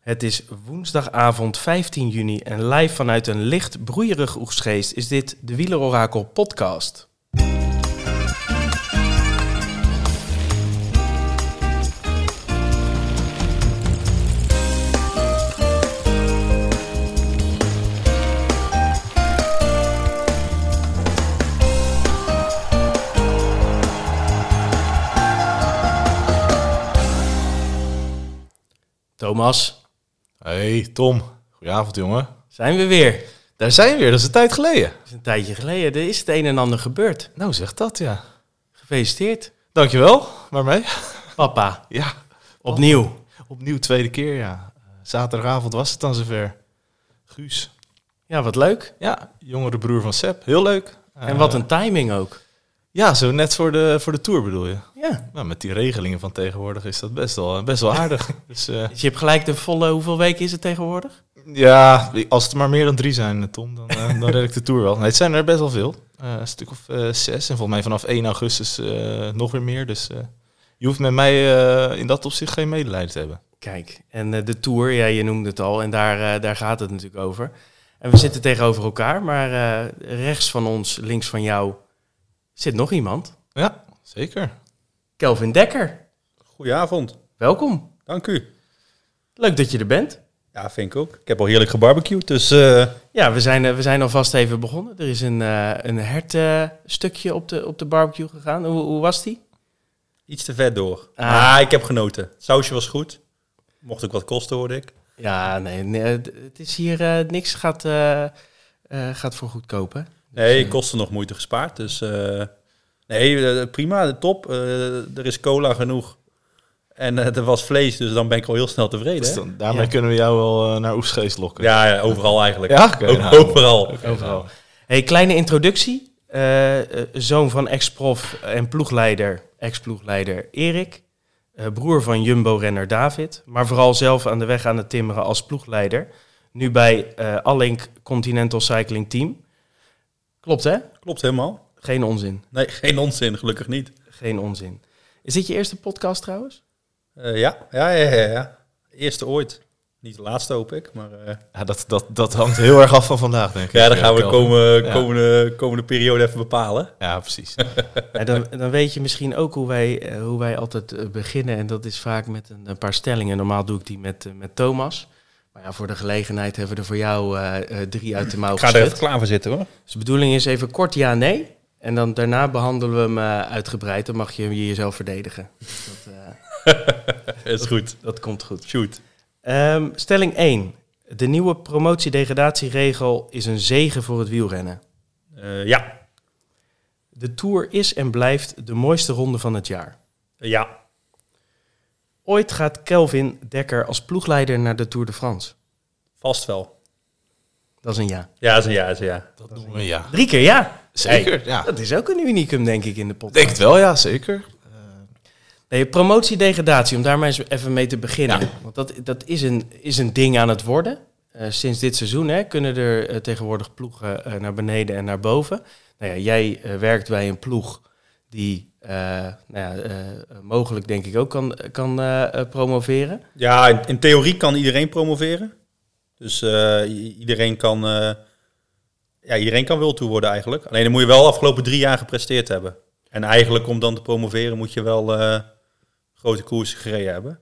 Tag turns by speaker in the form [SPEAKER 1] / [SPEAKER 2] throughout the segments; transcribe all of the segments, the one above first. [SPEAKER 1] Het is woensdagavond 15 juni en live vanuit een licht broeierig oegstgeest is dit de Wielerorakel podcast. Thomas,
[SPEAKER 2] Hey Tom, goedenavond jongen.
[SPEAKER 1] zijn we weer. Het
[SPEAKER 2] Daar zijn we weer, dat is een tijd geleden.
[SPEAKER 1] is een tijdje geleden, er is het een en ander gebeurd.
[SPEAKER 2] Nou zeg dat ja.
[SPEAKER 1] Gefeliciteerd,
[SPEAKER 2] Dankjewel, waarmee?
[SPEAKER 1] papa.
[SPEAKER 2] Ja,
[SPEAKER 1] Opnieuw.
[SPEAKER 2] opnieuw tweede keer ja. Eh, Zaterdagavond was het dan zover. Guus.
[SPEAKER 1] Ja, wat leuk.
[SPEAKER 2] Ja, jongere broer van Seb, heel leuk. Eh,
[SPEAKER 1] En wat een timing ook.
[SPEAKER 2] Ja, zo net voor de, voor de tour bedoel je.
[SPEAKER 1] Ja.
[SPEAKER 2] Nou, met die regelingen van tegenwoordig is dat best wel, eh, best wel aardig. dus eh,
[SPEAKER 1] Dus je hebt gelijk de volle, hoeveel weken is het tegenwoordig?
[SPEAKER 2] ja, als het maar meer dan drie zijn, eh, Tom, dan, eh, dan red ik de tour wel. Nee, het zijn er best wel veel. Eh, een stuk of eh, zes. En volgens mij vanaf 1 augustus eh, nog weer meer. Dus eh, je hoeft met mij eh, in dat opzicht geen medelijden te hebben.
[SPEAKER 1] Kijk, en eh, de Tour, ja, je noemde het al, en daar, eh, daar gaat het natuurlijk over. En we zitten tegenover elkaar, maar eh, rechts van ons, links van jou, zit nog iemand.
[SPEAKER 2] Ja, zeker.
[SPEAKER 1] Kelvin Dekker,
[SPEAKER 3] Goedenavond,
[SPEAKER 1] welkom.
[SPEAKER 3] dank u.
[SPEAKER 1] Leuk dat je er bent.
[SPEAKER 3] Ja, vind ik ook. Ik heb al heerlijk gebarbecued, dus eh,
[SPEAKER 1] Ja, we zijn, eh, we zijn alvast even begonnen. Er is een, eh een hertstukje op de, op de barbecue gegaan. Hoe, hoe was die?
[SPEAKER 3] iets te vet door.
[SPEAKER 1] Ah.
[SPEAKER 3] Ah. ik heb genoten. Het sausje was goed. Mocht ook wat kosten, hoorde ik.
[SPEAKER 1] Ja, nee, nee, het- het is hier eh, niks gaat, eh, eh, gaat voor goedkoop, hè?
[SPEAKER 2] Hm.
[SPEAKER 3] Nee, kosten nog moeite gespaard, dus... eh, nee, eh, prima, top. Eh, er is cola genoeg. En eh, er was vlees, dus dan ben ik al heel snel tevreden.
[SPEAKER 2] Dus
[SPEAKER 3] hè?
[SPEAKER 2] dan- daarmee
[SPEAKER 1] Ja.
[SPEAKER 2] kunnen we jou wel eh, naar Oesgeest lokken.
[SPEAKER 3] Ja, ja, overal eigenlijk.
[SPEAKER 2] Ja, oké,
[SPEAKER 3] Ook
[SPEAKER 2] nou,
[SPEAKER 3] overal.
[SPEAKER 1] Overal. Hey, kleine introductie. Eh, eh, zoon van ex-prof en ploegleider, ex-ploegleider Erik. Eh, broer van Jumbo-renner David. Maar vooral zelf aan de weg aan het timmeren als ploegleider. Nu bij eh Allink Continental Cycling Team. Klopt hè?
[SPEAKER 3] Klopt helemaal.
[SPEAKER 1] Geen onzin.
[SPEAKER 3] Nee, geen onzin, gelukkig niet.
[SPEAKER 1] Geen onzin. Is dit je eerste podcast trouwens?
[SPEAKER 3] Eh, ja. Ja, ja, ja, ja. Eerste ooit. Niet de laatste, hoop ik, maar... eh,
[SPEAKER 2] Ja, dat, dat, dat hangt heel erg af van vandaag, denk ik.
[SPEAKER 3] Ja, dan gaan we de
[SPEAKER 2] Kelvin.
[SPEAKER 3] komende,
[SPEAKER 2] Ja.
[SPEAKER 3] komende, komende periode even bepalen.
[SPEAKER 2] Ja, precies.
[SPEAKER 1] Ja, dan, dan weet je misschien ook hoe wij, eh, hoe wij altijd eh, beginnen. En dat is vaak met een, een paar stellingen. Normaal doe ik die met, eh, met Thomas. Maar ja, voor de gelegenheid hebben we er voor jou eh, eh, drie uit de mouw
[SPEAKER 3] Ik ga er
[SPEAKER 1] gezet.
[SPEAKER 3] even klaar voor zitten hoor.
[SPEAKER 1] Dus de bedoeling is even kort ja, nee. En dan daarna behandelen we hem eh, uitgebreid. Dan mag je hem jezelf verdedigen. Dat, eh,
[SPEAKER 3] Is goed.
[SPEAKER 1] dat komt goed.
[SPEAKER 3] Shoot.
[SPEAKER 1] Ehm, stelling 1. De nieuwe promotiedegradatieregel is een zegen voor het wielrennen.
[SPEAKER 3] Eh, ja.
[SPEAKER 1] De Tour is en blijft de mooiste ronde van het jaar.
[SPEAKER 3] Ja.
[SPEAKER 1] Ooit gaat Kelvin Dekker als ploegleider naar de Tour de France.
[SPEAKER 3] Vast wel.
[SPEAKER 1] Dat is een ja.
[SPEAKER 3] Ja, is een ja, is een ja.
[SPEAKER 2] Dat doen we, ja.
[SPEAKER 1] Drie keer ja.
[SPEAKER 2] Zeker, ja.
[SPEAKER 1] Dat is ook een unicum, denk ik, in de
[SPEAKER 2] Ik
[SPEAKER 1] podcast.
[SPEAKER 2] denk het wel, ja, zeker.
[SPEAKER 1] Nee, promotiedegradatie, om daar maar eens even mee te beginnen. Want dat, dat is, een, is een ding aan het worden. Eh, sinds dit seizoen hè, kunnen er eh, tegenwoordig ploegen eh, naar beneden en naar boven. Nou ja, jij eh, werkt bij een ploeg die eh, nou ja, eh, mogelijk denk ik ook kan, kan eh, eh, promoveren.
[SPEAKER 3] Ja, in, in theorie kan iedereen promoveren. Dus eh, i- iedereen kan... eh ja, iedereen kan wil toe worden eigenlijk. Alleen dan moet je wel de afgelopen drie jaar gepresteerd hebben. En eigenlijk om dan te promoveren moet je wel eh, grote koersen gereden hebben.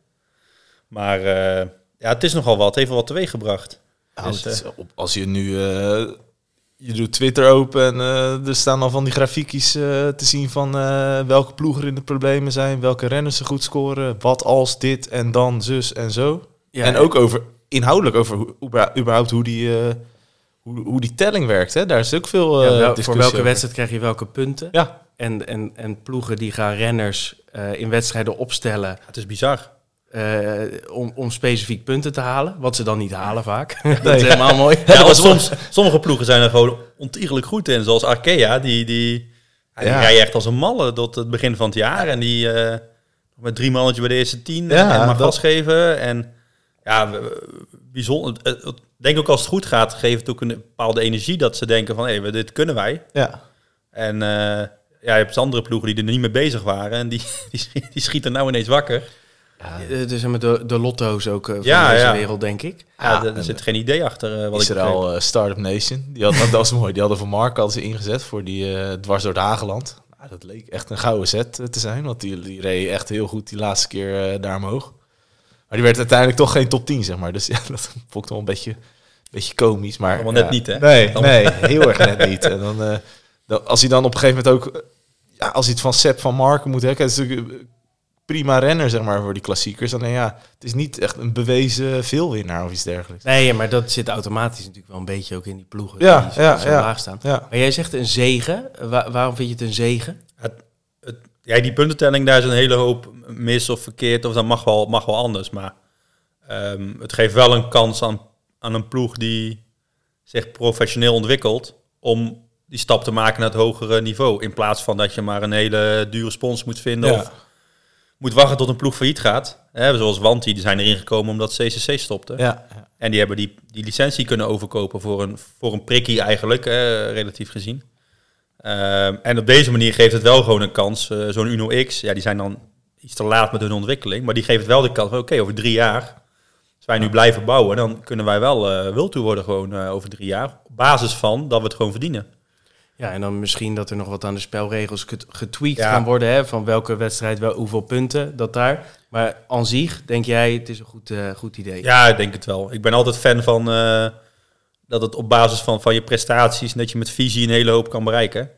[SPEAKER 3] Maar eh, ja, het is nogal wat. Het heeft wel wat teweeggebracht.
[SPEAKER 2] Ja,
[SPEAKER 3] Dus,
[SPEAKER 2] het is op- als je nu... eh, je doet Twitter open en eh, er staan al van die grafiekjes eh, te zien van eh, welke ploegen in de problemen zijn, welke renners ze goed scoren, wat als dit en dan zus en zo. en ook over inhoudelijk over hoe, überha- überhaupt hoe die, eh, hoe, hoe die telling werkt. Hè? Daar is ook veel
[SPEAKER 1] Ja,
[SPEAKER 2] eh
[SPEAKER 1] wel- voor
[SPEAKER 2] discussie
[SPEAKER 1] welke
[SPEAKER 2] over.
[SPEAKER 1] wedstrijd krijg je welke punten?
[SPEAKER 2] Ja.
[SPEAKER 1] En, en, en ploegen die gaan renners eh, in wedstrijden opstellen
[SPEAKER 3] Het is bizar.
[SPEAKER 1] eh, om, om specifiek punten te halen. Wat ze dan niet halen vaak. dat is helemaal mooi.
[SPEAKER 3] Ja, want soms, sommige ploegen zijn er gewoon ontiegelijk goed in. Zoals Arkea, die, die, ja, die
[SPEAKER 2] Ja.
[SPEAKER 3] rijden echt als een malle tot het begin van het jaar. En die eh, met drie mannetje bij de eerste tien en,
[SPEAKER 2] Ja,
[SPEAKER 3] en maar
[SPEAKER 2] dat-
[SPEAKER 3] gas geven. En ja, we- we- bijzonder. het- het- Ik denk ook als het goed gaat, geeft het ook een bepaalde energie dat ze denken van, hé, we- dit kunnen wij.
[SPEAKER 2] Ja.
[SPEAKER 3] En eh, ja, je hebt andere ploegen die er niet mee bezig waren. En die, die, schieten nou ineens wakker.
[SPEAKER 2] Ja.
[SPEAKER 1] Eh, dus met de, de lotto's ook eh, van
[SPEAKER 3] Ja,
[SPEAKER 1] deze
[SPEAKER 3] ja.
[SPEAKER 1] wereld, denk ik.
[SPEAKER 2] Ja,
[SPEAKER 3] Ja, daar
[SPEAKER 2] en-
[SPEAKER 3] er zit geen idee achter eh, wat ik
[SPEAKER 2] Israël eh, Startup Nation. Die had, dat was mooi. Die hadden voor Mark hadden ze ingezet voor die eh, dwars door het Hageland. Nou, dat leek echt een gouden set eh, te zijn. Want die, die reed echt heel goed die laatste keer eh, daar omhoog. Maar die werd uiteindelijk toch geen top 10, zeg maar. Dus ja, dat vond ik wel een beetje, beetje komisch. Maar,
[SPEAKER 3] Allemaal
[SPEAKER 2] ja.
[SPEAKER 3] net niet, hè?
[SPEAKER 2] Nee,
[SPEAKER 3] Dan-
[SPEAKER 2] nee, heel erg net niet. En dan, eh, dan- als hij dan op een gegeven moment ook... eh, Ja, als hij het van Sepp van Marken moet hebben... is natuurlijk eh, prima renner, zeg maar, voor die klassiekers. Dan, ja, het is niet echt een bewezen veelwinnaar of iets dergelijks.
[SPEAKER 1] Nee, maar dat zit automatisch natuurlijk wel een beetje ook in die ploegen
[SPEAKER 2] Ja,
[SPEAKER 1] die zo,
[SPEAKER 2] ja,
[SPEAKER 1] zo
[SPEAKER 2] ja.
[SPEAKER 1] laag staan.
[SPEAKER 2] Ja.
[SPEAKER 1] Maar jij zegt een zegen. Wa- waarom vind je het een zegen?
[SPEAKER 3] Ja, die puntentelling, daar is een hele hoop mis of verkeerd. Of dat mag wel, mag wel anders. Maar ehm, het geeft wel een kans aan, aan een ploeg die zich professioneel ontwikkelt. om die stap te maken naar het hogere niveau. In plaats van dat je maar een hele dure spons moet vinden.
[SPEAKER 2] Ja.
[SPEAKER 3] of moet wachten tot een ploeg failliet gaat. Hè, zoals Wanti, die zijn erin gekomen omdat CCC stopte.
[SPEAKER 2] Ja,
[SPEAKER 3] En die hebben die, die licentie kunnen overkopen voor een, voor een prikkie eigenlijk, eh, relatief gezien. Ehm, en op deze manier geeft het wel gewoon een kans. Eh, Zo'n Uno X, ja, die zijn dan iets te laat met hun ontwikkeling. Maar die geeft wel de kans van, oké, over drie jaar, als wij nu blijven bouwen, dan kunnen wij wel eh wiltoe worden gewoon eh, over drie jaar. Op basis van dat we het gewoon verdienen.
[SPEAKER 1] Ja, en dan misschien dat er nog wat aan de spelregels get- getweakt
[SPEAKER 3] Ja.
[SPEAKER 1] gaan worden. Hè, van welke wedstrijd wel hoeveel punten, dat daar. Maar aan zich denk jij, het is een goed, eh, goed idee.
[SPEAKER 3] Ja, ik denk het wel. Ik ben altijd fan van eh, dat het op basis van, van je prestaties en dat je met visie een hele hoop kan bereiken.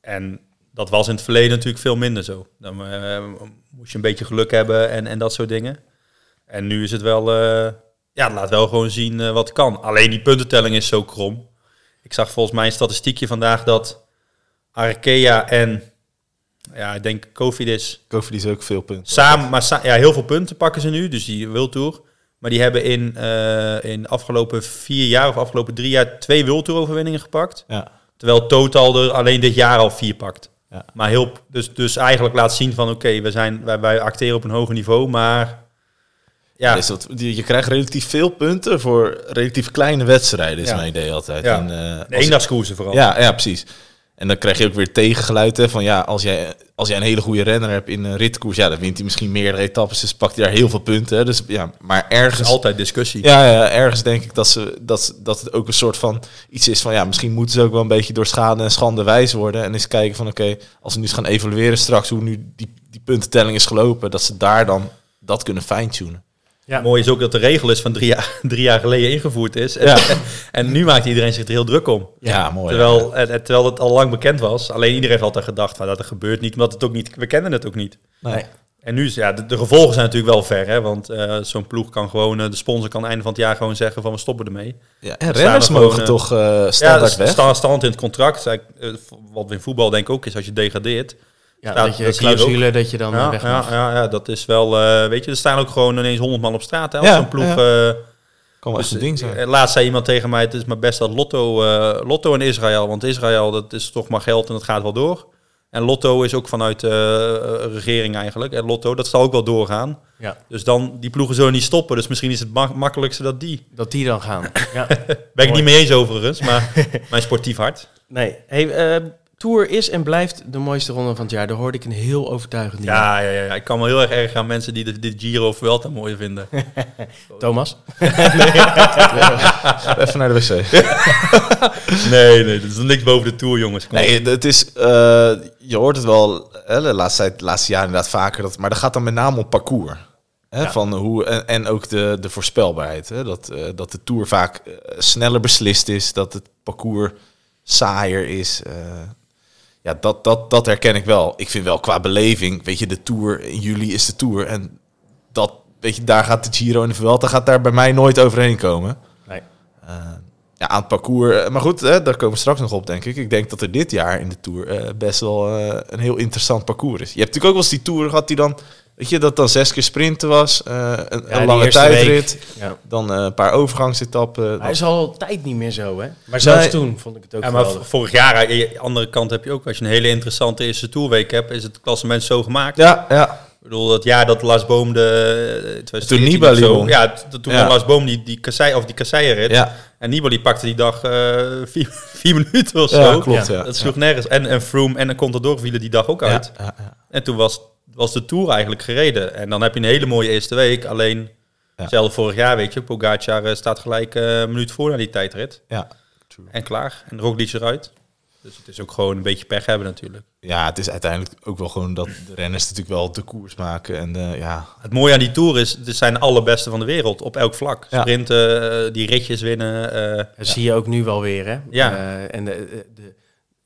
[SPEAKER 3] En dat was in het verleden natuurlijk veel minder zo. Dan eh, moest je een beetje geluk hebben en, en dat soort dingen. En nu is het wel, eh, ja, het laat wel gewoon zien eh, wat kan. Alleen die puntentelling is zo krom. Ik zag volgens mij een statistiekje vandaag dat Arkea en, ja, ik denk Covidis
[SPEAKER 2] Kofi ook veel punten.
[SPEAKER 3] Samen, maar sa- ja, heel veel punten pakken ze nu, dus die Wildtour. Maar die hebben in, eh in afgelopen vier jaar of afgelopen drie jaar twee Wildtour-overwinningen gepakt.
[SPEAKER 2] Ja.
[SPEAKER 3] Terwijl Total er alleen dit jaar al vier pakt.
[SPEAKER 2] Ja.
[SPEAKER 3] Maar heel, dus, dus eigenlijk laat zien van oké, we zijn wij, wij acteren op een hoger niveau, maar ja,
[SPEAKER 2] Dus dat, die- je krijgt relatief veel punten voor relatief kleine wedstrijden, is
[SPEAKER 3] Ja.
[SPEAKER 2] mijn idee altijd.
[SPEAKER 3] Ja.
[SPEAKER 2] En, eh,
[SPEAKER 3] de
[SPEAKER 2] als-
[SPEAKER 3] eendagskoersen vooral.
[SPEAKER 2] ja, ja, precies. En dan krijg je ook weer tegengeluid hè, van ja, als jij, als jij een hele goede renner hebt in een ritkoers, ja, dan wint hij misschien meerdere etappes, dus pakt hij daar heel veel punten. hè. Dus ja, maar
[SPEAKER 3] Er is
[SPEAKER 2] ergens,
[SPEAKER 3] altijd discussie.
[SPEAKER 2] ja, ja, ergens denk ik dat, ze, dat, ze- dat het ook een soort van iets is van ja, misschien moeten ze ook wel een beetje door schade en schande wijs worden. En eens kijken van oké, als ze nu eens gaan evalueren straks hoe nu die, die puntentelling is gelopen, dat ze daar dan dat kunnen fine-tunen.
[SPEAKER 1] Ja.
[SPEAKER 3] Mooi is ook dat de regel is van drie jaar, drie jaar geleden ingevoerd is. En,
[SPEAKER 2] Ja.
[SPEAKER 3] en nu maakt iedereen zich er heel druk om.
[SPEAKER 2] Ja, mooi.
[SPEAKER 3] Terwijl, en- en terwijl het al lang bekend was. Alleen iedereen heeft altijd gedacht van dat er gebeurt niet, omdat het ook niet, we kennen het ook niet.
[SPEAKER 2] Nou,
[SPEAKER 1] Nee.
[SPEAKER 3] En nu is ja, de, de gevolgen zijn natuurlijk wel ver, hè, want eh, zo'n ploeg kan gewoon, eh, de sponsor kan einde van het jaar gewoon zeggen van we stoppen ermee.
[SPEAKER 2] Ja, en renners
[SPEAKER 3] Staan er
[SPEAKER 2] mogen
[SPEAKER 3] gewoon,
[SPEAKER 2] toch eh, standaard
[SPEAKER 3] ja,
[SPEAKER 2] weg.
[SPEAKER 3] Sta, stand in het contract, eh, wat in voetbal denk ik ook is als je degradeert.
[SPEAKER 1] Ja,
[SPEAKER 3] Ja,
[SPEAKER 1] dat je
[SPEAKER 3] nou, dat zie je
[SPEAKER 1] clausule dat je dan eh,
[SPEAKER 3] Ja,
[SPEAKER 1] weg
[SPEAKER 3] ja,
[SPEAKER 1] mag.
[SPEAKER 3] ja, ja, dat is wel, eh, weet je, er staan ook gewoon ineens honderd man op straat. Hè, als
[SPEAKER 2] Ja,
[SPEAKER 3] zo'n ploeg...
[SPEAKER 2] ja.
[SPEAKER 3] eh,
[SPEAKER 2] Kan wel
[SPEAKER 3] Dus,
[SPEAKER 2] eens een ding zijn.
[SPEAKER 3] eh, Laatst zei iemand tegen mij, het is maar best dat Lotto, eh, Lotto in Israël, want Israël dat is toch maar geld en dat gaat wel door. En Lotto is ook vanuit de regering eigenlijk. En Lotto, dat zal ook wel doorgaan.
[SPEAKER 1] Ja.
[SPEAKER 3] Dus dan, die ploegen zullen niet stoppen. Dus misschien is het ma- makkelijkste dat die.
[SPEAKER 1] Dat die dan gaan. Ja.
[SPEAKER 3] Ben ik
[SPEAKER 1] Mooi.
[SPEAKER 3] niet mee eens overigens, maar mijn sportief hart.
[SPEAKER 1] Nee. Hey, eh, Tour is en blijft de mooiste ronde van het jaar. Daar hoorde ik een heel overtuigend nieuws.
[SPEAKER 3] Ja, ja, ja, ja. ik kan wel heel erg erg aan mensen die de, dit Giro of Vuelta mooi vinden.
[SPEAKER 1] Thomas?
[SPEAKER 2] Even naar de wc.
[SPEAKER 3] nee, nee, dat is niks boven de Tour, jongens. Kom op.
[SPEAKER 2] Nee, het is, eh, je hoort het wel hè, de laatste, tijd, de laatste jaar inderdaad vaker. Dat, maar dat gaat dan met name om parcours. Hè, van hoe, en, en ook de, de voorspelbaarheid. Hè, dat, eh, dat de Tour vaak eh, sneller beslist is. Dat het parcours saaier is. eh. ja, dat, dat, dat herken ik wel. Ik vind wel qua beleving, weet je, de Tour in juli is de Tour. En dat, weet je, daar gaat de Giro en de Vuelta gaat daar bij mij nooit overheen komen.
[SPEAKER 1] Nee.
[SPEAKER 2] Eh, ja, aan het parcours. eh, Maar goed, hè, daar komen we straks nog op, denk ik. Ik denk dat er dit jaar in de Tour eh, best wel eh, een heel interessant parcours is. Je hebt natuurlijk ook wel eens die Tour gehad die dan... Weet je, dat dan zes keer sprinten was. eh, een,
[SPEAKER 1] Ja,
[SPEAKER 2] een
[SPEAKER 1] die
[SPEAKER 2] lange
[SPEAKER 1] eerste week.
[SPEAKER 2] tijdrit.
[SPEAKER 1] Ja.
[SPEAKER 2] Dan eh, een paar overgangsetappen.
[SPEAKER 1] Hij
[SPEAKER 2] Dan-
[SPEAKER 1] is al altijd niet meer zo, hè? Maar zelfs
[SPEAKER 2] Nee.
[SPEAKER 1] toen vond ik het ook
[SPEAKER 3] Ja, maar
[SPEAKER 1] geweldig.
[SPEAKER 3] v- vorig jaar, aan de andere kant heb je ook, als je een hele interessante eerste toerweek hebt, is het klassement zo gemaakt.
[SPEAKER 2] Ja, ja.
[SPEAKER 3] Ik bedoel, dat jaar dat Lars Boom de... eh, 2014
[SPEAKER 2] Toen Nibali
[SPEAKER 3] of zo-
[SPEAKER 2] won.
[SPEAKER 3] Ja, t- toen
[SPEAKER 2] Ja.
[SPEAKER 3] won Lars Boom die, die, kassei, of die kasseienrit.
[SPEAKER 2] Ja,
[SPEAKER 3] En Nibali pakte die dag eh, vier, vier minuten of
[SPEAKER 2] ja,
[SPEAKER 3] zo.
[SPEAKER 2] klopt. Ja.
[SPEAKER 3] Dat sloeg nergens. En, en Froome en Contador vielen die dag ook
[SPEAKER 2] Ja,
[SPEAKER 3] uit.
[SPEAKER 2] ja, ja.
[SPEAKER 3] En toen was was de Tour eigenlijk gereden. En dan heb je een hele mooie eerste week. Alleen,
[SPEAKER 2] Ja.
[SPEAKER 3] zelf vorig jaar, weet je, Pogacar eh, staat gelijk eh, een minuut voor naar die tijdrit.
[SPEAKER 2] Ja.
[SPEAKER 3] En klaar. En Roglic eruit. Dus het is ook gewoon een beetje pech hebben natuurlijk.
[SPEAKER 2] ja, het is uiteindelijk ook wel gewoon dat de renners natuurlijk wel de koers maken. En eh, ja,
[SPEAKER 3] Het mooie aan die Tour is, het zijn de allerbeste van de wereld op elk vlak.
[SPEAKER 2] Ja.
[SPEAKER 3] Sprinten, eh, die ritjes winnen. eh,
[SPEAKER 1] Dat zie je ook nu wel weer, hè?
[SPEAKER 3] Ja.
[SPEAKER 1] Eh, en de, de,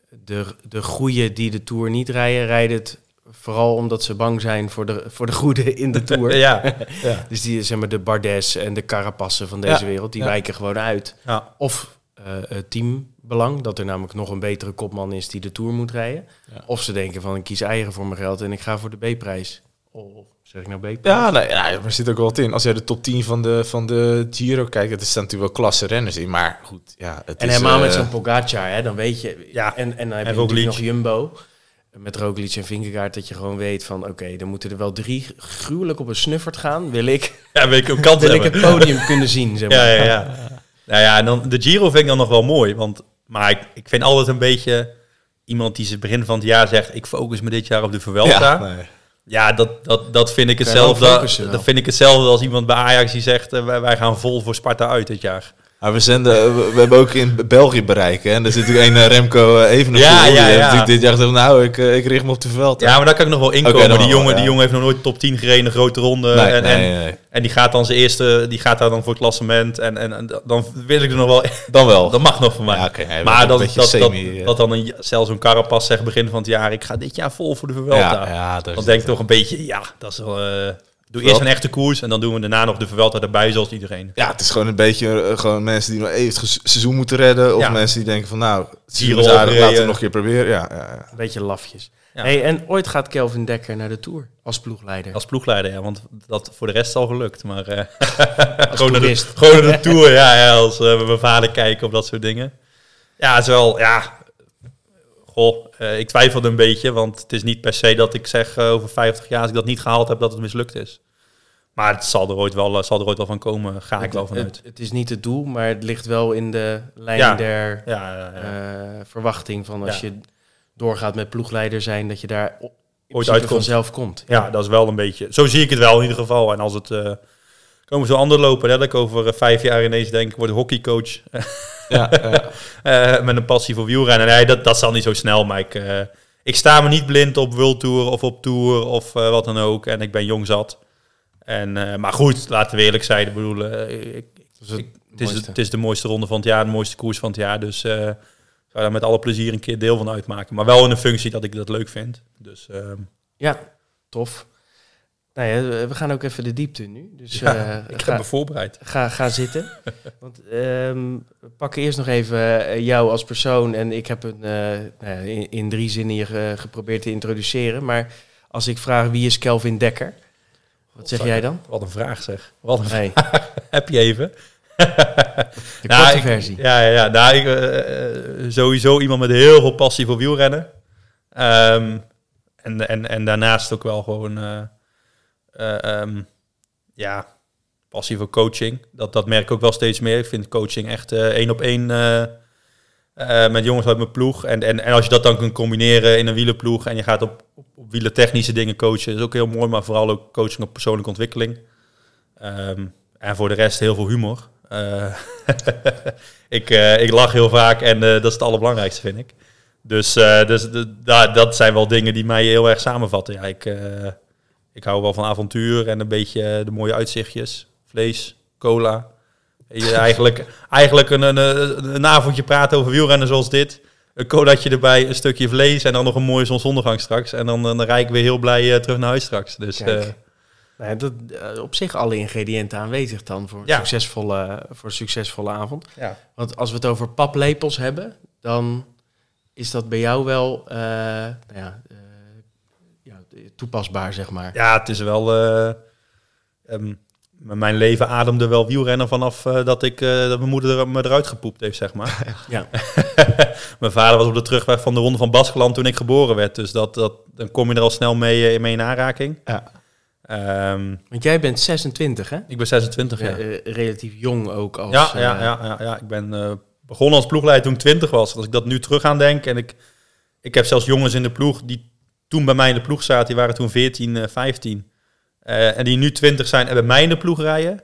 [SPEAKER 1] de, de goeie die de Tour niet rijden, rijden het vooral omdat ze bang zijn voor de, voor de goede in de Tour.
[SPEAKER 3] ja.
[SPEAKER 2] ja.
[SPEAKER 1] Dus die, zeg maar, de Bardes en de Carapassen van deze
[SPEAKER 2] Ja.
[SPEAKER 1] wereld, die
[SPEAKER 2] Ja.
[SPEAKER 1] wijken gewoon uit.
[SPEAKER 3] ja.
[SPEAKER 1] Of eh, het teambelang, dat er namelijk nog een betere kopman is die de Tour moet rijden.
[SPEAKER 2] Ja.
[SPEAKER 1] Of ze denken van, ik kies eigen voor mijn geld en ik ga voor de B-prijs. Of zeg ik nou B-prijs?
[SPEAKER 2] Ja, nou, ja, maar er zit ook wel wat in. Als jij de top 10 van de, van de Giro kijkt, dat staan natuurlijk wel klasse renners in. Maar goed, ja, het
[SPEAKER 1] En
[SPEAKER 2] is...
[SPEAKER 1] helemaal
[SPEAKER 2] eh,
[SPEAKER 1] met zo'n Pogacar, hè, dan weet je.
[SPEAKER 3] Ja,
[SPEAKER 1] En, en dan heb
[SPEAKER 3] en
[SPEAKER 1] je natuurlijk
[SPEAKER 3] Roglic.
[SPEAKER 1] nog Jumbo. Met Roglic en Vingegaard dat je gewoon weet van... oké, dan moeten er wel drie gruwelijk op een snuffert gaan. Wil ik,
[SPEAKER 3] ja, weet ik ook kans
[SPEAKER 1] wil ik
[SPEAKER 3] hebben.
[SPEAKER 1] het podium kunnen zien, zeg maar.
[SPEAKER 3] Ja, ja, ja. Nou ja, en dan, de Giro vind ik dan nog wel mooi. Want, maar ik, ik vind altijd een beetje iemand die ze begin van het jaar zegt... ik focus me dit jaar op de Vuelta.
[SPEAKER 2] ja,
[SPEAKER 3] Ja,
[SPEAKER 2] nee.
[SPEAKER 3] dat, dat, dat vind ik
[SPEAKER 1] Kan je wel
[SPEAKER 3] hetzelfde.
[SPEAKER 1] focussen wel.
[SPEAKER 3] Dat vind ik hetzelfde als iemand bij Ajax die zegt... eh, wij, wij gaan vol voor Sparta uit dit jaar.
[SPEAKER 2] Maar we, zenden, we, we hebben ook in België bereiken. En er zit natuurlijk een eh, Remco eh, Evenepoel.
[SPEAKER 3] Ja, ja,
[SPEAKER 2] Die heeft
[SPEAKER 3] ja.
[SPEAKER 2] natuurlijk dit jaar gezegd, nou, ik, eh, ik richt me op de veld.
[SPEAKER 3] Ja, maar daar kan ik nog wel inkomen.
[SPEAKER 2] Oké, dan
[SPEAKER 3] die,
[SPEAKER 2] wel,
[SPEAKER 3] jongen,
[SPEAKER 2] ja.
[SPEAKER 3] die jongen heeft nog nooit top 10 gereden, een grote ronde.
[SPEAKER 2] nee,
[SPEAKER 3] en,
[SPEAKER 2] nee,
[SPEAKER 3] en,
[SPEAKER 2] nee, nee.
[SPEAKER 3] en die gaat dan zijn eerste... Die gaat daar dan voor het klassement. En, en, en dan wil ik er nog wel...
[SPEAKER 2] Dan wel.
[SPEAKER 3] Dat mag nog van mij.
[SPEAKER 2] Ja, oké, hij was
[SPEAKER 3] maar
[SPEAKER 2] een
[SPEAKER 3] dat,
[SPEAKER 2] beetje
[SPEAKER 3] dat, dat,
[SPEAKER 2] semi, eh.
[SPEAKER 3] dat dan een, zelfs een Carapas zegt begin van het jaar... ik ga dit jaar vol voor de Vuelta.
[SPEAKER 2] ja, ja, dus daar
[SPEAKER 3] dan
[SPEAKER 2] zit-
[SPEAKER 3] denk ik toch een beetje... ja, dat is wel... eh, doe eerst een echte koers en dan doen we daarna nog de Vuelta erbij zoals iedereen.
[SPEAKER 2] ja, het is gewoon een beetje eh, gewoon mensen die nog even het ges- seizoen moeten redden. Of
[SPEAKER 3] Ja.
[SPEAKER 2] mensen die denken van, nou, het
[SPEAKER 3] Giro
[SPEAKER 2] seizoen is aardig, laten we
[SPEAKER 3] opgereden.
[SPEAKER 2] het nog een keer proberen. Ja, ja, ja.
[SPEAKER 1] Een beetje lafjes.
[SPEAKER 3] Ja.
[SPEAKER 1] Hey, en ooit gaat Kelvin Dekker naar de Tour als ploegleider.
[SPEAKER 3] Als ploegleider, ja, want dat voor de rest is al gelukt. Maar eh, gewoon, naar de,
[SPEAKER 1] toerist.
[SPEAKER 3] gewoon naar de Tour, ja, ja als eh, we mijn vader kijken of dat soort dingen. Ja, het is wel, ja... Goh, eh, ik twijfelde een beetje, want het is niet per se dat ik zeg eh, over 50 jaar, als ik dat niet gehaald heb, dat het mislukt is. Maar het zal er ooit wel, eh, zal er ooit wel van komen, ga ik wel vanuit.
[SPEAKER 1] het, het is niet het doel, maar het ligt wel in de lijn
[SPEAKER 3] Ja.
[SPEAKER 1] der
[SPEAKER 3] Ja, ja, ja.
[SPEAKER 1] eh, verwachting van als
[SPEAKER 3] Ja.
[SPEAKER 1] je doorgaat met ploegleider zijn, dat je daar o- in principe
[SPEAKER 3] uitkomt.
[SPEAKER 1] vanzelf komt.
[SPEAKER 3] ja, dat is wel een beetje. Zo zie ik het wel in ieder geval. En als het. eh, komen zo ander lopen, hè, dat ik over eh, vijf jaar ineens denk, ik word hockeycoach
[SPEAKER 2] ja, ja.
[SPEAKER 3] eh, met een passie voor wielrennen. Nee, dat, dat zal niet zo snel, maar ik, eh, ik sta me niet blind op World Tour of op Tour of eh, wat dan ook. En ik ben jong zat. En, eh, maar goed, laten we eerlijk zijn. Ik bedoel, eh, ik,
[SPEAKER 1] Dat is dus het
[SPEAKER 3] het, is,
[SPEAKER 1] mooiste.
[SPEAKER 3] het is de mooiste ronde van het jaar, de mooiste koers van het jaar. Dus eh, ik zou daar met alle plezier een keer deel van uitmaken. Maar wel in een functie dat ik dat leuk vind. Dus ehm,
[SPEAKER 1] Ja, tof. Nou ja, we- we gaan ook even de diepte nu. Dus
[SPEAKER 3] Ja,
[SPEAKER 1] eh,
[SPEAKER 3] ik heb
[SPEAKER 1] ga,
[SPEAKER 3] me voorbereid.
[SPEAKER 1] ga, ga zitten. Want ehm, we pakken eerst nog even eh, jou als persoon. En ik heb een, eh, nou ja, in, in drie zinnen je ge- geprobeerd te introduceren. Maar als ik vraag wie is Kelvin Dekker, wat zeg jij dan?
[SPEAKER 3] Wat een vraag zeg. Wat een
[SPEAKER 1] Nee,
[SPEAKER 3] Heb je even?
[SPEAKER 1] de
[SPEAKER 3] Nou,
[SPEAKER 1] korte
[SPEAKER 3] ik-
[SPEAKER 1] versie.
[SPEAKER 3] Ja, ja, ja. Nou, ik, eh, eh, sowieso iemand met heel veel passie voor wielrennen. Ehm, en, en, en daarnaast ook wel gewoon... eh, eh, ehm, ja, passie voor coaching. Dat, dat merk ik ook wel steeds meer. Ik vind coaching echt eh, één op één... eh, eh, met jongens uit mijn ploeg. En, en, en als je dat dan kunt combineren in een wielenploeg... en je gaat op, op, op wielertechnische dingen coachen... is ook heel mooi, maar vooral ook coaching op persoonlijke ontwikkeling. Ehm, en voor de rest heel veel humor. Eh, ik, eh, ik lach heel vaak en eh, dat is het allerbelangrijkste, vind ik. Dus, eh, dus de- da- dat zijn wel dingen die mij heel erg samenvatten. Ja, ik, eh, ik hou wel van avontuur en een beetje eh, de mooie uitzichtjes. Vlees, cola. Weet je, eigenlijk eigenlijk een, een, eh, een avondje praten over wielrennen zoals dit. Een colaatje erbij, een stukje vlees en dan nog een mooie zonsondergang straks. En dan, dan rijd ik weer heel blij eh, terug naar huis straks. Dus
[SPEAKER 1] Kijk.
[SPEAKER 3] eh,
[SPEAKER 1] Nou ja, dat, eh, op zich alle ingrediënten aanwezig dan voor, een
[SPEAKER 3] Ja.
[SPEAKER 1] succesvolle, voor een succesvolle avond.
[SPEAKER 3] ja.
[SPEAKER 1] Want als we het over paplepels hebben, dan is dat bij jou wel eh, nou ja, eh, ja, toepasbaar, zeg maar.
[SPEAKER 3] Ja, het is wel. eh, ehm, m- mijn leven ademde wel wielrennen vanaf eh, dat, ik, eh, dat mijn moeder er- me eruit gepoept heeft, zeg maar.
[SPEAKER 1] Ja.
[SPEAKER 3] mijn vader was op de terugweg van de Ronde van Baskeland toen ik geboren werd. Dus dat, dat, dan kom je er al snel mee, eh, mee in aanraking.
[SPEAKER 2] Ja.
[SPEAKER 3] Ehm,
[SPEAKER 1] Want jij bent 26, hè?
[SPEAKER 3] ik ben 26 jaar.
[SPEAKER 1] Eh, eh, relatief jong ook als...
[SPEAKER 3] Ja, ja,
[SPEAKER 1] eh,
[SPEAKER 3] ja, ja, ja. ik ben eh, begonnen als ploegleider toen ik 20 was. Als ik dat nu terug aan denk en ik, ik heb zelfs jongens in de ploeg die toen bij mij in de ploeg zaten, die waren toen 14, eh, 15. eh, en die nu 20 zijn en bij mij in de ploeg rijden.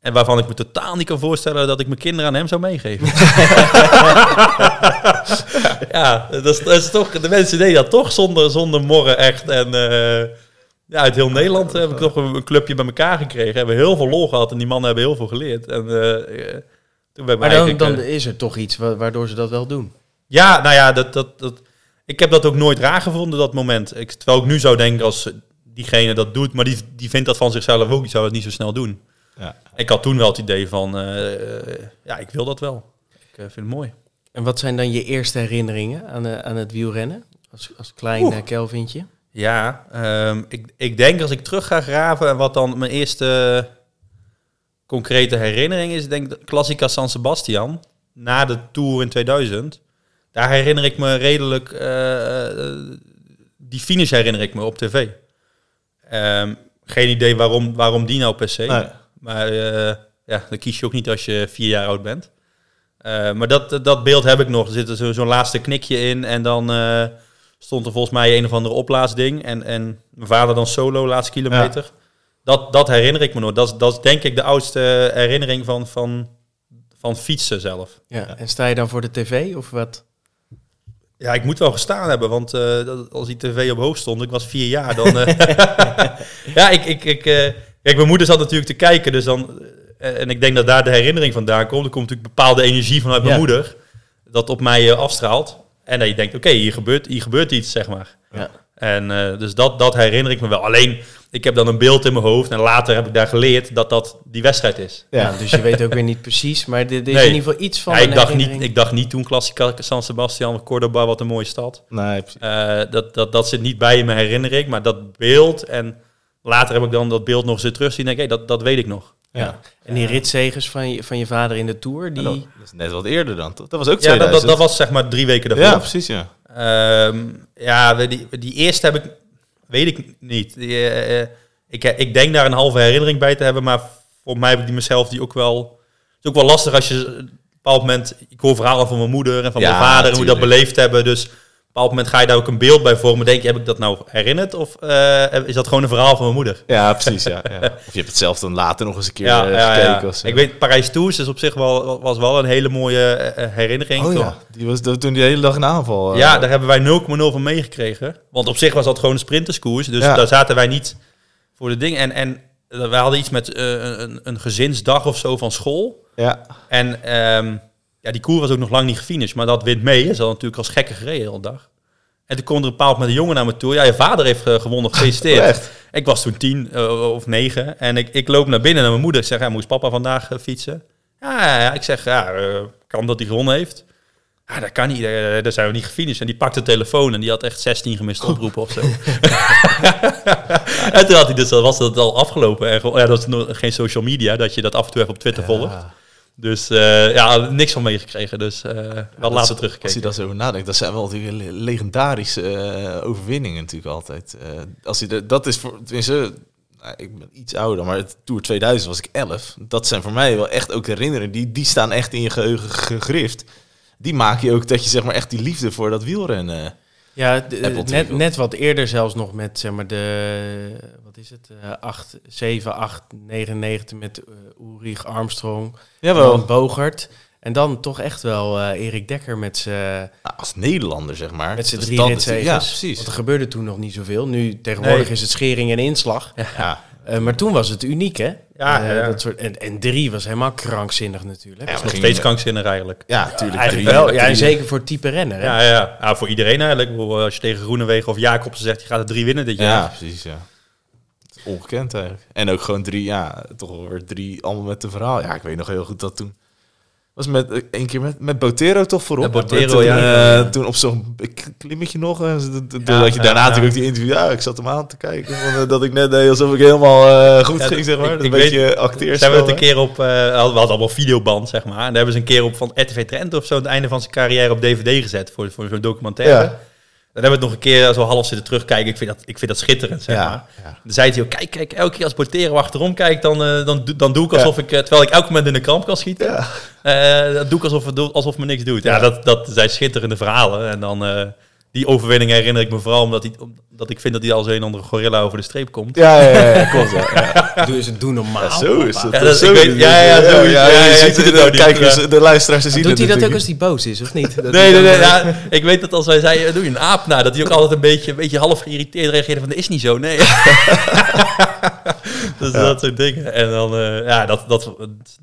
[SPEAKER 3] En waarvan ik me totaal niet kan voorstellen dat ik mijn kinderen aan hem zou meegeven. ja, dat is, dat is toch, de mensen deden dat toch zonder, zonder morren echt. En eh, ja, uit heel Nederland heb ik toch een, een clubje bij elkaar gekregen. Hebben heel veel lol gehad en die mannen hebben heel veel geleerd. En eh, eh, toen ben ik
[SPEAKER 1] Maar
[SPEAKER 3] eh, mijn
[SPEAKER 1] dan,
[SPEAKER 3] eigen-
[SPEAKER 1] dan is er toch iets wa- waardoor ze dat wel doen.
[SPEAKER 3] ja, nou ja, dat, dat, dat, ik heb dat ook nooit raar gevonden, dat moment. Ik, terwijl ik nu zou denken, als diegene dat doet, maar die, die vindt dat van zichzelf ook, die zou dat niet zo snel doen.
[SPEAKER 2] Ja.
[SPEAKER 3] Ik had toen wel het idee van, eh, eh, ja, ik wil dat wel. Ik eh, vind het mooi.
[SPEAKER 1] En wat zijn dan je eerste herinneringen aan, eh, aan het wielrennen? Als, als klein
[SPEAKER 3] Oeh.
[SPEAKER 1] eh, Kelvintje.
[SPEAKER 3] Ja, ehm, ik, ik denk als ik terug ga graven en wat dan mijn eerste concrete herinnering is, denk ik Klassica San Sebastian na de Tour in 2000. Daar herinner ik me redelijk, eh, eh, die finish herinner ik me op tv. Ehm, geen idee waarom, waarom die nou per se.
[SPEAKER 2] Nee.
[SPEAKER 3] Maar eh, ja, dan kies je ook niet als je vier jaar oud bent. Eh, maar dat, dat beeld heb ik nog. Er zit er zo- zo'n laatste knikje in en dan eh, stond er volgens mij een of andere oplaasding. En, en mijn vader dan solo, laatste kilometer. Dat, dat herinner ik me nog. Dat is, dat is denk ik de oudste herinnering van, van, van fietsen zelf.
[SPEAKER 1] Ja. En sta je dan voor de tv of wat?
[SPEAKER 3] Ja, ik moet wel gestaan hebben, want eh, dat- als die tv op hoog stond, ik was vier jaar, dan... eh, ja, ik... ik, ik eh, kijk, mijn moeder zat natuurlijk te kijken, dus dan... eh, en ik denk dat daar de herinnering vandaan komt. Er komt natuurlijk bepaalde energie vanuit mijn
[SPEAKER 1] Ja.
[SPEAKER 3] moeder, dat op mij eh, afstraalt. En dat je denkt, oké, hier, gebeurt, hier gebeurt iets, zeg maar.
[SPEAKER 1] Ja.
[SPEAKER 3] En eh, dus dat, dat herinner ik me wel. Alleen, ik heb dan een beeld in mijn hoofd en later heb ik daar geleerd dat dat die wedstrijd is.
[SPEAKER 1] Ja. dus je weet ook weer niet precies, maar dit, dit is
[SPEAKER 3] Nee.
[SPEAKER 1] in ieder geval iets van
[SPEAKER 3] Ja,
[SPEAKER 1] een
[SPEAKER 3] ik, dacht niet,
[SPEAKER 1] herinnering.
[SPEAKER 3] ik dacht niet toen Klassica San Sebastian, Cordoba, wat een mooie stad.
[SPEAKER 2] Nee, precies.
[SPEAKER 3] Eh, dat, dat, dat zit niet bij in mijn herinnering, maar dat beeld. En later heb ik dan dat beeld nog eens weer terugzien. En denk ik, hé, dat, dat weet ik nog.
[SPEAKER 1] Ja. En die ritzegers van je, van je vader in de Tour, die...
[SPEAKER 2] Ja, dat dat is net wat eerder dan, toch? Dat was ook
[SPEAKER 3] Ja, dat,
[SPEAKER 2] 2000.
[SPEAKER 3] dat, dat was zeg maar drie weken daarvoor.
[SPEAKER 2] ja, precies, ja.
[SPEAKER 3] Ehm, ja, we- die, die eerste heb ik, weet ik niet. Die, eh, eh, ik, ik denk daar een halve herinnering bij te hebben, maar voor mij heb ik die mezelf die ook wel. Het is ook wel lastig als je eh, op een bepaald moment. Ik hoor verhalen van mijn moeder en van
[SPEAKER 2] Ja,
[SPEAKER 3] mijn vader en hoe dat
[SPEAKER 2] tuurlijk.
[SPEAKER 3] beleefd hebben. Dus op een bepaald moment ga je daar ook een beeld bij vormen. Denk je, heb ik dat nou herinnerd? Of eh, is dat gewoon een verhaal van mijn moeder?
[SPEAKER 2] Ja, precies, ja, ja. Of je hebt het zelf dan later nog eens een keer
[SPEAKER 3] ja,
[SPEAKER 2] eh,
[SPEAKER 3] ja,
[SPEAKER 2] gekeken
[SPEAKER 3] ja.
[SPEAKER 2] of zo.
[SPEAKER 3] Ik weet, Parijs Tours is op zich wel, was wel een hele mooie eh, eh, herinnering.
[SPEAKER 2] Oh
[SPEAKER 3] toch?
[SPEAKER 2] ja, die was dat- toen die hele dag een aanval. eh,
[SPEAKER 3] Ja, daar hebben wij 0,0 van meegekregen. Want op zich was dat gewoon een sprinterskoers. Dus
[SPEAKER 2] Ja.
[SPEAKER 3] daar zaten wij niet voor de ding. En, en we hadden iets met eh, een, een gezinsdag of zo van school.
[SPEAKER 2] ja.
[SPEAKER 3] En ehm, ja, die koer was ook nog lang niet gefinished. Maar dat wint mee. Ze hadden natuurlijk als gekken gereden de hele dag. En toen kwam er een bepaald met een jongen naar me toe. Ja, je vader heeft eh, gewonnen, gefeliciteerd.
[SPEAKER 2] Oh, Echt?
[SPEAKER 3] Ik was toen tien eh, of negen en ik, ik loop naar binnen naar mijn moeder. Ik zeg, ja, moest papa vandaag eh, fietsen? Ja, ja, ja. ik zeg, ja, eh, kan dat hij gewonnen heeft? Ja, dat kan niet, eh, daar zijn we niet gefinished. En die pakte de telefoon en die had echt 16
[SPEAKER 2] Oh.
[SPEAKER 3] gemiste oproepen of zo. en toen had hij dus, dan was dat al afgelopen. En, gewoon- ja, dat is nog geen social media, dat je dat af en toe even op Twitter volgt. Dus eh, ja, niks van meegekregen. Dus eh wel
[SPEAKER 2] Dat
[SPEAKER 3] later
[SPEAKER 2] is- Als je
[SPEAKER 3] teruggekeken.
[SPEAKER 2] daar zo over nadenkt, dat zijn wel die le- legendarische eh, overwinningen natuurlijk altijd. Eh, als je de- dat is voor, tenminste, nou, ik ben iets ouder, maar het Tour 2000 was ik 11. Dat zijn voor mij wel echt ook herinneringen, die, die staan echt in je geheugen gegrift. Die maken je ook dat je zeg maar echt die liefde voor dat wielrennen... eh,
[SPEAKER 1] Ja, d- eh,
[SPEAKER 2] Apple
[SPEAKER 1] net,
[SPEAKER 2] TV.
[SPEAKER 1] net wat eerder zelfs nog met zeg maar de wat is het? eh 8 7 8 99 met eh Ulrich Armstrong, Jan Bogert en dan toch echt wel eh, Erik Dekker met zijn
[SPEAKER 2] Nou, als Nederlander zeg maar.
[SPEAKER 1] met zijn
[SPEAKER 2] Dus
[SPEAKER 1] drie
[SPEAKER 2] dat is-
[SPEAKER 1] ritzegers.
[SPEAKER 2] Ja, precies.
[SPEAKER 1] Want er gebeurde toen nog niet zoveel. Nu tegenwoordig
[SPEAKER 3] Nee.
[SPEAKER 1] is het schering en inslag.
[SPEAKER 2] Ja.
[SPEAKER 1] Eh, maar toen was het uniek hè?
[SPEAKER 3] Ja,
[SPEAKER 1] Eh,
[SPEAKER 3] ja.
[SPEAKER 1] Dat soort, en, en drie was helemaal krankzinnig natuurlijk.
[SPEAKER 2] Ja,
[SPEAKER 3] Dat is nog
[SPEAKER 2] ging-
[SPEAKER 3] steeds krankzinnig eigenlijk.
[SPEAKER 2] Ja, tuurlijk.
[SPEAKER 1] Eigenlijk
[SPEAKER 2] drie-
[SPEAKER 1] wel. Ja, en
[SPEAKER 2] drie-
[SPEAKER 1] zeker voor het type renner. Hè?
[SPEAKER 3] Ja, ja, ja. Ja, voor iedereen eigenlijk. Ik bedoel, eh, Als je tegen Groenewegen of Jacobsen zegt, je gaat er drie winnen dit jaar.
[SPEAKER 2] Ja, precies, ja. Het is Ongekend eigenlijk. En ook gewoon drie, ja, toch wel weer drie, allemaal met een verhaal. Ja, ik weet nog heel goed dat toen... Was met eh, één keer met, met Botero toch voorop?
[SPEAKER 3] Ja, Botero,
[SPEAKER 2] Maar toen,
[SPEAKER 3] ja.
[SPEAKER 2] eh, toen op zo'n k- klimmetje nog. eh, z- d- d- dat je
[SPEAKER 3] ja,
[SPEAKER 2] daarna
[SPEAKER 3] ja.
[SPEAKER 2] natuurlijk ook die interview... Ja, ik zat hem aan te kijken. van, eh, dat ik net deed alsof ik helemaal eh, goed
[SPEAKER 3] Ja,
[SPEAKER 2] ging,
[SPEAKER 3] dat-
[SPEAKER 2] zeg maar.
[SPEAKER 3] ik-
[SPEAKER 2] een
[SPEAKER 3] ik
[SPEAKER 2] beetje
[SPEAKER 3] Ze
[SPEAKER 2] acteers.
[SPEAKER 3] hebben het een keer op, eh, we hadden allemaal videoband, zeg maar. En daar hebben ze een keer op van RTV Trent of zo, aan het einde van zijn carrière op DVD gezet voor, voor zo'n documentaire.
[SPEAKER 2] Ja.
[SPEAKER 3] Dan hebben we het nog een keer zo half zitten terugkijken. Ik vind dat, ik vind dat schitterend, zeg
[SPEAKER 2] Ja,
[SPEAKER 3] maar.
[SPEAKER 2] ja.
[SPEAKER 3] Dan zei hij ook, kijk, kijk, elke keer als Portero achterom kijkt, dan, eh, dan, do- dan doe ik alsof ik, eh, terwijl ik elk moment in de kramp kan schieten,
[SPEAKER 2] Ja.
[SPEAKER 3] eh, dan doe ik alsof, het do- alsof me niks doet. Ja, dat, dat zijn schitterende verhalen. En dan eh, die overwinning herinner ik me vooral omdat, die, omdat ik vind dat hij als een andere gorilla over de streep komt.
[SPEAKER 2] Ja, ja, ja, ja, klopt. Ja.
[SPEAKER 1] Doe eens het doen normaal.
[SPEAKER 2] Ja, zo
[SPEAKER 1] papa.
[SPEAKER 2] is het.
[SPEAKER 3] Ja, dat-
[SPEAKER 2] zo
[SPEAKER 3] ik
[SPEAKER 2] is
[SPEAKER 3] weet-
[SPEAKER 2] het.
[SPEAKER 3] ja, ja, zo is- ja, ja,
[SPEAKER 2] je
[SPEAKER 3] ik
[SPEAKER 2] ziet
[SPEAKER 3] zie
[SPEAKER 2] het,
[SPEAKER 3] het ook
[SPEAKER 2] de
[SPEAKER 3] niet.
[SPEAKER 2] kijkers, eh, de luisteraars ze zien
[SPEAKER 1] Doet
[SPEAKER 2] het
[SPEAKER 1] hij dat ook als
[SPEAKER 2] natuurlijk
[SPEAKER 1] hij boos is, of niet? Dat
[SPEAKER 3] Nee,
[SPEAKER 1] hij
[SPEAKER 3] nee,
[SPEAKER 1] dan,
[SPEAKER 3] nee.
[SPEAKER 1] eh,
[SPEAKER 3] ja, ik weet dat als wij zeiden, doe je een aap na, dat hij ook altijd een beetje, een beetje half geïrriteerd reageerde van, dat is niet zo, nee. dus dat soort dingen. En dan, eh, ja, dat, dat,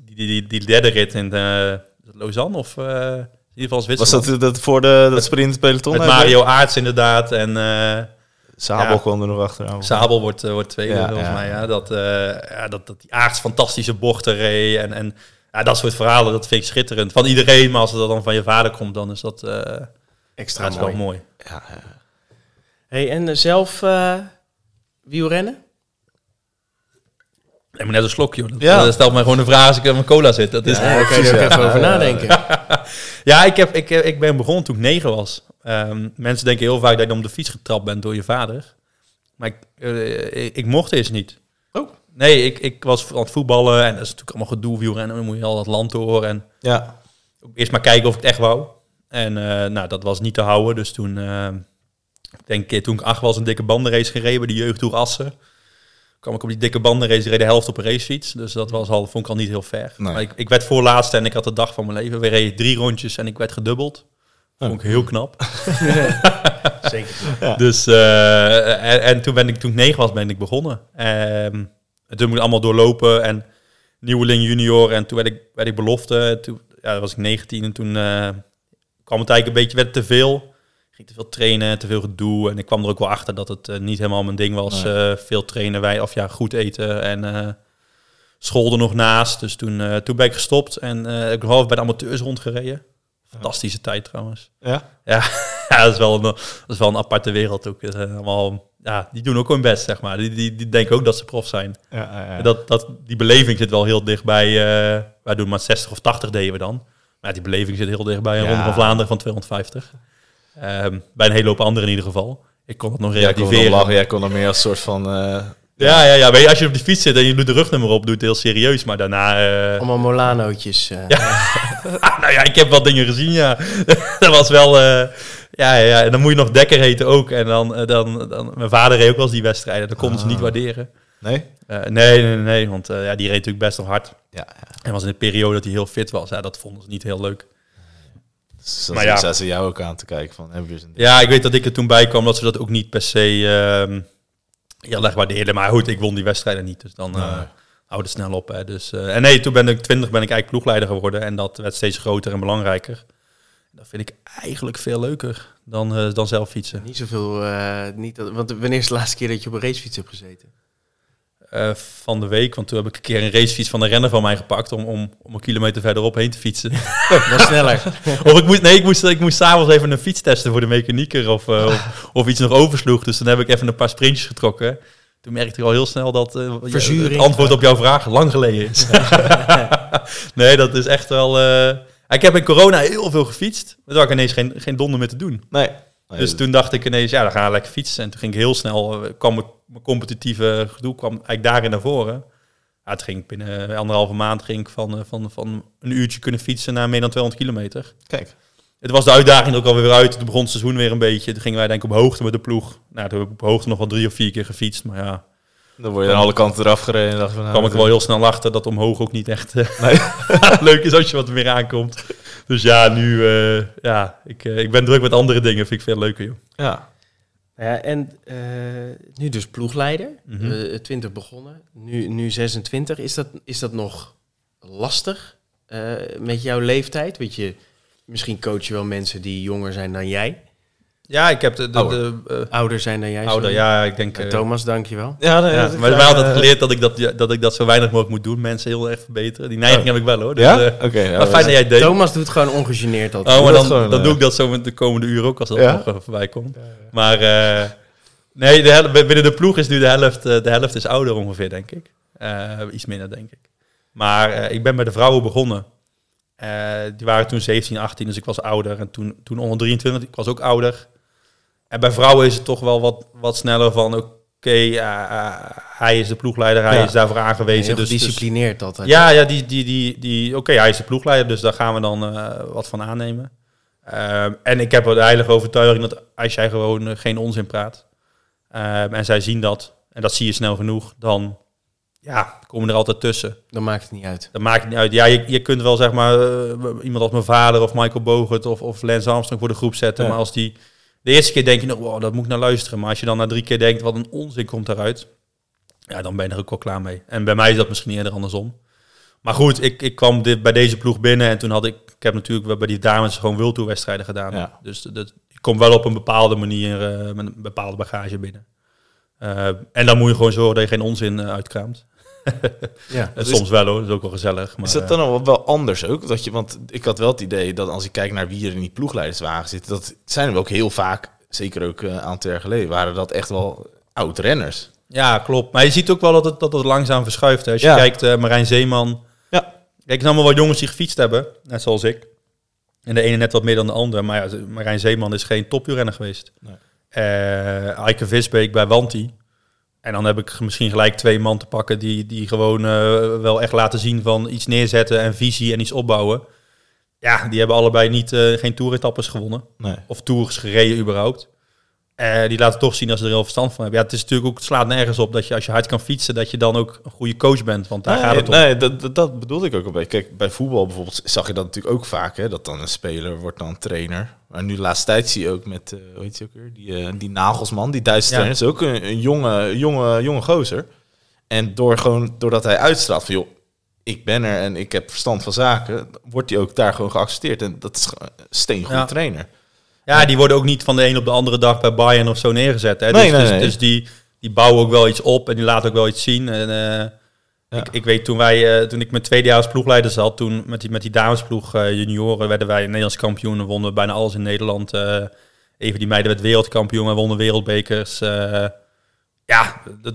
[SPEAKER 3] die, die, die derde rit in eh, Lausanne of eh, in ieder geval
[SPEAKER 2] niet. Was
[SPEAKER 3] Zwitserland.
[SPEAKER 2] dat, dat voor de, dat sprint peloton?
[SPEAKER 3] Met Mario Aarts inderdaad en eh,
[SPEAKER 2] Sabel
[SPEAKER 3] Ja.
[SPEAKER 2] kwam er nog achteraan.
[SPEAKER 3] Sabel wordt, eh, wordt tweede,
[SPEAKER 2] Ja,
[SPEAKER 3] volgens
[SPEAKER 2] ja.
[SPEAKER 3] mij. Ja. Dat, eh, ja, dat, dat die aards fantastische bochten reed en, en ja, dat soort verhalen, dat vind ik schitterend. Van iedereen, maar als het dan van je vader komt, dan is dat, eh,
[SPEAKER 1] Extra
[SPEAKER 3] dat is wel
[SPEAKER 1] mooi.
[SPEAKER 3] mooi.
[SPEAKER 2] Ja, ja.
[SPEAKER 1] Hey, en eh, zelf eh, wielrennen?
[SPEAKER 3] Nee, maar net een slokje. hoor. Dat,
[SPEAKER 2] Ja.
[SPEAKER 3] dat stelt mij gewoon een vraag als ik aan mijn cola zit. Dat is, ja.
[SPEAKER 1] daar kan je er ook even over nadenken.
[SPEAKER 3] ik, heb, ik, eh, ik ben begonnen toen ik negen was. Ehm, mensen denken heel vaak dat je om de fiets getrapt bent door je vader. Maar ik, eh, ik, ik mocht eerst niet.
[SPEAKER 1] Oh.
[SPEAKER 3] Nee, ik, ik was aan het voetballen en dat is natuurlijk allemaal gedoe, wielrennen. Dan moet je al dat land door en
[SPEAKER 2] ja.
[SPEAKER 3] ook eerst maar kijken of ik het echt wou. En eh, nou, dat was niet te houden. Dus toen, eh, ik denk ik, toen ik acht was, een dikke bandenrace gereden bij de jeugdtoer Assen. kwam ik op die dikke bandenrace, reed de helft op een racefiets. Dus dat was al, vond ik al niet heel ver.
[SPEAKER 2] Nee.
[SPEAKER 3] Maar ik, ik werd voorlaatste en ik had de dag van mijn leven. We reden drie rondjes en ik werd gedubbeld. Vond ik heel knap.
[SPEAKER 1] Zeker.
[SPEAKER 3] Dus, eh, en, en toen, ben ik, toen ik negen was, ben ik begonnen. Ehm en toen moet ik allemaal doorlopen en nieuweling junior. En toen werd ik, werd ik belofte. Toen ja, dan was ik 19 en toen eh, kwam het eigenlijk een beetje, werd het te veel. Ik ging te veel trainen, te veel gedoe. En ik kwam er ook wel achter dat het eh, niet helemaal mijn ding was. Eh, veel trainen, wij, of ja, goed eten en... eh, school er nog naast. Dus toen, eh, toen ben ik gestopt en eh, ik heb nog half bij de amateurs rondgereden. Fantastische tijd trouwens.
[SPEAKER 2] Ja?
[SPEAKER 3] Ja, ja dat, is wel een, dat is wel een aparte wereld ook. Het zijn allemaal, ja, die doen ook hun best, zeg maar. Die, die, die denken ook dat ze prof zijn.
[SPEAKER 2] Ja, ja, ja.
[SPEAKER 3] Dat, dat, die beleving zit wel heel dichtbij. eh wij doen maar 60 of 80 deden we dan. Maar ja, die beleving zit heel dichtbij. Een
[SPEAKER 2] Ja.
[SPEAKER 3] Ronde van Vlaanderen van 250. Ehm, bij een hele hoop anderen in ieder geval. Ik kon het nog
[SPEAKER 2] Jij kon er om
[SPEAKER 3] relativeren.
[SPEAKER 2] lachen, jij kon er meer als soort van... eh,
[SPEAKER 3] ja, ja, ja. Weet je, als je op die fiets zit en je doet de rugnummer op, doe het heel serieus. Maar daarna... eh,
[SPEAKER 1] Allemaal Molanootjes. eh.
[SPEAKER 3] Ah, nou ja, ik heb wel dingen gezien, ja. dat was wel... eh, ja, ja, ja, en dan moet je nog Dekker heten ook. En dan, eh, dan, dan... Mijn vader reed ook wel eens die wedstrijden. Dat konden ze niet waarderen.
[SPEAKER 2] nee?
[SPEAKER 3] Eh, nee, nee, nee. Want eh, ja, die reed natuurlijk best nog hard.
[SPEAKER 2] Ja, ja.
[SPEAKER 3] En was in de periode dat hij heel fit was. Ja, dat vonden ze niet heel leuk.
[SPEAKER 2] Dus dan
[SPEAKER 3] Maar ja.
[SPEAKER 2] zaten ze jou ook aan te kijken van, hebben jullie een...
[SPEAKER 3] Ja, ik weet dat ik er toen bij kwam dat ze dat ook niet per se ehm heel erg waardeerden. Maar goed, ik won die wedstrijden niet. Dus dan eh
[SPEAKER 2] Nee.
[SPEAKER 3] houdt het snel op. Hè. Dus, eh, en nee, toen ben ik 20 ben ik eigenlijk ploegleider geworden. En dat werd steeds groter en belangrijker. Dat vind ik eigenlijk veel leuker dan, eh, dan zelf fietsen.
[SPEAKER 1] Niet zoveel, eh, niet dat, want wanneer is de laatste keer dat je op een racefiets hebt gezeten?
[SPEAKER 3] Eh, van de week, want toen heb ik een keer een racefiets van een renner van mij gepakt om, om, om een kilometer verderop heen te fietsen.
[SPEAKER 1] Nog sneller.
[SPEAKER 3] Of ik moest, nee, ik moest, ik moest s'avonds even een fiets testen voor de mechanieker of, eh, of, of iets nog oversloeg. Dus dan heb ik even een paar sprintjes getrokken. Toen merkte ik al heel snel dat eh, je-
[SPEAKER 1] Verzuring.
[SPEAKER 3] het antwoord op jouw vraag lang geleden is. nee, dat is echt wel... eh, ik heb in corona heel veel gefietst. Maar toen had ik ineens geen, geen donder meer te doen.
[SPEAKER 2] Nee.
[SPEAKER 3] Dus toen dacht ik ineens, ja, dan ga ik lekker fietsen. En toen ging ik heel snel, eh, kwam mijn, mijn competitieve gedoe kwam eigenlijk daarin naar voren. Ja, het ging binnen anderhalve maand ging ik van, eh, van, van een uurtje kunnen fietsen naar meer dan 200 kilometer.
[SPEAKER 2] Kijk.
[SPEAKER 3] Het was de uitdaging ook alweer uit. Toen begon het seizoen weer een beetje. Toen gingen wij denk ik op hoogte met de ploeg. Nou, toen heb ik op hoogte nog wel drie of vier keer gefietst. Maar ja,
[SPEAKER 2] Dan word je aan alle kanten eraf gereden en dacht van... nou,
[SPEAKER 3] kwam ik er wel heel snel achter dat omhoog ook niet echt eh, leuk is als je wat meer aankomt. Dus ja, nu, eh, ja, ik, eh, ik ben druk met andere dingen. Vind ik veel leuker, joh.
[SPEAKER 2] Ja.
[SPEAKER 1] Nou ja, en eh, nu dus ploegleider.
[SPEAKER 3] Mhm.
[SPEAKER 1] Eh, 20 begonnen, nu, nu 26. Is dat, is dat nog lastig eh, met jouw leeftijd? Want je, misschien coach je wel mensen die jonger zijn dan jij.
[SPEAKER 3] Ja, ik heb de, de,
[SPEAKER 2] Ouder.
[SPEAKER 3] de,
[SPEAKER 1] Ouder zijn dan jij.
[SPEAKER 3] eh, ouder,
[SPEAKER 1] sorry.
[SPEAKER 3] ja, ik denk...
[SPEAKER 1] Eh,
[SPEAKER 3] eh,
[SPEAKER 1] Thomas, dankjewel.
[SPEAKER 2] Ja, nee,
[SPEAKER 3] ja,
[SPEAKER 2] dat-
[SPEAKER 3] maar wij hadden
[SPEAKER 2] eh,
[SPEAKER 3] geleerd dat ik dat, ja, dat ik dat zo weinig mogelijk moet doen. Mensen heel erg verbeteren. Die neiging
[SPEAKER 2] Oh.
[SPEAKER 3] heb ik wel, hoor. Dus,
[SPEAKER 2] Ja?
[SPEAKER 3] eh,
[SPEAKER 2] Oké. ja,
[SPEAKER 3] maar
[SPEAKER 2] dat
[SPEAKER 3] fijn
[SPEAKER 2] is-
[SPEAKER 3] dat jij het deed.
[SPEAKER 1] Thomas doet gewoon ongegeneerd altijd.
[SPEAKER 3] Oh, maar
[SPEAKER 2] Doe dat
[SPEAKER 3] dan,
[SPEAKER 2] gewoon,
[SPEAKER 3] dan
[SPEAKER 2] eh.
[SPEAKER 3] doe ik dat zo met de komende uren ook als dat
[SPEAKER 2] Ja?
[SPEAKER 3] nog eh, voorbij komt. Maar eh, nee, de hel- binnen de ploeg is nu de helft, eh, de helft is ouder ongeveer, denk ik. Eh, iets minder, denk ik. Maar eh, ik ben bij de vrouwen begonnen. Eh, die waren toen 17, 18, dus ik was ouder. En toen, toen onder 23, ik was ook ouder. En bij vrouwen is het toch wel wat, wat sneller van... oké, eh, eh, hij is de ploegleider, hij
[SPEAKER 2] Ja.
[SPEAKER 3] is daarvoor aangewezen.
[SPEAKER 1] Heel
[SPEAKER 3] Dus, dus-
[SPEAKER 1] gedisciplineerd altijd.
[SPEAKER 3] ja, ja, die, die, die, die, oké, hij is de ploegleider, dus daar gaan we dan eh, wat van aannemen. Ehm, en ik heb wel de heilige overtuiging dat als jij gewoon eh, geen onzin praat ehm, en zij zien dat, en dat zie je snel genoeg, dan ja, komen er altijd tussen.
[SPEAKER 1] Dan maakt het niet uit.
[SPEAKER 3] Dat maakt het niet uit. Ja, je, je kunt wel zeg maar eh, iemand als mijn vader of Michael Bogert of, of Lance Armstrong voor de groep zetten.
[SPEAKER 2] Ja.
[SPEAKER 3] Maar als die de eerste keer denk je nog, wow, dat moet ik naar luisteren. Maar als je dan na drie keer denkt, wat een onzin komt daaruit. Ja, dan ben je er ook wel klaar mee. En bij mij is dat misschien eerder andersom. Maar goed, ik, ik kwam dit, bij deze ploeg binnen en toen had ik... Ik heb natuurlijk wel bij die dames gewoon wildtoerwedstrijden gedaan.
[SPEAKER 2] Ja.
[SPEAKER 3] Dus dat, ik kom wel op een bepaalde manier eh, met een bepaalde bagage binnen. Eh, en dan moet je gewoon zorgen dat je geen onzin eh, uitkraamt.
[SPEAKER 1] Ja.
[SPEAKER 3] En
[SPEAKER 2] Is-
[SPEAKER 3] soms wel hoor, dat is ook wel gezellig. Maar,
[SPEAKER 2] Is
[SPEAKER 3] eh,
[SPEAKER 2] dat dan wel- wel anders ook? Dat je, want ik had wel het idee dat als ik kijk naar wie er in die ploegleiderswagen zit, dat zijn we ook heel vaak, zeker ook eh, een aantal jaar geleden, waren dat echt wel oud-renners.
[SPEAKER 3] Ja, klopt. Maar je ziet ook wel dat het, dat het langzaam verschuift. hè. Als je
[SPEAKER 2] Ja.
[SPEAKER 3] kijkt, eh, Marijn Zeeman.
[SPEAKER 2] Ja.
[SPEAKER 3] Kijk, het zijn allemaal wel jongens die gefietst hebben, net zoals ik. En de ene net wat meer dan de ander. Maar ja, ze- Marijn Zeeman is geen topjurenner geweest.
[SPEAKER 2] Nee.
[SPEAKER 3] Eh, Eike Visbeek bij Wanti. En dan heb ik misschien gelijk twee man te pakken die, die gewoon eh, wel echt laten zien van iets neerzetten en visie en iets opbouwen. Ja, die hebben allebei niet, eh, geen toeretappes gewonnen
[SPEAKER 2] Nee.
[SPEAKER 3] of tours gereden überhaupt. Eh, die laten toch zien dat ze er heel verstand van hebben. Ja, het is natuurlijk ook, het slaat nergens op dat je als je hard kan fietsen, dat je dan ook een goede coach bent. Want daar
[SPEAKER 2] nee,
[SPEAKER 3] gaat het om.
[SPEAKER 2] nee, dat, dat, dat bedoelde ik ook een beetje. Kijk, bij voetbal bijvoorbeeld zag je dat natuurlijk ook vaak, hè, dat dan een speler wordt dan trainer. Maar nu de laatste tijd zie je ook met, eh hoe heet die ook weer? Die, eh, die Nagelsman, die Duitse
[SPEAKER 3] Ja.
[SPEAKER 2] trainer, is ook een, een jonge, jonge, jonge gozer. En door gewoon, doordat hij uitstraalt van, joh, ik ben er en ik heb verstand van zaken, wordt hij ook daar gewoon geaccepteerd. En dat is gewoon een steengoed
[SPEAKER 3] Ja.
[SPEAKER 2] trainer.
[SPEAKER 3] Ja, die worden ook niet van de een op de andere dag bij Bayern of zo neergezet. Hè?
[SPEAKER 2] Nee,
[SPEAKER 3] dus
[SPEAKER 2] nee,
[SPEAKER 3] dus,
[SPEAKER 2] nee.
[SPEAKER 3] dus die, die bouwen ook wel iets op en die laten ook wel iets zien. En, eh,
[SPEAKER 2] Ja.
[SPEAKER 3] ik, ik weet toen wij, eh, toen ik mijn tweedejaars ploegleider zat, toen met die, met die damesploeg eh, junioren werden wij Nederlands kampioen en wonnen we bijna alles in Nederland. Eh, even die meiden werd wereldkampioen en wonnen wereldbekers. Eh, ja, dat,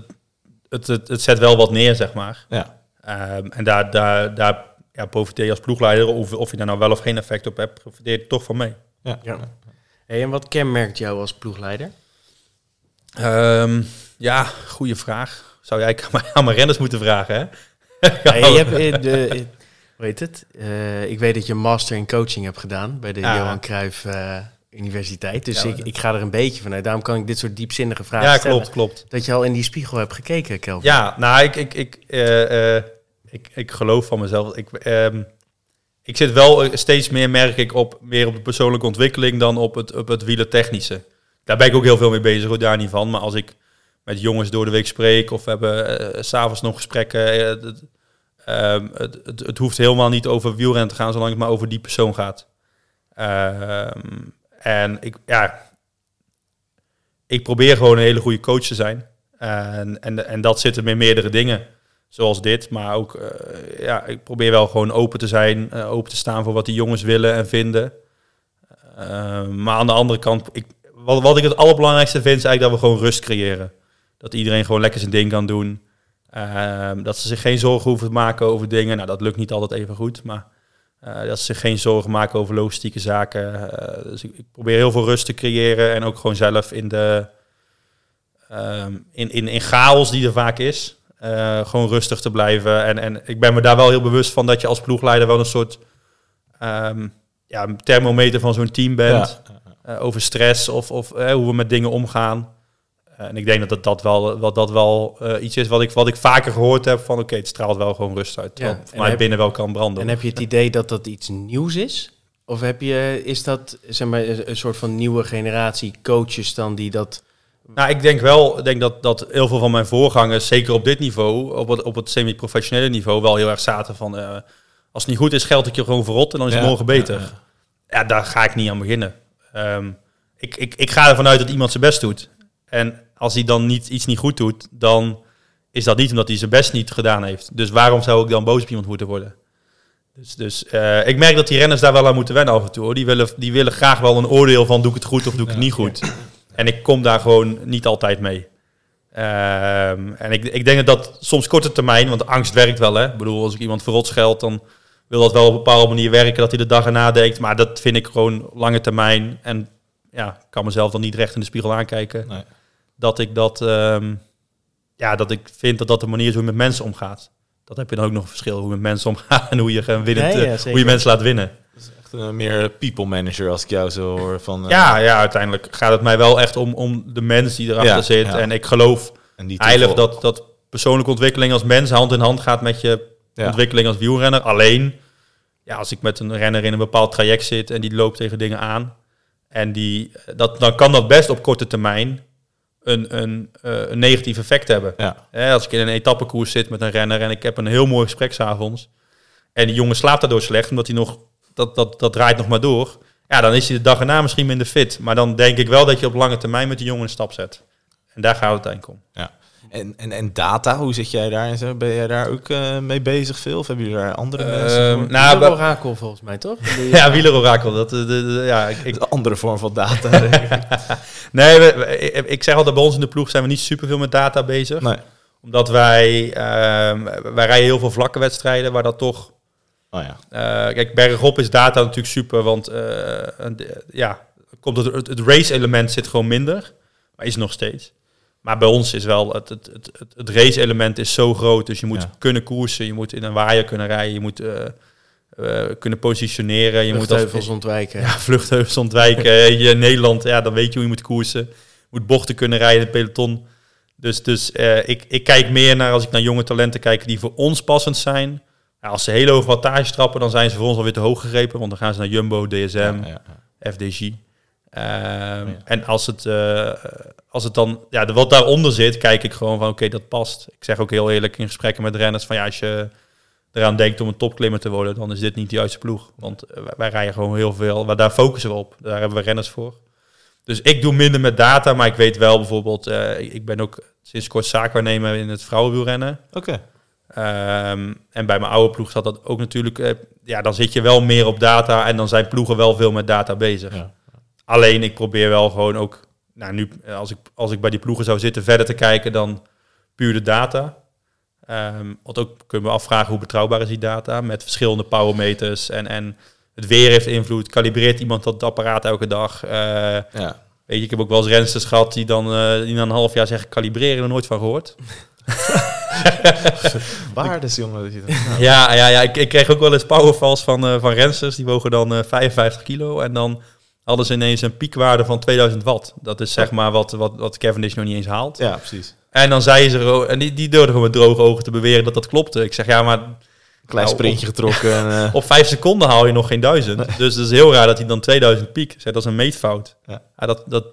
[SPEAKER 3] het, het, het zet wel wat neer, zeg maar.
[SPEAKER 2] Ja.
[SPEAKER 3] Ehm, en daar, daar, daar ja, profiteer je als ploegleider, of, of je daar nou wel of geen effect op hebt, profiteer je er toch van mee.
[SPEAKER 2] Ja.
[SPEAKER 1] Ja. Hey, en wat kenmerkt jou als ploegleider?
[SPEAKER 3] Ehm, ja, goede vraag. Zou jij aan mijn, aan mijn renners moeten vragen, hè?
[SPEAKER 1] Hey, je hebt, eh, de, eh, hoe heet het? Eh, ik weet dat je een master in coaching hebt gedaan bij de
[SPEAKER 3] Ja.
[SPEAKER 1] Johan Cruijff eh, Universiteit. Dus
[SPEAKER 3] Ah. Ja,
[SPEAKER 1] ik, ik ga er een beetje vanuit. Daarom kan ik dit soort diepzinnige vragen
[SPEAKER 3] ja,
[SPEAKER 1] stellen.
[SPEAKER 3] klopt, klopt.
[SPEAKER 1] Dat je al in die spiegel hebt gekeken, Kelvin.
[SPEAKER 3] Ja, nou, ik, ik, ik, eh, eh, ik, ik geloof van mezelf. Ik, ehm, ik zit wel eh, steeds meer, merk ik, op, meer op de persoonlijke ontwikkeling dan op het, op het wielertechnische. Daar ben ik ook heel veel mee bezig, hoor, daar niet van. Maar als ik met jongens door de week spreek of we hebben eh, s s'avonds nog gesprekken... eh, dat- ehm, het, het, het hoeft helemaal niet over wielrennen te gaan, zolang het maar over die persoon gaat. Ehm, en ik, ja, ik probeer gewoon een hele goede coach te zijn. En, en, en dat zit hem in meerdere dingen. Zoals dit, maar ook, eh, ja, ik probeer wel gewoon open te zijn, eh, open te staan voor wat die jongens willen en vinden. Eh, maar aan de andere kant, ik, wat, wat ik het allerbelangrijkste vind, is eigenlijk dat we gewoon rust creëren. Dat iedereen gewoon lekker zijn ding kan doen. Eh, dat ze zich geen zorgen hoeven te maken over dingen. Nou, dat lukt niet altijd even goed, maar eh, dat ze zich geen zorgen maken over logistieke zaken. Eh, dus ik, ik probeer heel veel rust te creëren en ook gewoon zelf in de, ehm, in, in, in chaos die er vaak is. eh, gewoon rustig te blijven. En, en ik ben me daar wel heel bewust van dat je als ploegleider wel een soort ehm, ja, thermometer van zo'n team bent. Eh, over stress of, of eh, hoe we met dingen omgaan. Eh, en ik denk dat dat, dat wel, wat dat wel eh, iets is wat ik, wat ik vaker gehoord heb van oké, het straalt wel gewoon rust uit.
[SPEAKER 1] Ja,
[SPEAKER 3] Terwijl het
[SPEAKER 1] en
[SPEAKER 3] vanuit
[SPEAKER 1] heb-
[SPEAKER 3] binnen wel kan branden.
[SPEAKER 1] En heb je het idee dat dat iets nieuws is? Of heb je, is dat zeg maar, een een soort van nieuwe generatie coaches dan die dat...
[SPEAKER 3] Nou, ik denk wel ik denk dat, dat heel veel van mijn voorgangers, zeker op dit niveau, op het, op het semi-professionele niveau, wel heel erg zaten van eh, als het niet goed is, geld ik je gewoon verrot en dan is het
[SPEAKER 2] Ja,
[SPEAKER 3] morgen beter. Ja,
[SPEAKER 2] ja,
[SPEAKER 3] daar ga ik niet aan beginnen. Ehm, ik, ik, ik ga ervan uit dat iemand zijn best doet. En als hij dan niet, iets niet goed doet, dan is dat niet omdat hij zijn best niet gedaan heeft. Dus waarom zou ik dan boos op iemand moeten worden? Dus, dus eh, ik merk dat die renners daar wel aan moeten wennen af en toe. Hoor. Die, willen, die willen graag wel een oordeel van doe ik het goed of doe ik het niet goed. En ik kom daar gewoon niet altijd mee. Ehm, en ik, ik denk dat dat soms korte termijn, want angst werkt wel. Hè? Ik bedoel, als ik iemand verrot scheld, dan wil dat wel op een bepaalde manier werken dat hij de dag erna denkt. Maar dat vind ik gewoon lange termijn. En ja, ik kan mezelf dan niet recht in de spiegel aankijken.
[SPEAKER 2] Nee.
[SPEAKER 3] Dat ik dat, ehm, ja, dat ik vind dat dat de manier is hoe je met mensen omgaat. Dat heb je dan ook nog een verschil, hoe je met mensen omgaat en hoe je, gaan winnend,
[SPEAKER 1] Nee, ja,
[SPEAKER 3] eh, hoe je
[SPEAKER 1] zeker.
[SPEAKER 3] mensen laat winnen.
[SPEAKER 2] Echt eh, meer people manager als ik jou zo hoor. Van, eh,
[SPEAKER 3] Ja, ja, uiteindelijk gaat het mij wel echt om, om de mens die erachter
[SPEAKER 2] Ja,
[SPEAKER 3] zit.
[SPEAKER 2] ja.
[SPEAKER 3] En ik geloof
[SPEAKER 2] en die
[SPEAKER 3] heilig
[SPEAKER 2] toeval-
[SPEAKER 3] dat, dat persoonlijke ontwikkeling als mens hand in hand gaat met je
[SPEAKER 2] Ja.
[SPEAKER 3] ontwikkeling als wielrenner. Alleen, ja, als ik met een renner in een bepaald traject zit en die loopt tegen dingen aan. En die, dat, dan kan dat best op korte termijn een, een, eh, een negatief effect hebben.
[SPEAKER 2] Ja,
[SPEAKER 3] Hè, als ik in een etappekoers zit met een renner en ik heb een heel mooi gesprek s'avonds. En die jongen slaapt daardoor slecht, omdat hij nog, dat, dat, dat draait nog maar door. Ja, dan is hij de dag erna misschien minder fit. Maar dan denk ik wel dat je op lange termijn met die jongen een stap zet. En daar gaat het uiteindelijk om.
[SPEAKER 2] ja. En, en, en data, hoe zit jij daar? en zo? Ben jij daar ook eh, mee bezig veel? Of hebben jullie daar andere mensen
[SPEAKER 3] Ehm,
[SPEAKER 2] voor?
[SPEAKER 1] Nou,
[SPEAKER 3] nou, bij-
[SPEAKER 1] orakel volgens mij, toch? Die-
[SPEAKER 3] ja, wielerorakel. Dat, eh, de, de- ja, ik, ik,
[SPEAKER 2] Een andere vorm van data. denk ik.
[SPEAKER 3] nee, we- we- ik, ik zeg altijd, bij ons in de ploeg zijn we niet superveel met data bezig.
[SPEAKER 2] nee.
[SPEAKER 3] Omdat wij, ehm, wij rijden heel veel vlakke wedstrijden, waar dat toch...
[SPEAKER 2] Oh ja.
[SPEAKER 3] Eh, kijk, bergop is data natuurlijk super, want eh, en, eh, ja, komt het, het, het race-element zit gewoon minder, maar is nog steeds. Maar bij ons is wel het, het, het, het, het race-element is zo groot, dus je moet
[SPEAKER 2] Ja.
[SPEAKER 3] kunnen koersen, je moet in een waaier kunnen rijden, je moet eh, eh, kunnen positioneren, je moet als,
[SPEAKER 1] vluchtheuvels ontwijken.
[SPEAKER 3] ja, vluchtheuvels ontwijken. je in Nederland, ja, dan weet je hoe je moet koersen. Je moet bochten kunnen rijden, in het peloton. Dus, dus eh, ik, ik kijk meer naar als ik naar jonge talenten kijk die voor ons passend zijn. Ja, als ze hele hoge wattage trappen, dan zijn ze voor ons alweer te hoog gegrepen. Want dan gaan ze naar Jumbo, DSM,
[SPEAKER 2] Ja, ja, ja.
[SPEAKER 3] FDG. Ehm, En als het, eh, als het dan, ja, de- wat daaronder zit, kijk ik gewoon van oké, dat past. Ik zeg ook heel eerlijk in gesprekken met renners van ja, als je eraan denkt om een topklimmer te worden, dan is dit niet de juiste ploeg. Want eh, wij, wij rijden gewoon heel veel, waar daar focussen we op. Daar hebben we renners voor. Dus ik doe minder met data, maar ik weet wel bijvoorbeeld, eh, ik ben ook sinds kort zaakwaarnemer in het vrouwenwielrennen.
[SPEAKER 2] Oké.
[SPEAKER 3] Ehm, en bij mijn oude ploeg zat dat ook natuurlijk. eh, ja, dan zit je wel meer op data en dan zijn ploegen wel veel met data bezig.
[SPEAKER 2] Ja.
[SPEAKER 3] Alleen ik probeer wel gewoon ook, nou nu, eh, als ik, als ik bij die ploegen zou zitten, verder te kijken dan puur de data. Ehm, want ook kunnen we afvragen hoe betrouwbaar is die data met verschillende powermeters en, en het weer heeft invloed. Kalibreert iemand dat apparaat elke dag? Eh,
[SPEAKER 2] Ja.
[SPEAKER 3] weet je, ik heb ook wel eens rensters gehad die dan eh, die na een half jaar zeggen kalibreren, er nooit van gehoord.
[SPEAKER 2] Waardes, jongen. Dat je dat-
[SPEAKER 3] Ja, ja, ja ik, ik kreeg ook wel eens powerfalls van, eh, van rensters. Die wogen dan eh, 55 kilo. En dan hadden ze ineens een piekwaarde van 2000 watt. Dat is zeg maar wat, wat, wat Cavendish nog niet eens haalt.
[SPEAKER 2] ja, precies.
[SPEAKER 3] En dan zeiden ze... er ook- En die, die durfden gewoon met droge ogen te beweren dat dat klopte. Ik zeg, ja, maar
[SPEAKER 2] Klein
[SPEAKER 3] Nou,
[SPEAKER 2] sprintje getrokken. en, eh,
[SPEAKER 3] op 5 seconden haal je nog geen 1000. Dus het is heel raar dat hij dan 2000 piek. Ik zeg, dat is een meetfout.
[SPEAKER 2] Ja.
[SPEAKER 3] Ja, dat, dat,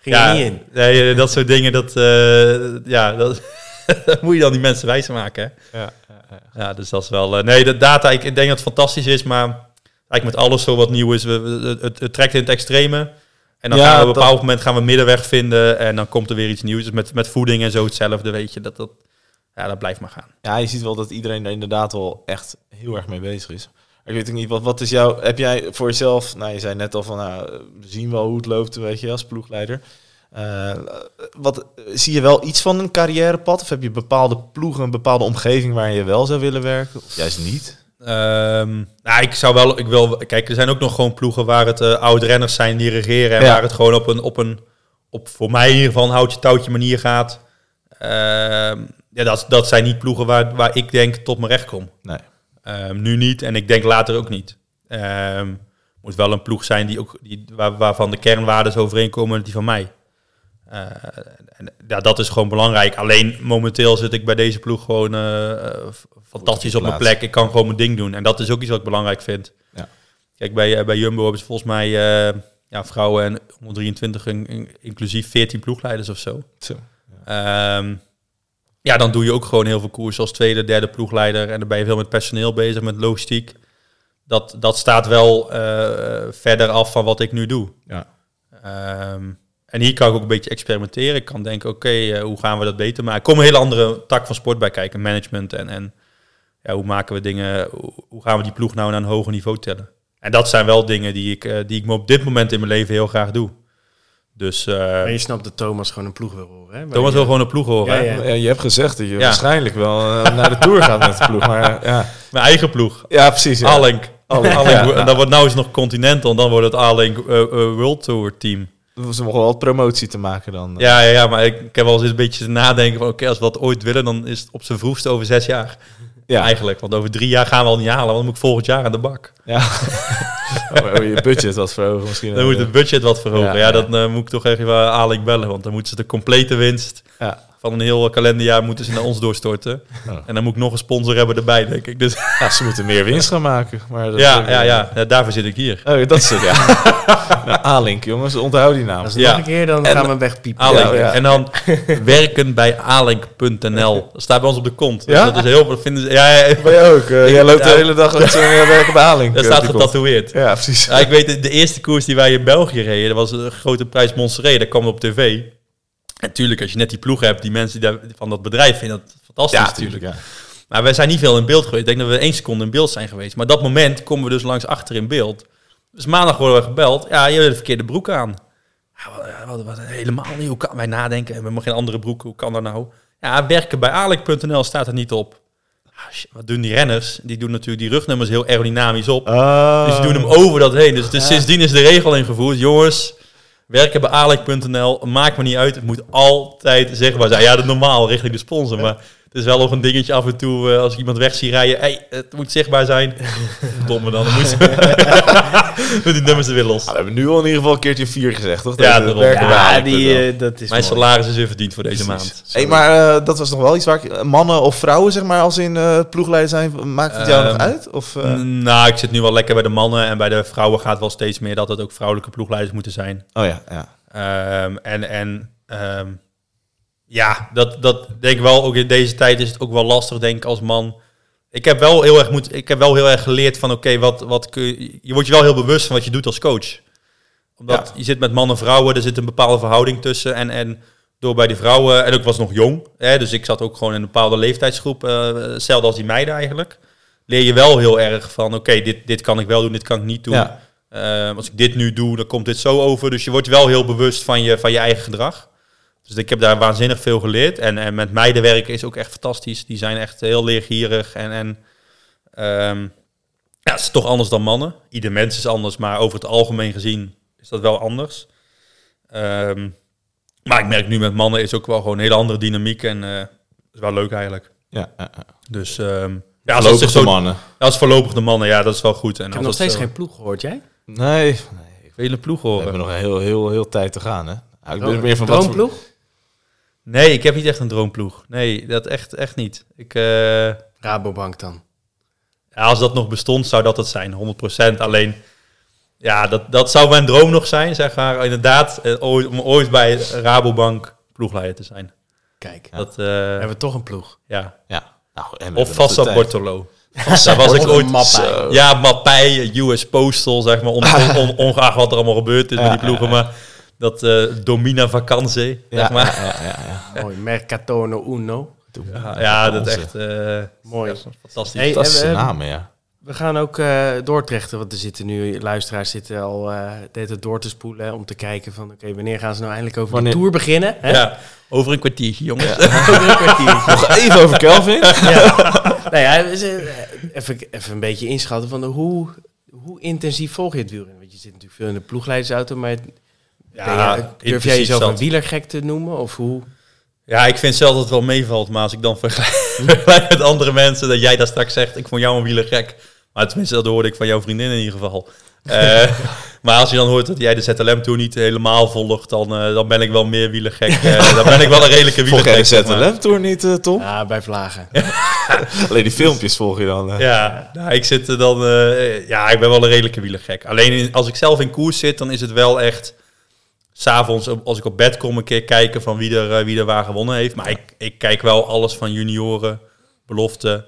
[SPEAKER 1] Ging
[SPEAKER 3] ja,
[SPEAKER 1] er niet in.
[SPEAKER 3] Nee, dat soort dingen, dat... eh, ja, dat... dat moet je dan die mensen wijs maken, hè?
[SPEAKER 2] ja, ja, ja.
[SPEAKER 3] Ja, dus dat is wel... eh, nee, de data, ik ik denk dat het fantastisch is, maar eigenlijk met alles zo wat nieuw is, we, we- het, het trekt in het extreme. En dan
[SPEAKER 2] Ja,
[SPEAKER 3] gaan we op een
[SPEAKER 2] dat-
[SPEAKER 3] bepaald moment gaan we middenweg vinden en dan komt er weer iets nieuws. Dus met, met voeding en zo hetzelfde, weet je, dat, dat, ja, dat blijft maar gaan.
[SPEAKER 2] Ja, je ziet wel dat iedereen daar inderdaad wel echt heel erg mee bezig is. Maar Ik weet ook niet, wat, wat is jouw... Heb jij voor jezelf... Nou, je zei net al van, nou, we zien wel hoe het loopt, weet je, als ploegleider. Eh, wat, zie je wel iets van een carrièrepad? Of heb je bepaalde ploegen, een bepaalde omgeving waar je wel zou willen werken? Of juist niet?
[SPEAKER 3] Ehm, nou, ik zou wel, ik wil, kijk, er zijn ook nog gewoon ploegen waar het eh oud-renners zijn die regeren en
[SPEAKER 2] Ja.
[SPEAKER 3] waar het gewoon op een, op een, op voor mij in ieder geval een houtje touwtje manier gaat. Ehm, ja, dat, dat zijn niet ploegen waar, waar ik denk tot mijn recht kom.
[SPEAKER 2] Nee.
[SPEAKER 3] Ehm, nu niet en ik denk later ook niet. Ehm moet wel een ploeg zijn die ook, die, waar, waarvan de kernwaarden overeenkomen met die van mij. Eh, en, ja, dat is gewoon belangrijk. Alleen momenteel zit ik bij deze ploeg gewoon eh, eh, f- fantastisch op mijn
[SPEAKER 2] plaats.
[SPEAKER 3] plek. Ik kan gewoon mijn ding doen. En dat is ook iets wat ik belangrijk vind.
[SPEAKER 2] Ja.
[SPEAKER 3] Kijk, bij, eh, bij Jumbo hebben ze volgens mij eh, ja, vrouwen en onder 23 in- in- inclusief 14 ploegleiders of zo.
[SPEAKER 2] Zo.
[SPEAKER 3] Ehm, ja, dan doe je ook gewoon heel veel koers als tweede, derde ploegleider. En dan ben je veel met personeel bezig, met logistiek. Dat, dat staat wel eh, verder af van wat ik nu doe.
[SPEAKER 2] Ja.
[SPEAKER 3] Ehm, en hier kan ik ook een beetje experimenteren. Ik kan denken, oké, eh, hoe gaan we dat beter maken? Er komt een hele andere tak van sport bij kijken. Management en, en ja, hoe maken we dingen... Hoe, hoe gaan we die ploeg nou naar een hoger niveau tillen? En dat zijn wel dingen die ik, eh, die ik me op dit moment in mijn leven heel graag doe. Dus eh,
[SPEAKER 1] Maar je snapt dat Thomas gewoon een ploeg wil horen. Hè?
[SPEAKER 3] Thomas wil gewoon een ploeg horen.
[SPEAKER 1] Ja,
[SPEAKER 3] hè?
[SPEAKER 1] ja.
[SPEAKER 2] Ja, eh, Je hebt gezegd dat je
[SPEAKER 3] Ja.
[SPEAKER 2] waarschijnlijk wel eh, naar de Tour gaat met de ploeg. Maar eh, ja,
[SPEAKER 3] Mijn eigen ploeg.
[SPEAKER 2] ja precies. Ja.
[SPEAKER 3] Alink.
[SPEAKER 2] Alink,
[SPEAKER 3] Alink.
[SPEAKER 2] ja.
[SPEAKER 3] En dan wordt nou eens nog Continental. En dan wordt het Alink eh, eh, World Tour team.
[SPEAKER 2] Ze mogen wel wat promotie te maken dan.
[SPEAKER 3] Ja, ja, ja, maar ik, ik heb wel eens een beetje te nadenken van... Oké, als we dat ooit willen, dan is het op zijn vroegste over zes jaar.
[SPEAKER 2] ja.
[SPEAKER 3] Eigenlijk. Want over drie jaar gaan we al niet halen. Want dan moet ik volgend jaar aan de bak.
[SPEAKER 2] Ja. Oh, oh, je budget was verhogen misschien. eh.
[SPEAKER 3] Dan moet het budget wat verhogen.
[SPEAKER 2] Ja,
[SPEAKER 3] Ja,
[SPEAKER 2] ja.
[SPEAKER 3] dan eh, moet ik toch even eh, Alek bellen. Want dan moeten ze de complete winst
[SPEAKER 2] Ja.
[SPEAKER 3] van een heel kalenderjaar moeten ze naar ons doorstorten.
[SPEAKER 2] Ja.
[SPEAKER 3] En dan moet ik nog een sponsor hebben erbij, denk ik. Dus
[SPEAKER 2] Ja, ze moeten meer winst gaan maken. Maar dat eh,
[SPEAKER 3] ja, ja, ja, ja, daarvoor zit ik hier.
[SPEAKER 2] Oh, dat is het, ja. nou, A-Link, jongens, onthoud die naam.
[SPEAKER 1] Als het
[SPEAKER 3] Ja.
[SPEAKER 1] nog een keer, dan
[SPEAKER 2] En-
[SPEAKER 1] gaan we wegpiepen.
[SPEAKER 3] Alink.
[SPEAKER 2] Ja, ja.
[SPEAKER 3] En dan werken bij alink.nl. Dat staat bij ons op de kont. Dus
[SPEAKER 2] Ja?
[SPEAKER 3] dat is heel dat vinden ze, ja, ja, ja.
[SPEAKER 2] Ben je ook? eh, jij loopt
[SPEAKER 3] Ja.
[SPEAKER 2] de hele dag met zo'n eh, werk op A-Link.
[SPEAKER 3] dat
[SPEAKER 2] eh,
[SPEAKER 3] staat
[SPEAKER 2] die komt.
[SPEAKER 3] getatoeëerd.
[SPEAKER 2] Ja, precies.
[SPEAKER 3] Ja, ik weet, de- de eerste koers die wij in België reden, dat was een grote prijs Montserrat. Dat kwam op tv. En natuurlijk, als je net die ploeg hebt, die mensen die daar, van dat bedrijf vinden dat fantastisch
[SPEAKER 2] Ja,
[SPEAKER 3] natuurlijk.
[SPEAKER 2] natuurlijk. Ja.
[SPEAKER 3] Maar wij zijn niet veel in beeld geweest. Ik denk dat we één seconde in beeld zijn geweest. Maar dat moment komen we dus langs achter in beeld. Dus maandag worden we gebeld. Ja, je hebt de verkeerde broek aan. Ja, wat- wat- wat- helemaal niet. Hoe kan wij nadenken? We hebben geen andere broek. Hoe kan dat nou? Ja, werken bij alek.nl staat er niet op. Ah, shit, Wat doen die renners? Die doen natuurlijk die rugnummers heel aerodynamisch op.
[SPEAKER 2] Eh,
[SPEAKER 3] Dus die doen hem
[SPEAKER 2] Oh.
[SPEAKER 3] over dat heen. Dus, het is- sindsdien is de regel ingevoerd. Jongens, werken bij alek.nl. Maakt me niet uit. Het moet altijd zichtbaar zijn. Ja, dat is normaal richting de sponsor. Maar het is wel nog een dingetje af en toe. eh, als ik iemand weg zie rijden. Hey, het moet zichtbaar zijn. Domme dan. Dan moet Doe die nummers er weer los.
[SPEAKER 2] Ah, we hebben nu al in ieder geval een keertje vier gezegd, toch?
[SPEAKER 3] Ja,
[SPEAKER 2] Dat, eh,
[SPEAKER 3] daarom.
[SPEAKER 2] werken bij
[SPEAKER 1] Ja,
[SPEAKER 2] A-Link punt
[SPEAKER 1] die,
[SPEAKER 2] N L.
[SPEAKER 1] eh, dat is
[SPEAKER 3] Mijn
[SPEAKER 1] mooi.
[SPEAKER 3] salaris is weer verdiend voor deze maand.
[SPEAKER 2] Hey, maar eh, dat was nog wel iets waar ik, eh, mannen of vrouwen, zeg maar, als in eh ploegleider zijn, maakt het jou
[SPEAKER 3] Ehm,
[SPEAKER 2] nog uit? Of, eh,
[SPEAKER 3] Mm, Nou, ik zit nu wel lekker bij de mannen. En bij de vrouwen gaat wel steeds meer dat het ook vrouwelijke ploegleiders moeten zijn.
[SPEAKER 2] Oh ja, ja.
[SPEAKER 3] Ehm, en en ehm, ja, dat, dat denk ik wel. Ook in deze tijd is het ook wel lastig, denk ik, als man. Ik heb wel heel erg, moet, ik heb wel heel erg geleerd van, oké, wat, wat kun je... Je wordt je wel heel bewust van wat je doet als coach. Omdat je zit met mannen en vrouwen, er zit een bepaalde verhouding tussen. En, en door bij die vrouwen... En ik was nog jong, hè, dus ik zat ook gewoon in een bepaalde leeftijdsgroep. eh, hetzelfde als die meiden eigenlijk. Leer je wel heel erg van, oké, dit, dit kan ik wel doen, dit kan ik niet doen.
[SPEAKER 2] Ja.
[SPEAKER 3] Ehm, als ik dit nu doe, dan komt dit zo over. Dus je wordt wel heel bewust van je, van je eigen gedrag. Dus ik heb daar waanzinnig veel geleerd. En, en met meiden werken is ook echt fantastisch. Die zijn echt heel leergierig. En, en ehm, ja, het is toch anders dan mannen. Ieder mens is anders, maar over het algemeen gezien is dat wel anders. Ehm, maar ik merk nu met mannen is ook wel gewoon een hele andere dynamiek. En eh is wel leuk eigenlijk.
[SPEAKER 2] ja, ja, ja.
[SPEAKER 3] Dus ehm ja, als dat
[SPEAKER 2] Voorlopig
[SPEAKER 3] zich
[SPEAKER 2] de
[SPEAKER 3] zo,
[SPEAKER 2] mannen.
[SPEAKER 3] als voorlopig de mannen, ja, dat is wel goed. En
[SPEAKER 1] Ik
[SPEAKER 3] als
[SPEAKER 1] heb nog
[SPEAKER 3] dat
[SPEAKER 1] steeds
[SPEAKER 3] zo-
[SPEAKER 1] geen ploeg gehoord, jij?
[SPEAKER 2] Nee,
[SPEAKER 3] vele ploeg
[SPEAKER 2] we
[SPEAKER 3] horen.
[SPEAKER 2] hebben nog een heel, heel, heel tijd te gaan, hè? Nou, ik ben meer van wat voor-
[SPEAKER 1] Droomploeg?
[SPEAKER 3] Nee, ik heb niet echt een droomploeg. Nee, dat echt, echt niet. Ik, eh, ja,
[SPEAKER 1] Rabobank dan.
[SPEAKER 3] als dat nog bestond, zou dat het zijn, 100%. Alleen, ja, dat, dat zou mijn droom nog zijn, zeg maar. Inderdaad, eh, ooit, om ooit bij Rabobank ploegleider te zijn.
[SPEAKER 1] Kijk,
[SPEAKER 3] Dat, eh,
[SPEAKER 1] hebben we toch een ploeg.
[SPEAKER 3] ja.
[SPEAKER 2] Ja. Nou, en we hebben
[SPEAKER 3] Of
[SPEAKER 2] nog
[SPEAKER 3] Vassa
[SPEAKER 2] de tijd.
[SPEAKER 3] Bortolo. Daar was ik
[SPEAKER 1] Bortolo,
[SPEAKER 3] ooit...
[SPEAKER 1] Mappij.
[SPEAKER 3] Ja, Mappij, US Postal, zeg maar. on- on- on- ongeacht wat er allemaal gebeurd is met die ploegen. Maar dat eh, Domina Vacanze,
[SPEAKER 2] Ja,
[SPEAKER 3] zeg maar.
[SPEAKER 2] ja, ja, ja, ja.
[SPEAKER 1] Mooi, Mercatone Uno.
[SPEAKER 3] Ja, ja dat is echt eh,
[SPEAKER 1] Mooi.
[SPEAKER 3] fantastisch.
[SPEAKER 1] Hey,
[SPEAKER 2] Fantastische
[SPEAKER 1] eh, we-
[SPEAKER 2] namen, ja.
[SPEAKER 1] We gaan ook eh doortrechten, want er zitten nu luisteraars zitten al eh de hele tijd door te spoelen hè, om te kijken van oké, wanneer gaan ze nou eindelijk over
[SPEAKER 2] Wanneer-
[SPEAKER 1] de tour beginnen? Hè?
[SPEAKER 3] Ja, over een kwartiertje, jongens.
[SPEAKER 1] Over een kwartiertje.
[SPEAKER 2] Nog even over Kelvin.
[SPEAKER 1] nou ja, dus, eh, even, even een beetje inschatten van de, hoe, hoe intensief volg je het wielrennen? Want je zit natuurlijk veel in de ploegleidersauto, maar het- ben je- durf jij
[SPEAKER 3] intensief
[SPEAKER 1] jezelf
[SPEAKER 3] zat.
[SPEAKER 1] een wielergek te noemen? Of hoe?
[SPEAKER 3] Ja, ik vind zelf dat het wel meevalt, maar als ik dan vergelijk, vergelijk met andere mensen, dat jij daar straks zegt, ik vond jou een wieler gek. Maar tenminste, dat hoorde ik van jouw vriendin in ieder geval. Eh, maar als je dan hoort dat jij de ZLM Tour niet helemaal volgt, dan, eh, dan ben ik wel meer wielergek. Eh, dan ben ik wel een redelijke
[SPEAKER 2] Volg
[SPEAKER 3] wielergek.
[SPEAKER 2] jij de
[SPEAKER 3] zeg maar.
[SPEAKER 2] ZLM-tour niet, eh, Tom?
[SPEAKER 1] Ja, bij vlagen.
[SPEAKER 2] Alleen die filmpjes volg je dan. eh.
[SPEAKER 3] Ja, nou, ik zit er dan. eh, ja, ik ben wel een redelijke wielergek. Alleen in- als ik zelf in koers zit, dan is het wel echt. S'avonds, als ik op bed kom, een keer kijken van wie er, eh, wie er waar gewonnen heeft. Maar ik, ik kijk wel alles van junioren, belofte,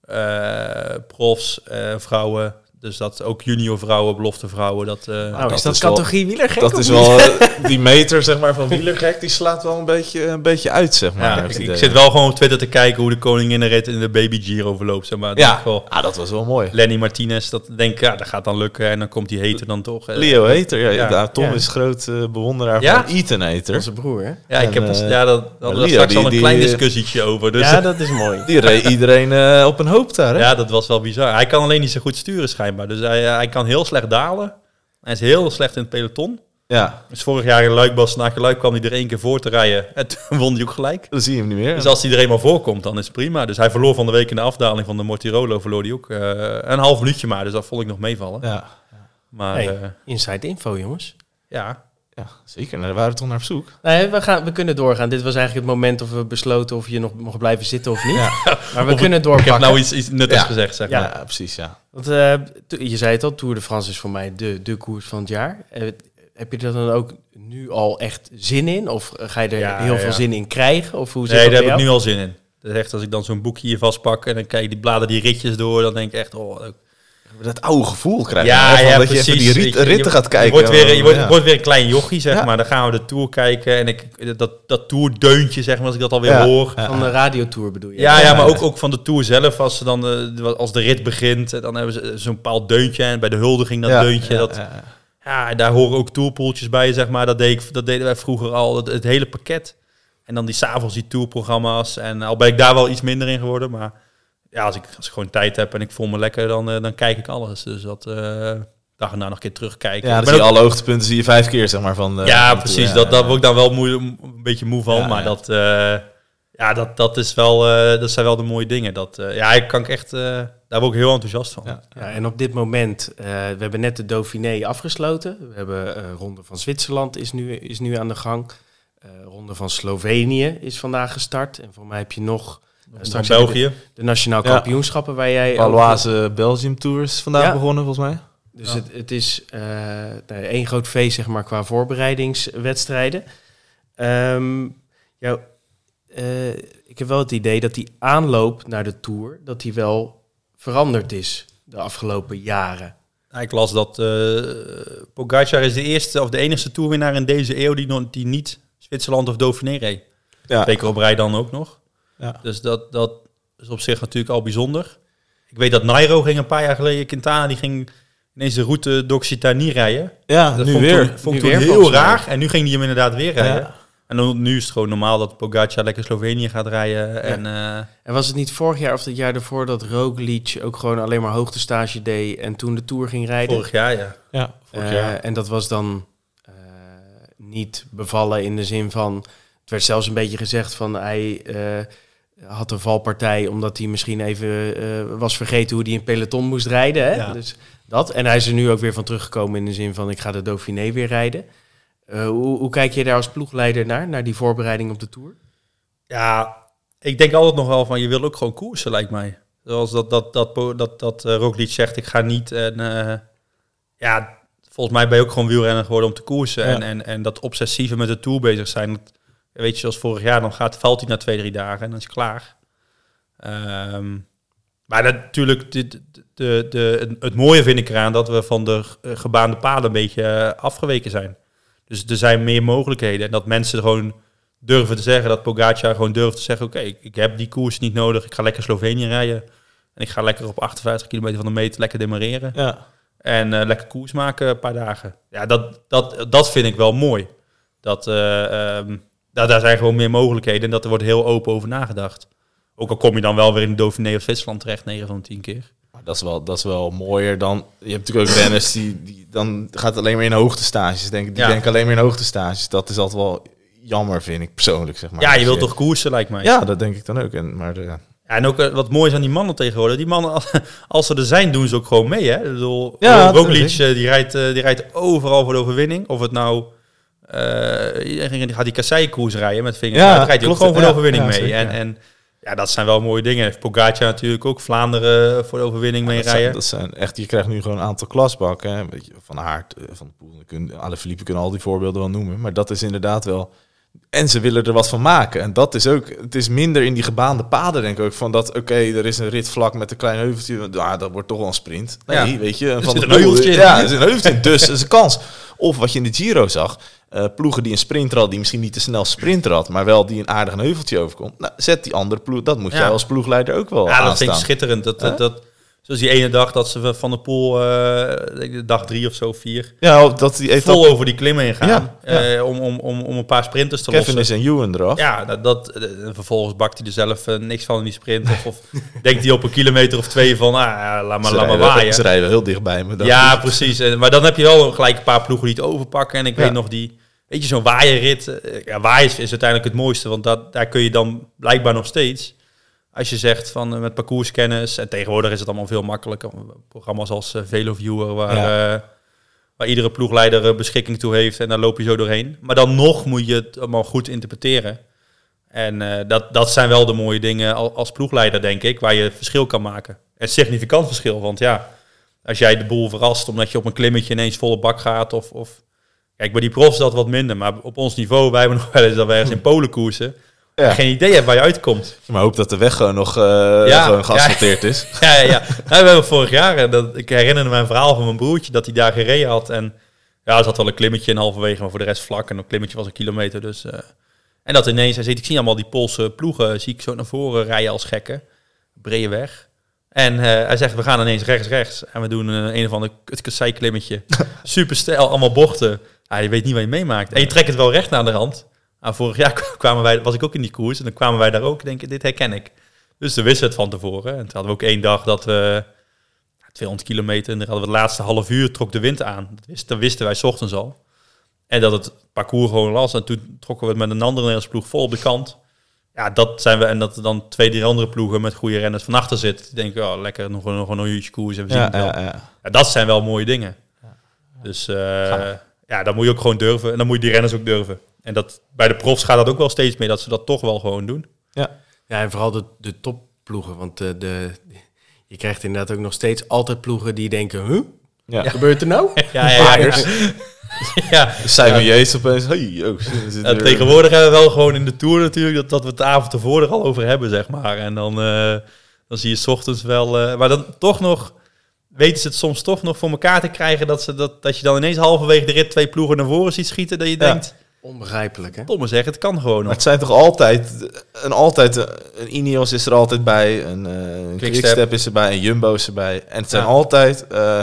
[SPEAKER 3] eh, profs, eh, vrouwen. Dus dat ook junior vrouwen, belofte vrouwen. Dat, eh,
[SPEAKER 1] Nou,
[SPEAKER 2] dat
[SPEAKER 1] is dat
[SPEAKER 2] is wel-
[SPEAKER 1] categorie wielergek?
[SPEAKER 2] Dat
[SPEAKER 1] of
[SPEAKER 2] is
[SPEAKER 1] niet?
[SPEAKER 2] wel eh, die meter zeg maar, van wielergek, die slaat wel een beetje, eh, een beetje uit, zeg maar.
[SPEAKER 3] ja,
[SPEAKER 2] heb
[SPEAKER 3] ik,
[SPEAKER 2] het
[SPEAKER 3] ik
[SPEAKER 2] idee.
[SPEAKER 3] zit wel gewoon op Twitter te kijken hoe de koninginrit in de baby Giro verloopt. Zeg maar. Dat
[SPEAKER 2] ja.
[SPEAKER 3] is wel-
[SPEAKER 2] Ah, dat was wel mooi.
[SPEAKER 3] Lenny Martinez, dat denk ik, ja, dat gaat dan lukken. En dan komt die heter dan toch. eh.
[SPEAKER 2] Leo Heter, ja,
[SPEAKER 3] Ja.
[SPEAKER 2] ja, Tom
[SPEAKER 1] Ja.
[SPEAKER 2] is groot eh, bewonderaar
[SPEAKER 3] Ja?
[SPEAKER 2] van Ethan Heter.
[SPEAKER 1] Onze broer, hè?
[SPEAKER 3] Ja, ik
[SPEAKER 2] En,
[SPEAKER 3] heb dat,
[SPEAKER 2] eh,
[SPEAKER 3] ja, dat, dat
[SPEAKER 2] Leo,
[SPEAKER 3] was straks
[SPEAKER 2] die-
[SPEAKER 3] al een
[SPEAKER 2] die- eh,
[SPEAKER 3] klein discussietje over. Dus
[SPEAKER 1] Ja,
[SPEAKER 3] ja, dat,
[SPEAKER 1] dat is mooi.
[SPEAKER 2] Die reed iedereen eh, op een hoop daar, hè?
[SPEAKER 3] was wel bizar. Hij kan alleen niet zo goed sturen schijnbaar. Dus hij, hij kan heel slecht dalen. Hij is heel slecht in het peloton.
[SPEAKER 2] Ja,
[SPEAKER 3] Dus vorig jaar in Luik, Bastenaken Luik, kwam hij er één keer voor te rijden. En toen won hij ook gelijk.
[SPEAKER 2] dan zie je hem niet meer.
[SPEAKER 3] Dus als hij er eenmaal voorkomt, dan is het prima. Dus hij verloor van de week in de afdaling van de Mortirolo, verloor hij ook eh, een half minuutje maar. Dus dat vond ik nog meevallen.
[SPEAKER 2] ja.
[SPEAKER 3] Maar
[SPEAKER 1] Hey.
[SPEAKER 3] eh,
[SPEAKER 1] Inside info, jongens.
[SPEAKER 3] ja,
[SPEAKER 2] Ja, zeker. Nou, daar waren we toch naar op zoek.
[SPEAKER 1] Nee, we, gaan, we kunnen doorgaan. Dit was eigenlijk het moment of we besloten of je nog mocht blijven zitten of niet. Maar we
[SPEAKER 3] Of-
[SPEAKER 1] kunnen
[SPEAKER 3] ik heb
[SPEAKER 1] doorpakken.
[SPEAKER 3] nou iets, iets nuttigs
[SPEAKER 2] Ja.
[SPEAKER 3] gezegd, zeg
[SPEAKER 1] Ja.
[SPEAKER 3] maar.
[SPEAKER 2] Ja, precies, ja.
[SPEAKER 1] Want eh, to- je zei het al, Tour de France is voor mij de, de koers van het jaar. Eh, heb je er dan ook nu al echt zin in? Of eh, ga je er
[SPEAKER 3] Ja,
[SPEAKER 1] heel
[SPEAKER 3] ja,
[SPEAKER 1] veel
[SPEAKER 3] ja.
[SPEAKER 1] zin in krijgen? Of hoe zit
[SPEAKER 3] Nee,
[SPEAKER 1] dat
[SPEAKER 3] daar heb
[SPEAKER 1] bij
[SPEAKER 3] ik nu
[SPEAKER 1] jou?
[SPEAKER 3] al zin in. Dat is echt als ik dan zo'n boekje hier vastpak en dan kijk die bladen die ritjes door, dan denk ik echt, oh, leuk.
[SPEAKER 2] Dat oude gevoel krijgen. hè, van dat je even die rit-
[SPEAKER 3] Ik-
[SPEAKER 2] ritten gaat kijken. eh,
[SPEAKER 3] Je wordt weer, je wordt,
[SPEAKER 2] Ja.
[SPEAKER 3] wordt weer een klein jochie, zeg
[SPEAKER 2] Ja.
[SPEAKER 3] maar. Dan gaan we de tour kijken en ik, dat, dat tourdeuntje, zeg maar, als ik dat alweer
[SPEAKER 2] Ja.
[SPEAKER 3] hoor.
[SPEAKER 2] Ja.
[SPEAKER 1] Van de radiotour bedoel je?
[SPEAKER 3] Ja, ja, maar
[SPEAKER 2] ja.
[SPEAKER 3] ook, ook van de Tour zelf. Als, ze dan, eh, als de rit begint, eh, dan hebben ze eh, zo'n bepaald deuntje. En bij de huldiging dat
[SPEAKER 2] Ja,
[SPEAKER 3] deuntje.
[SPEAKER 2] ja,
[SPEAKER 3] dat, ja.
[SPEAKER 2] ja, ja.
[SPEAKER 3] daar horen ook tourpoeltjes bij, zeg maar. Dat, deed ik, dat deden wij vroeger al, het, het hele pakket. En dan die s'avonds die tourprogramma's. En al ben ik daar wel iets minder in geworden. Maar ja, als ik, als ik gewoon tijd heb en ik voel me lekker, dan, eh, dan kijk ik alles. Dus dat eh dag en na nog een keer terugkijken.
[SPEAKER 2] Ja, dan
[SPEAKER 3] Ik ben
[SPEAKER 2] zie je
[SPEAKER 3] ook-
[SPEAKER 2] alle hoogtepunten zie je vijf keer, zeg maar. Van, eh,
[SPEAKER 3] ja,
[SPEAKER 2] van de
[SPEAKER 3] precies.
[SPEAKER 2] tour.
[SPEAKER 3] dat, daar
[SPEAKER 2] ja.
[SPEAKER 3] word ik dan wel moe, een beetje moe van.
[SPEAKER 2] Ja,
[SPEAKER 3] maar
[SPEAKER 2] ja.
[SPEAKER 3] dat, eh, ja, dat, dat, is wel, eh, dat zijn wel de mooie dingen. Dat, eh, ja, ik kan ik echt, eh, daar word ik heel enthousiast van.
[SPEAKER 2] Ja.
[SPEAKER 3] Ja,
[SPEAKER 1] Ja, en op dit moment, eh, we hebben net de Dauphiné afgesloten. We hebben eh Ronde van Zwitserland is nu, is nu aan de gang. Eh, Ronde van Slovenië is vandaag gestart. En voor mij heb je nog eh,
[SPEAKER 3] Straks
[SPEAKER 1] heb je de-
[SPEAKER 3] België.
[SPEAKER 1] de, nationaal
[SPEAKER 2] Ja.
[SPEAKER 1] kampioenschappen waar jij... ook-
[SPEAKER 2] Valoise Belgium Tours vandaag
[SPEAKER 1] Ja.
[SPEAKER 2] begonnen, volgens mij.
[SPEAKER 1] Dus
[SPEAKER 3] Ja.
[SPEAKER 1] het, het is eh, nou ja, één groot feest, zeg maar, qua voorbereidingswedstrijden. Ehm, jou, eh, ik heb wel het idee dat die aanloop naar de Tour, dat die wel veranderd is de afgelopen jaren.
[SPEAKER 3] Ja, ik las dat eh Pogacar is de eerste of de enige toerwinnaar in deze eeuw die, nog- die niet Zwitserland of Dauphiné reed.
[SPEAKER 2] Ja.
[SPEAKER 3] Zeker op rij dan ook nog.
[SPEAKER 2] Ja.
[SPEAKER 3] Dus dat, dat is op zich natuurlijk al bijzonder. Ik weet dat Nairo ging een paar jaar geleden, Quintana, die ging ineens de route d'Occitanie rijden.
[SPEAKER 2] Ja,
[SPEAKER 3] Dat
[SPEAKER 2] nu
[SPEAKER 3] vond ik
[SPEAKER 2] weer.
[SPEAKER 3] toen- vond ik
[SPEAKER 1] Nu
[SPEAKER 3] toen
[SPEAKER 1] weer,
[SPEAKER 3] heel
[SPEAKER 1] volgens mij.
[SPEAKER 3] raar. En nu ging hij hem inderdaad weer
[SPEAKER 2] Ja.
[SPEAKER 3] rijden. En dan, nu is het gewoon normaal dat Pogacar lekker Slovenië gaat rijden. En, eh,
[SPEAKER 1] En was het niet vorig jaar of het jaar daarvoor dat Roglic ook gewoon alleen maar hoogtestage deed en toen de Tour ging rijden?
[SPEAKER 3] vorig jaar, ja.
[SPEAKER 2] Ja, vorig
[SPEAKER 1] Eh,
[SPEAKER 2] jaar.
[SPEAKER 1] En dat was dan eh, niet bevallen in de zin van... Het werd zelfs een beetje gezegd van hij eh, had een valpartij... omdat hij misschien even eh, was vergeten hoe hij in peloton moest rijden. Hè?
[SPEAKER 3] Ja.
[SPEAKER 1] Dus dat. En hij is er nu ook weer van teruggekomen in de zin van... ik ga de Dauphiné weer rijden. Eh, hoe, hoe kijk je daar als ploegleider naar, naar die voorbereiding op de Tour?
[SPEAKER 3] Ja, ik denk altijd nog wel van je wil ook gewoon koersen, lijkt mij. Zoals dat, dat, dat, dat, dat, eh, Roglic zegt, ik ga niet. En, eh, ja, volgens mij ben je ook gewoon wielrenner geworden om te koersen.
[SPEAKER 2] Ja.
[SPEAKER 3] En, en, en dat obsessieve met de Tour bezig zijn. dat- weet je, zoals vorig jaar, dan gaat, valt hij na twee, drie dagen en dan is het klaar. Ehm, maar dat- natuurlijk, dit- de, de, de, het mooie vind ik eraan dat we van de eh, gebaande paden een beetje eh, afgeweken zijn. Dus er zijn meer mogelijkheden. En dat mensen gewoon durven te zeggen, dat Pogacar gewoon durft te zeggen... oké, ik, ik heb die koers niet nodig, ik ga lekker Slovenië rijden... en ik ga lekker op 58 kilometer van de meter lekker demareren...
[SPEAKER 2] ja.
[SPEAKER 3] en eh, lekker koers maken een paar dagen. Ja, dat, dat, dat vind ik wel mooi. Dat, eh, ehm, da- daar zijn gewoon meer mogelijkheden en dat er wordt heel open over nagedacht. Ook al kom je dan wel weer in de Dauphiné of Zwitserland terecht, 9 van de 10 keer.
[SPEAKER 2] Maar dat is, wel, dat is wel mooier dan... Je hebt natuurlijk ook renners die, die... Dan gaat het alleen maar in hoogtestages, denk ik. Die
[SPEAKER 3] Ja.
[SPEAKER 2] denken alleen maar in hoogtestages. Dat is altijd wel jammer, vind ik persoonlijk, zeg maar.
[SPEAKER 3] ja, je
[SPEAKER 2] Dus
[SPEAKER 3] wilt toch koersen, lijkt mij.
[SPEAKER 2] Ja, dat denk ik dan ook. En, maar de- ja.
[SPEAKER 3] Ja, en ook eh, wat mooi is aan die mannen tegenwoordig. Die mannen, als, als ze er zijn, doen ze ook gewoon mee. Hè? Ik bedoel,
[SPEAKER 2] Ja,
[SPEAKER 3] Roglic
[SPEAKER 2] tuurlijk.
[SPEAKER 3] eh, die rijdt, eh, die rijdt overal voor de overwinning. Of het nou... eh, iedereen die gaat die kasseikoers rijden met vingers.
[SPEAKER 2] Ja,
[SPEAKER 3] Ja, rijdt hij ook
[SPEAKER 2] klopt.
[SPEAKER 3] gewoon voor de
[SPEAKER 2] Ja,
[SPEAKER 3] overwinning
[SPEAKER 2] ja,
[SPEAKER 3] mee.
[SPEAKER 2] zeker.
[SPEAKER 3] En, en ja, dat zijn wel mooie dingen. Heeft Pogacar natuurlijk ook Vlaanderen eh, voor de overwinning mee
[SPEAKER 2] dat zijn,
[SPEAKER 3] rijden.
[SPEAKER 2] dat zijn echt, je krijgt nu gewoon een aantal klasbakken. hè. Weet je, Van Aert, eh, Van de Poel, kun- alle Philippe kunnen al die voorbeelden wel noemen. Maar dat is inderdaad wel... En ze willen er wat van maken. En dat is ook... Het is minder in die gebaande paden, denk ik ook. Van dat, oké, er is een rit vlak met een klein heuveltje. Nou, dat wordt toch wel een sprint. Nee,
[SPEAKER 3] Ja.
[SPEAKER 2] weet je. en
[SPEAKER 3] Er
[SPEAKER 2] van
[SPEAKER 3] zit
[SPEAKER 2] de
[SPEAKER 3] een
[SPEAKER 2] Poel-
[SPEAKER 3] heuveltje in.
[SPEAKER 2] Ja, er zit een heuveltje in. Dus dat is een kans. Of wat je in de Giro zag. eh, ploegen die een sprinter had, die misschien niet te snel sprinter had, maar wel die een aardig een heuveltje overkomt. Nou, zet die andere ploeg, dat moet
[SPEAKER 3] Ja.
[SPEAKER 2] jij als ploegleider ook wel
[SPEAKER 3] Ja, dat vind ik
[SPEAKER 2] aanstaan.
[SPEAKER 3] schitterend. Dat,
[SPEAKER 2] Hè?
[SPEAKER 3] dat, dat, zoals die ene dag dat ze van eh, de pool, dag drie of zo, vier...
[SPEAKER 2] Ja, of dat die etappe
[SPEAKER 3] Vol over die klimmen heen gaan.
[SPEAKER 2] Ja, ja.
[SPEAKER 3] eh, om, om, om, om een paar sprinters te
[SPEAKER 2] Kevin
[SPEAKER 3] lossen.
[SPEAKER 2] is en Ewan eraf.
[SPEAKER 3] Ja, dat, dat, eh, vervolgens bakt hij er zelf eh, niks van in die sprint. Of, of denkt hij op een kilometer of twee van, ah, ja, laat maar,
[SPEAKER 2] ze,
[SPEAKER 3] laat maar
[SPEAKER 2] rijden,
[SPEAKER 3] waaien.
[SPEAKER 2] ze rijden heel dichtbij me. dan.
[SPEAKER 3] Ja, precies. En, maar dan heb je wel gelijk een paar ploegen die het overpakken. En ik
[SPEAKER 2] Ja.
[SPEAKER 3] weet nog die, weet je, zo'n waaierrit. eh, Ja, waaien is, is uiteindelijk het mooiste, want dat, daar kun je dan blijkbaar nog steeds... Als je zegt van eh, met parcourskennis, en tegenwoordig is het allemaal veel makkelijker. Programma's als eh, Veloviewer, waar
[SPEAKER 2] Ja.
[SPEAKER 3] eh, Waar iedere ploegleider eh, beschikking toe heeft en daar loop je zo doorheen. Maar dan nog moet je het allemaal goed interpreteren. En eh, dat, dat zijn wel de mooie dingen al- als ploegleider, denk ik, waar je verschil kan maken. Een significant verschil, want ja, als jij de boel verrast omdat je op een klimmetje ineens volle bak gaat of... of Kijk, bij die profs is dat wat minder, maar op ons niveau, wij hebben nog wel eens dat wij ergens in Polen koersen.
[SPEAKER 2] Ja.
[SPEAKER 3] en Geen idee hebben waar je uitkomt.
[SPEAKER 2] Maar hoop dat de weg gewoon nog eh, gewoon geasfalteerd is.
[SPEAKER 3] Ja, ja, ja. Nou, we hebben vorig jaar, eh, dat, ik herinner me een verhaal van mijn broertje, dat hij daar gereden had. En ja, er zat wel een klimmetje in halverwege, maar voor de rest vlak. En dat klimmetje was een kilometer, dus... eh, en dat ineens, hij zegt, ik zie allemaal die Poolse ploegen, zie ik zo naar voren rijden als gekken. Brede weg. En eh, hij zegt, we gaan ineens rechts, rechts. En we doen eh, een, een of ander kutkassei klimmetje. Super stijl, allemaal bochten. Ja, je weet niet wat je meemaakt. En je trekt het wel recht naar de rand. Maar vorig jaar kwamen wij, was ik ook in die koers. En dan kwamen wij daar ook, denk ik, dit herken ik. Dus we wisten het van tevoren. En toen hadden we ook één dag dat we ja, 200 kilometer, en dan hadden we het laatste half uur trok de wind aan. Dat wisten, dat wisten wij 's ochtends al. En dat het parcours gewoon las. En toen trokken we het met een andere Nederlandse ploeg vol op de kant. Ja, dat zijn we. En dat er dan twee, drie andere ploegen met goede renners van achter zitten. Die denken, oh, lekker, nog, een- nog een uurtje koers en we zien
[SPEAKER 2] Ja,
[SPEAKER 3] het wel.
[SPEAKER 2] ja, ja.
[SPEAKER 3] Ja, dat zijn wel mooie dingen. Dus eh, ja, dan moet je ook gewoon durven. En dan moet je die renners ook durven. En dat, bij de profs gaat dat ook wel steeds meer, dat ze dat toch wel gewoon doen.
[SPEAKER 1] Ja, en vooral de, de topploegen. Want eh, de, je krijgt inderdaad ook nog steeds altijd ploegen die denken... Huh?
[SPEAKER 2] Ja.
[SPEAKER 1] Wat gebeurt er nou?
[SPEAKER 3] Ja, ja, ja. ja.
[SPEAKER 2] Simon Yates opeens. Hey, oh, zit
[SPEAKER 3] Ja,
[SPEAKER 2] er-
[SPEAKER 3] tegenwoordig hebben we wel gewoon in de Tour natuurlijk... dat, dat we het de avond ervoor er al over hebben, zeg maar. En dan, eh, dan zie je 's ochtends wel... eh, maar dan toch nog... weten ze het soms toch nog voor elkaar te krijgen... dat, ze dat, dat je dan ineens halverwege de rit twee ploegen naar voren ziet schieten... dat je
[SPEAKER 2] Ja.
[SPEAKER 3] denkt,
[SPEAKER 1] Onbegrijpelijk, hè?
[SPEAKER 3] domme zeg, het kan gewoon
[SPEAKER 2] Maar
[SPEAKER 3] nog.
[SPEAKER 2] het zijn toch altijd, een, altijd, een Ineos is er altijd bij, een, eh, een
[SPEAKER 3] Quickstep.
[SPEAKER 2] Quickstep. is erbij, een Jumbo is erbij. En het zijn
[SPEAKER 3] Ja.
[SPEAKER 2] altijd, eh,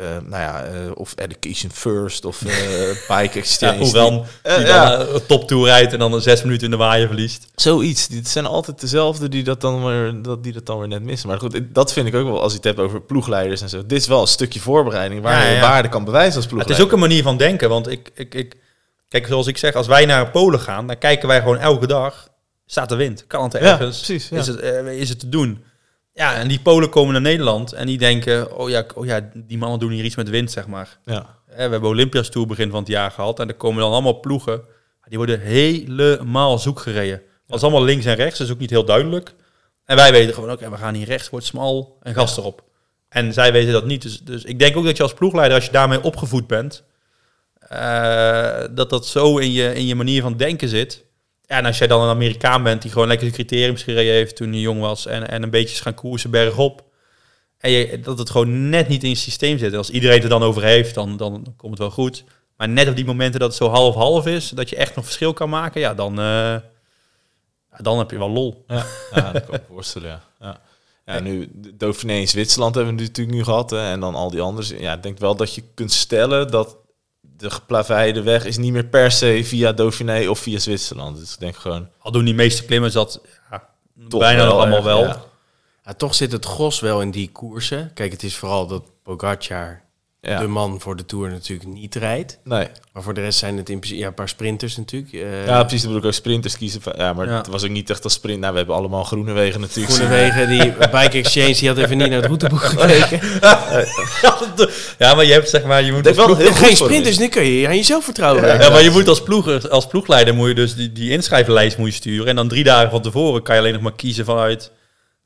[SPEAKER 2] eh, nou ja, eh, of Education First of eh Bike
[SPEAKER 3] Ja,
[SPEAKER 2] Exchange.
[SPEAKER 3] hoewel die
[SPEAKER 2] Eh,
[SPEAKER 3] dan
[SPEAKER 2] ja.
[SPEAKER 3] eh, een toptour rijdt en dan een zes minuten in de waaier verliest.
[SPEAKER 2] Zoiets. Dit zijn altijd dezelfde die dat, dan weer, dat, die dat dan weer net missen. Maar goed, dat vind ik ook wel als je het hebt over ploegleiders en zo. Dit is wel een stukje voorbereiding waar
[SPEAKER 3] Ja,
[SPEAKER 2] je
[SPEAKER 3] ja.
[SPEAKER 2] waarde kan bewijzen als
[SPEAKER 3] Maar het
[SPEAKER 2] ploegleider.
[SPEAKER 3] is ook een manier van denken, want ik, ik, ik... Kijk, zoals ik zeg, als wij naar Polen gaan... dan kijken wij gewoon elke dag... staat de wind, kan het
[SPEAKER 2] Ja,
[SPEAKER 3] ergens...
[SPEAKER 2] precies. Ja.
[SPEAKER 3] Is, het, eh, is het te doen? Ja, en die Polen komen naar Nederland en die denken... oh ja, k- oh ja die mannen doen hier iets met wind, zeg maar.
[SPEAKER 2] ja.
[SPEAKER 3] Eh, We hebben Olympia's Tour begin van het jaar gehad... en er komen dan allemaal ploegen... die worden helemaal zoek gereden. Dat is allemaal links en rechts, dat is ook niet heel duidelijk. En wij weten gewoon, oké, we gaan hier rechts, wordt smal en gas erop. En zij weten dat niet. Dus, dus ik denk ook dat je als ploegleider, als je daarmee opgevoed bent... eh, dat dat zo in je, in je manier van denken zit... Ja, en als jij dan een Amerikaan bent die gewoon lekker de criteriums gereden heeft toen hij jong was en, en een beetje is gaan koersen bergop. En je, dat het gewoon net niet in je systeem zit. En als iedereen het er dan over heeft, dan, dan komt het wel goed. Maar net op die momenten dat het zo half-half is, dat je echt nog verschil kan maken, ja, dan, eh, ja, dan heb je wel lol.
[SPEAKER 2] Ja, ja, dat kan ik me voorstellen, ja. ja. Ja, nu, de Dauphiné in Zwitserland hebben we natuurlijk nu gehad. Hè, en dan al die anders. Ja, ik denk wel dat je kunt stellen dat de geplaveide weg is niet meer per se via Dauphiné of via Zwitserland. Dus ik denk gewoon...
[SPEAKER 3] Al doen die meeste klimmers dat ja,
[SPEAKER 2] toch
[SPEAKER 3] bijna
[SPEAKER 2] wel
[SPEAKER 3] nog allemaal
[SPEAKER 2] erg,
[SPEAKER 3] wel.
[SPEAKER 2] ja.
[SPEAKER 1] Ja, toch zit het gros wel in die koersen. Kijk, het is vooral dat Pogacar,
[SPEAKER 2] Ja.
[SPEAKER 1] de man voor de Tour, natuurlijk niet rijdt.
[SPEAKER 2] Nee.
[SPEAKER 1] Maar voor de rest zijn het in principe ja, een paar sprinters natuurlijk. Eh,
[SPEAKER 2] Ja, precies. Dan bedoel ik ook sprinters kiezen. van- Ja, maar
[SPEAKER 3] Ja.
[SPEAKER 2] het was ook niet echt als sprint. Nou, we hebben allemaal groene wegen natuurlijk.
[SPEAKER 1] Groenewegen, die Bike Exchange, die had even niet naar het routeboek
[SPEAKER 2] Oh,
[SPEAKER 1] gekeken.
[SPEAKER 3] ja, maar je hebt zeg maar, je moet
[SPEAKER 2] Ik denk wel
[SPEAKER 3] als
[SPEAKER 2] heel
[SPEAKER 1] Geen
[SPEAKER 2] goed voor
[SPEAKER 1] sprinters,
[SPEAKER 2] hem
[SPEAKER 1] nu kun je aan jezelf vertrouwen.
[SPEAKER 3] Ja, maar je moet als, ploeger, als ploegleider moet je dus die, die inschrijflijst moet je sturen. En dan drie dagen van tevoren kan je alleen nog maar kiezen vanuit,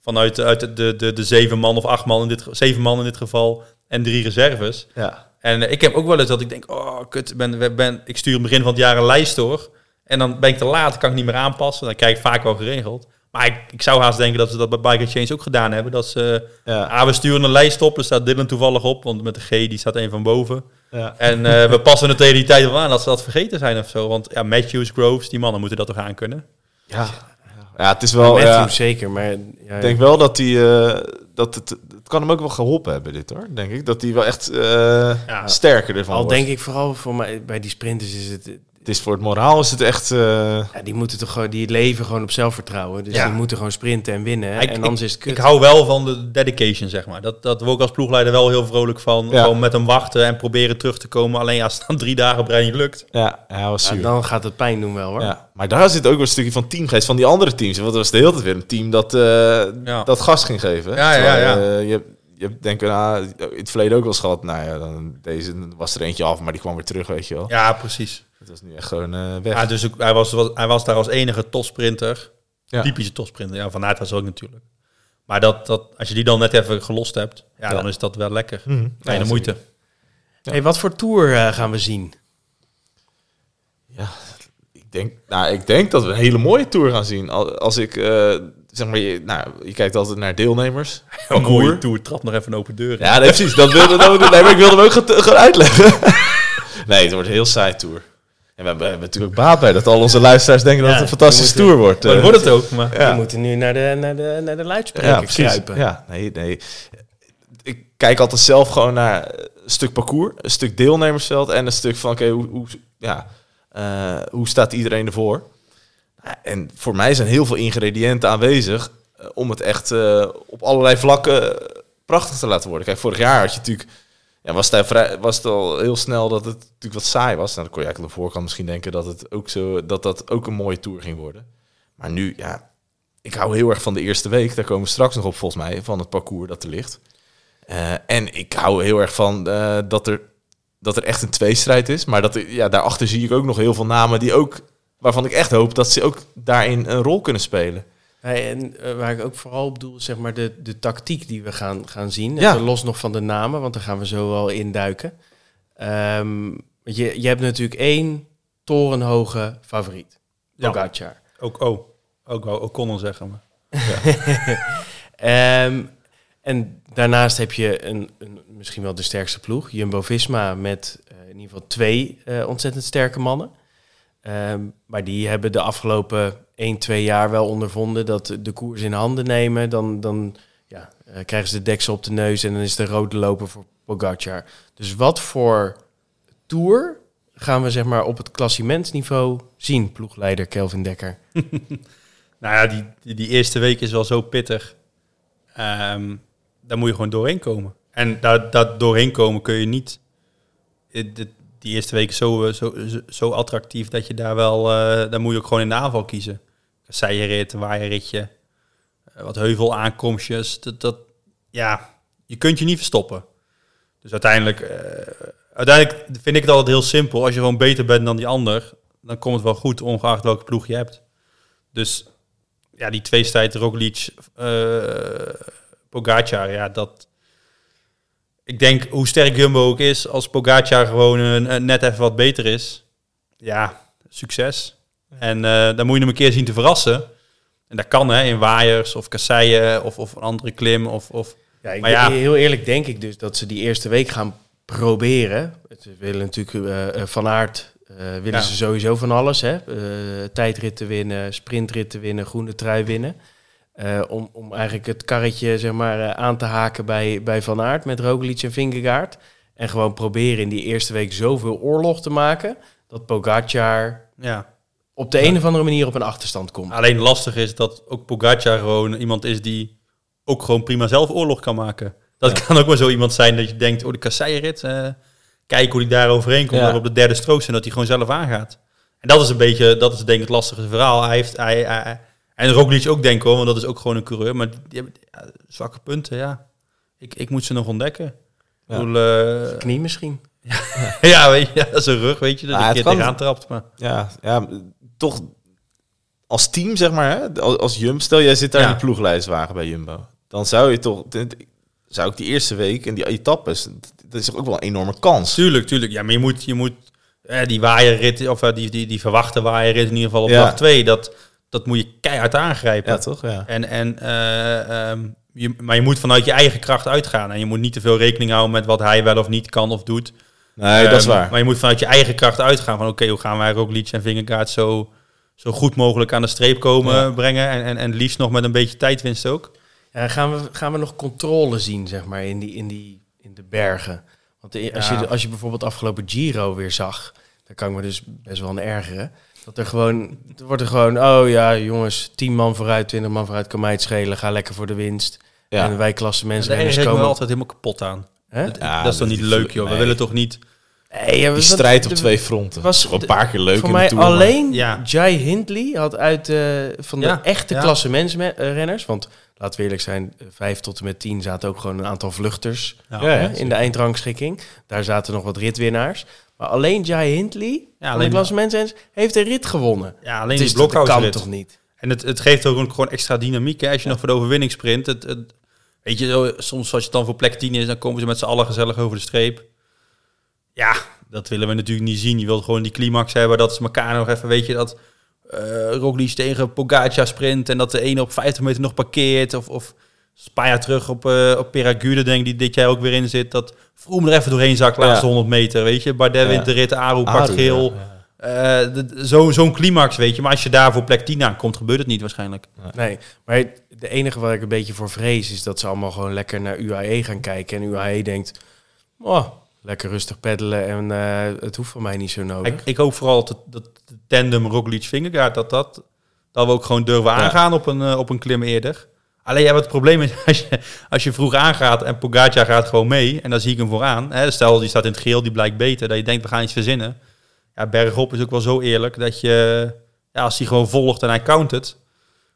[SPEAKER 3] vanuit uit de, de, de, de zeven man of acht man in dit, ge- zeven man in dit geval en drie reserves.
[SPEAKER 2] is. Ja.
[SPEAKER 3] En eh, ik heb ook wel eens dat ik denk, oh kut, ben, ben, ben, ik stuur begin van het jaar een lijst door. En dan ben ik te laat, kan ik niet meer aanpassen. Dan krijg ik vaak wel geregeld. Maar ik, ik zou haast denken dat ze dat bij Bike Exchange ook gedaan hebben. Dat ze,
[SPEAKER 2] Ja.
[SPEAKER 3] ah, we sturen een lijst op, er staat Dylan toevallig op. Want met de G, die staat één van boven.
[SPEAKER 2] Ja.
[SPEAKER 3] En eh, we passen het tegen die tijd wel aan dat ze dat vergeten zijn of zo. Want ja, Matthews, Groves, die mannen moeten dat toch aan kunnen.
[SPEAKER 2] Ja. ja, het is wel...
[SPEAKER 1] Matthews
[SPEAKER 2] Ja,
[SPEAKER 1] zeker, maar... Ja,
[SPEAKER 2] ik denk wel dat die... eh, dat het, het kan hem ook wel geholpen hebben, dit hoor. Denk ik. Dat hij wel echt eh,
[SPEAKER 3] Ja.
[SPEAKER 2] sterker ervan
[SPEAKER 1] al
[SPEAKER 2] wordt.
[SPEAKER 1] denk ik vooral voor mij, bij die sprinters is het...
[SPEAKER 2] Het is voor het moraal is het echt. eh,
[SPEAKER 1] Ja, die moeten toch gewoon, die leven gewoon op zelfvertrouwen. Dus
[SPEAKER 3] Ja.
[SPEAKER 1] die moeten gewoon sprinten en winnen. hè.
[SPEAKER 3] Ik-
[SPEAKER 1] en anders is het kut.
[SPEAKER 3] Ik hou wel van de dedication, zeg maar. Dat, dat word ik als ploegleider wel heel vrolijk van.
[SPEAKER 2] Ja.
[SPEAKER 3] Gewoon met hem wachten en proberen terug te komen. Alleen als het dan drie dagen brein niet lukt.
[SPEAKER 2] ja, hij was
[SPEAKER 1] Ja,
[SPEAKER 2] zuur. Ja,
[SPEAKER 1] dan gaat het pijn doen wel hoor.
[SPEAKER 2] Maar daar zit ook wel een stukje van teamgeest van die andere teams. Want er was de hele tijd weer een team dat, eh,
[SPEAKER 3] Ja.
[SPEAKER 2] dat gas ging geven.
[SPEAKER 3] Ja, ja,
[SPEAKER 2] Terwijl,
[SPEAKER 3] ja.
[SPEAKER 2] eh, je, je hebt denk ik ah, in het verleden ook wel eens gehad. Nou ja, dan, deze was er eentje af, maar die kwam weer terug, weet je wel.
[SPEAKER 3] Ja, precies.
[SPEAKER 2] Het was nu echt gewoon eh, weg.
[SPEAKER 3] Ja, dus ook- hij, was, was- hij was daar als enige topsprinter.
[SPEAKER 2] Ja.
[SPEAKER 3] Typische topsprinter. Ja, Van Aert was ook natuurlijk. Maar dat, dat, als je die dan net even gelost hebt, ja,
[SPEAKER 2] Ja.
[SPEAKER 3] dan is dat wel lekker.
[SPEAKER 2] Mhm. Ja,
[SPEAKER 3] Kleine
[SPEAKER 2] zeker.
[SPEAKER 3] moeite.
[SPEAKER 1] Hey, wat voor tour eh, gaan we zien?
[SPEAKER 2] Ja, ik denk, nou, ik denk dat we een hele mooie tour gaan zien. Al- Als ik, eh, zeg maar, je, nou, je kijkt altijd naar deelnemers.
[SPEAKER 3] Een
[SPEAKER 2] Koer.
[SPEAKER 3] mooie toer, trap nog even een open deur. in.
[SPEAKER 2] Ja, nee, precies. Dat wilde, dat wilde- nee, maar ik wilde hem ook get- gewoon uitleggen. nee, het wordt een heel saai tour. En we hebben, we hebben natuurlijk baat bij dat al onze luisteraars denken dat
[SPEAKER 1] Ja,
[SPEAKER 2] het een fantastische
[SPEAKER 1] we moeten-
[SPEAKER 2] tour wordt.
[SPEAKER 3] Maar
[SPEAKER 2] eh.
[SPEAKER 3] dat wordt het ook, maar...
[SPEAKER 1] We moeten nu naar de, naar de, naar de luidspreker
[SPEAKER 2] ja, precies.
[SPEAKER 1] kruipen.
[SPEAKER 2] Ja, nee, nee. Ik kijk altijd zelf gewoon naar een stuk parcours, een stuk deelnemersveld en een stuk van, oké, hoe, hoe, ja, eh, hoe staat iedereen ervoor? En voor mij zijn heel veel ingrediënten aanwezig eh, om het echt eh, op allerlei vlakken eh, prachtig te laten worden. Kijk, vorig jaar had je natuurlijk, ja, was, het daar vrij, was het al heel snel dat het natuurlijk wat saai was. Nou, dan kon je eigenlijk aan de voorkant misschien denken dat het ook zo, dat dat ook een mooie tour ging worden. Maar nu, ja, ik hou heel erg van de eerste week. Daar komen we straks nog op, volgens mij, van het parcours dat er ligt. Eh, en ik hou heel erg van eh, dat, er, dat er echt een tweestrijd is. Maar dat er, ja, daarachter zie ik ook nog heel veel namen die ook, waarvan ik echt hoop dat ze ook daarin een rol kunnen spelen.
[SPEAKER 1] Hey, en eh, waar ik ook vooral op doel, is, zeg maar de, de tactiek die we gaan, gaan zien.
[SPEAKER 2] Ja.
[SPEAKER 1] Even los nog van de namen, want daar gaan we zo wel induiken. Ehm, want je, je hebt natuurlijk één torenhoge favoriet.
[SPEAKER 3] Ja.
[SPEAKER 1] Pogacar.
[SPEAKER 3] Ook, oh, ook wou O'Connell zeggen. Maar.
[SPEAKER 1] Ehm, en daarnaast heb je een, een, misschien wel de sterkste ploeg, Jumbo-Visma, met eh, in ieder geval twee eh, ontzettend sterke mannen. Ehm, maar die hebben de afgelopen 1, 2 jaar wel ondervonden dat de koers in handen nemen. Dan, dan ja, eh, krijgen ze de deksel op de neus en dan is de rode loper voor Pogacar. Dus wat voor tour gaan we zeg maar, op het klassementsniveau zien, ploegleider Kelvin Dekker?
[SPEAKER 3] Nou ja, die, die, die eerste week is wel zo pittig. Ehm, daar moet je gewoon doorheen komen. En dat, dat doorheen komen kun je niet... eh, dit- Die eerste week is zo, eh, zo, zo, zo attractief dat je daar wel... eh, daar moet je ook gewoon in de aanval kiezen. Kasseierrit, waaierritje, eh, wat heuvelaankomstjes. Dat, dat, ja, je kunt je niet verstoppen. Dus uiteindelijk, eh, uiteindelijk vind ik het altijd heel simpel. Als je gewoon beter bent dan die ander, dan komt het wel goed, ongeacht welke ploeg je hebt. Dus ja, die tweestrijd Roglic, eh Pogacar, ja, dat... Ik denk, hoe sterk Jumbo ook is, als Pogacar gewoon een- een net even wat beter is, ja, succes. En eh dan moet je hem een keer zien te verrassen. En dat kan, hè, in waaiers of kasseien of, of een andere klim. Of, of...
[SPEAKER 1] Ja, ik
[SPEAKER 3] Maar ja.
[SPEAKER 1] Heel eerlijk denk ik dus dat ze die eerste week gaan proberen. Ze willen natuurlijk eh, eh, van aard, eh, willen
[SPEAKER 3] Ja.
[SPEAKER 1] ze sowieso van alles. Hè? Eh, tijdritten winnen, sprintritten winnen, groene trui winnen. Eh, om, om eigenlijk het karretje zeg maar, eh, aan te haken bij, bij Van Aert met Roglic en Vingegaard. En gewoon proberen in die eerste week zoveel oorlog te maken... dat Pogacar
[SPEAKER 3] Ja. Ah.
[SPEAKER 1] op de een of andere manier op een achterstand komt.
[SPEAKER 3] Alleen lastig is dat ook Pogacar gewoon iemand is die ook gewoon prima zelf oorlog kan maken. Dat kan ook wel zo iemand zijn dat je denkt, oh de kasseirit, eh kijk hoe die daar overheen
[SPEAKER 2] Ja.
[SPEAKER 3] komt. Dat we op de derde strook zijn, dat hij gewoon zelf aangaat. En dat is een beetje, dat is denk ik het lastige verhaal. Hij heeft, hij, hij- en Roglic ook denk ik hoor, want dat is ook gewoon een coureur. Maar die hebben ja, zwakke punten, ja. Ik, ik moet ze nog ontdekken. Ik
[SPEAKER 2] Ja.
[SPEAKER 3] bedoel, eh,
[SPEAKER 1] Knie misschien.
[SPEAKER 3] ja, weet je, dat is een rug, weet je, dat
[SPEAKER 2] Ah,
[SPEAKER 3] je een
[SPEAKER 2] het
[SPEAKER 3] keer
[SPEAKER 2] kan.
[SPEAKER 3] tegenaan trapt. Maar
[SPEAKER 2] Ja, ja toch als team, zeg maar, hè? Als, als Jumbo, stel jij zit daar
[SPEAKER 3] Ja.
[SPEAKER 2] in de ploeglijstwagen bij Jumbo. Dan zou je toch, zou ik die eerste week en die etappes, dat is toch ook wel een enorme kans.
[SPEAKER 3] Tuurlijk, tuurlijk. Ja, maar je moet, je moet eh, die waaierrit, of eh, die, die, die verwachte waaierrit in ieder geval op
[SPEAKER 2] Ja.
[SPEAKER 3] dag 2, dat, dat moet je keihard aangrijpen.
[SPEAKER 2] Ja, toch? Ja.
[SPEAKER 3] En, en, eh, ehm, je, maar je moet vanuit je eigen kracht uitgaan. En je moet niet te veel rekening houden met wat hij wel of niet kan of doet.
[SPEAKER 2] Nee, dat is
[SPEAKER 3] Ehm,
[SPEAKER 2] waar.
[SPEAKER 3] Maar je moet vanuit je eigen kracht uitgaan. Van oké, hoe gaan wij Roglic en Vingegaard zo, zo goed mogelijk aan de streep komen
[SPEAKER 2] Ja.
[SPEAKER 3] brengen. En, en, en liefst nog met een beetje tijdwinst ook.
[SPEAKER 1] Ja, Eh, gaan, we, gaan we nog controle zien, zeg maar, in, die, in, die, in de bergen? Want i- als,
[SPEAKER 3] Ja.
[SPEAKER 1] je, als je bijvoorbeeld afgelopen Giro weer zag, daar kan ik me dus best wel aan ergeren. Dat er gewoon, er wordt er gewoon, oh ja, jongens, 10 man vooruit, 20 man vooruit, kan mij het schelen, ga lekker voor de winst.
[SPEAKER 2] Ja.
[SPEAKER 1] En wij klasse mensen
[SPEAKER 3] Daar
[SPEAKER 1] renners
[SPEAKER 3] reed ik me
[SPEAKER 1] komen.
[SPEAKER 3] altijd helemaal kapot aan.
[SPEAKER 1] Hè?
[SPEAKER 3] Dat,
[SPEAKER 2] Ja,
[SPEAKER 3] dat is toch
[SPEAKER 2] dat
[SPEAKER 3] niet
[SPEAKER 2] is-
[SPEAKER 3] leuk, joh. We
[SPEAKER 2] nee.
[SPEAKER 3] willen toch niet...
[SPEAKER 1] Nee, ja,
[SPEAKER 2] Die
[SPEAKER 1] dat-
[SPEAKER 2] strijd op
[SPEAKER 1] de-
[SPEAKER 2] twee fronten.
[SPEAKER 1] was
[SPEAKER 2] Was gewoon een
[SPEAKER 1] de-
[SPEAKER 2] paar keer leuk
[SPEAKER 1] Voor
[SPEAKER 2] in de
[SPEAKER 1] mij
[SPEAKER 2] Tour, maar-
[SPEAKER 1] alleen
[SPEAKER 3] Ja.
[SPEAKER 1] Jai Hindley had uit eh, van de
[SPEAKER 3] Ja,
[SPEAKER 1] echte
[SPEAKER 3] ja.
[SPEAKER 1] klassementsrenners, want laten we eerlijk zijn, eh, vijf tot en met tien zaten ook gewoon een aantal vluchters
[SPEAKER 3] Ja,
[SPEAKER 2] ja,
[SPEAKER 1] hè,
[SPEAKER 2] ja,
[SPEAKER 1] in de eindrangschikking. Daar zaten nog wat ritwinnaars. Maar alleen Jai Hindley,
[SPEAKER 3] Ja,
[SPEAKER 1] van de
[SPEAKER 3] alleen,
[SPEAKER 1] klassementsrenners, heeft een rit gewonnen.
[SPEAKER 3] ja,
[SPEAKER 1] Het
[SPEAKER 3] alleen
[SPEAKER 1] is
[SPEAKER 3] die
[SPEAKER 1] toch- dat kan
[SPEAKER 3] blokhousrit.
[SPEAKER 1] toch niet?
[SPEAKER 3] En het, het geeft ook een- gewoon extra dynamiek. Hè? Als je nog voor de overwinning sprint. Het, het- weet je, zo, soms als je dan voor plek 10 is, dan komen ze met z'n allen gezellig over de streep. Ja, dat willen we natuurlijk niet zien. Je wilt gewoon die climax hebben dat ze elkaar nog even, weet je, dat eh Roglic tegen Pogacar sprint en dat de ene op 50 meter nog parkeert. Of, of een paar jaar terug op, eh op Peragude, denk ik, die dit jaar ook weer in zit. Dat Vroom er even doorheen zakt, laatste
[SPEAKER 2] Ja.
[SPEAKER 3] 100 meter, weet je. Bardet
[SPEAKER 2] Ja.
[SPEAKER 3] wint de rit, Aru pakt
[SPEAKER 2] Aru, ja,
[SPEAKER 3] geel.
[SPEAKER 2] ja.
[SPEAKER 3] Eh, d- zo- Zo'n climax, weet je. Maar als je daar voor plek 10 aankomt, gebeurt het niet waarschijnlijk.
[SPEAKER 1] Nee, maar de enige waar ik een beetje voor vrees is dat ze allemaal gewoon lekker naar UAE gaan kijken. En UAE denkt, oh, lekker rustig peddelen en eh, het hoeft van mij niet zo nodig.
[SPEAKER 3] Ik, ik hoop vooral dat, dat de tandem roglic vingergaard dat, dat, dat we ook gewoon durven
[SPEAKER 2] Ja.
[SPEAKER 3] aangaan op een, eh, op een klim eerder. Alleen ja, wat het probleem is, als je, als je vroeg aangaat en Pogacar gaat gewoon mee... en dan zie ik hem vooraan. Hè, stel, die staat in het geel, die blijkt beter. Dat je denkt, we gaan iets verzinnen. Ja, bergop is ook wel zo eerlijk dat je... Ja, als hij gewoon volgt en hij count het...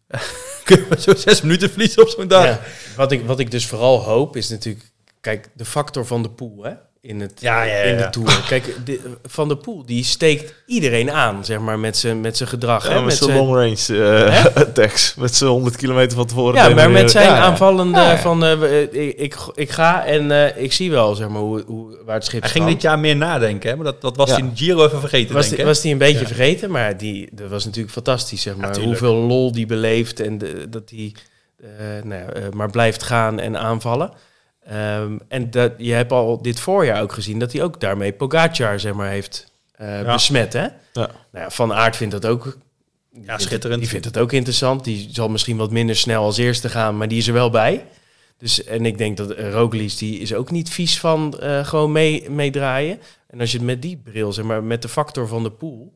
[SPEAKER 3] kunnen we zo zes minuten verliezen op zo'n dag.
[SPEAKER 1] Ja, wat, ik, wat ik dus vooral hoop is natuurlijk, kijk, de factor van de pool hè, in, het,
[SPEAKER 3] Ja, ja, ja,
[SPEAKER 1] in de
[SPEAKER 3] ja.
[SPEAKER 1] Tour. Kijk, de- van de pool die steekt iedereen aan, zeg maar, met zijn met zijn gedrag.
[SPEAKER 2] Ja,
[SPEAKER 1] hè,
[SPEAKER 2] met zijn
[SPEAKER 1] zijn-
[SPEAKER 2] long range eh, attacks. Met zijn 100 kilometer van tevoren.
[SPEAKER 1] ja,
[SPEAKER 2] heen en
[SPEAKER 1] maar
[SPEAKER 2] weer.
[SPEAKER 1] met zijn
[SPEAKER 2] Ja, ja.
[SPEAKER 1] aanvallende
[SPEAKER 2] Ja, ja.
[SPEAKER 1] van, eh, we- eh, ik, ik, ik ga en eh, ik zie wel, zeg maar, hoe, hoe, waar het schip
[SPEAKER 3] Hij ging
[SPEAKER 1] strandt.
[SPEAKER 3] dit jaar meer nadenken, hè? maar dat, dat was
[SPEAKER 2] Ja.
[SPEAKER 3] hij in de Giro even
[SPEAKER 1] Was
[SPEAKER 3] vergeten, denk
[SPEAKER 1] die,
[SPEAKER 3] ik.
[SPEAKER 1] was die een beetje vergeten, maar die, dat was natuurlijk fantastisch, zeg maar.
[SPEAKER 3] tuurlijk.
[SPEAKER 1] Hoeveel lol die beleeft en de- dat die eh, nou ja, eh, maar blijft gaan en aanvallen. Ehm, en dat, je hebt al dit voorjaar ook gezien dat hij ook daarmee Pogacar, zeg maar, heeft eh,
[SPEAKER 3] Ja.
[SPEAKER 1] besmet, hè? Nou ja, Van Aert vindt dat ook... die vindt-
[SPEAKER 3] schitterend.
[SPEAKER 1] Die vindt het ook interessant. Die zal misschien wat minder snel als eerste gaan, maar die is er wel bij. Dus, en ik denk dat eh, Roglic, die is ook niet vies van eh, gewoon mee- meedraaien. en als je het met die bril, zeg maar, met de factor van de pool...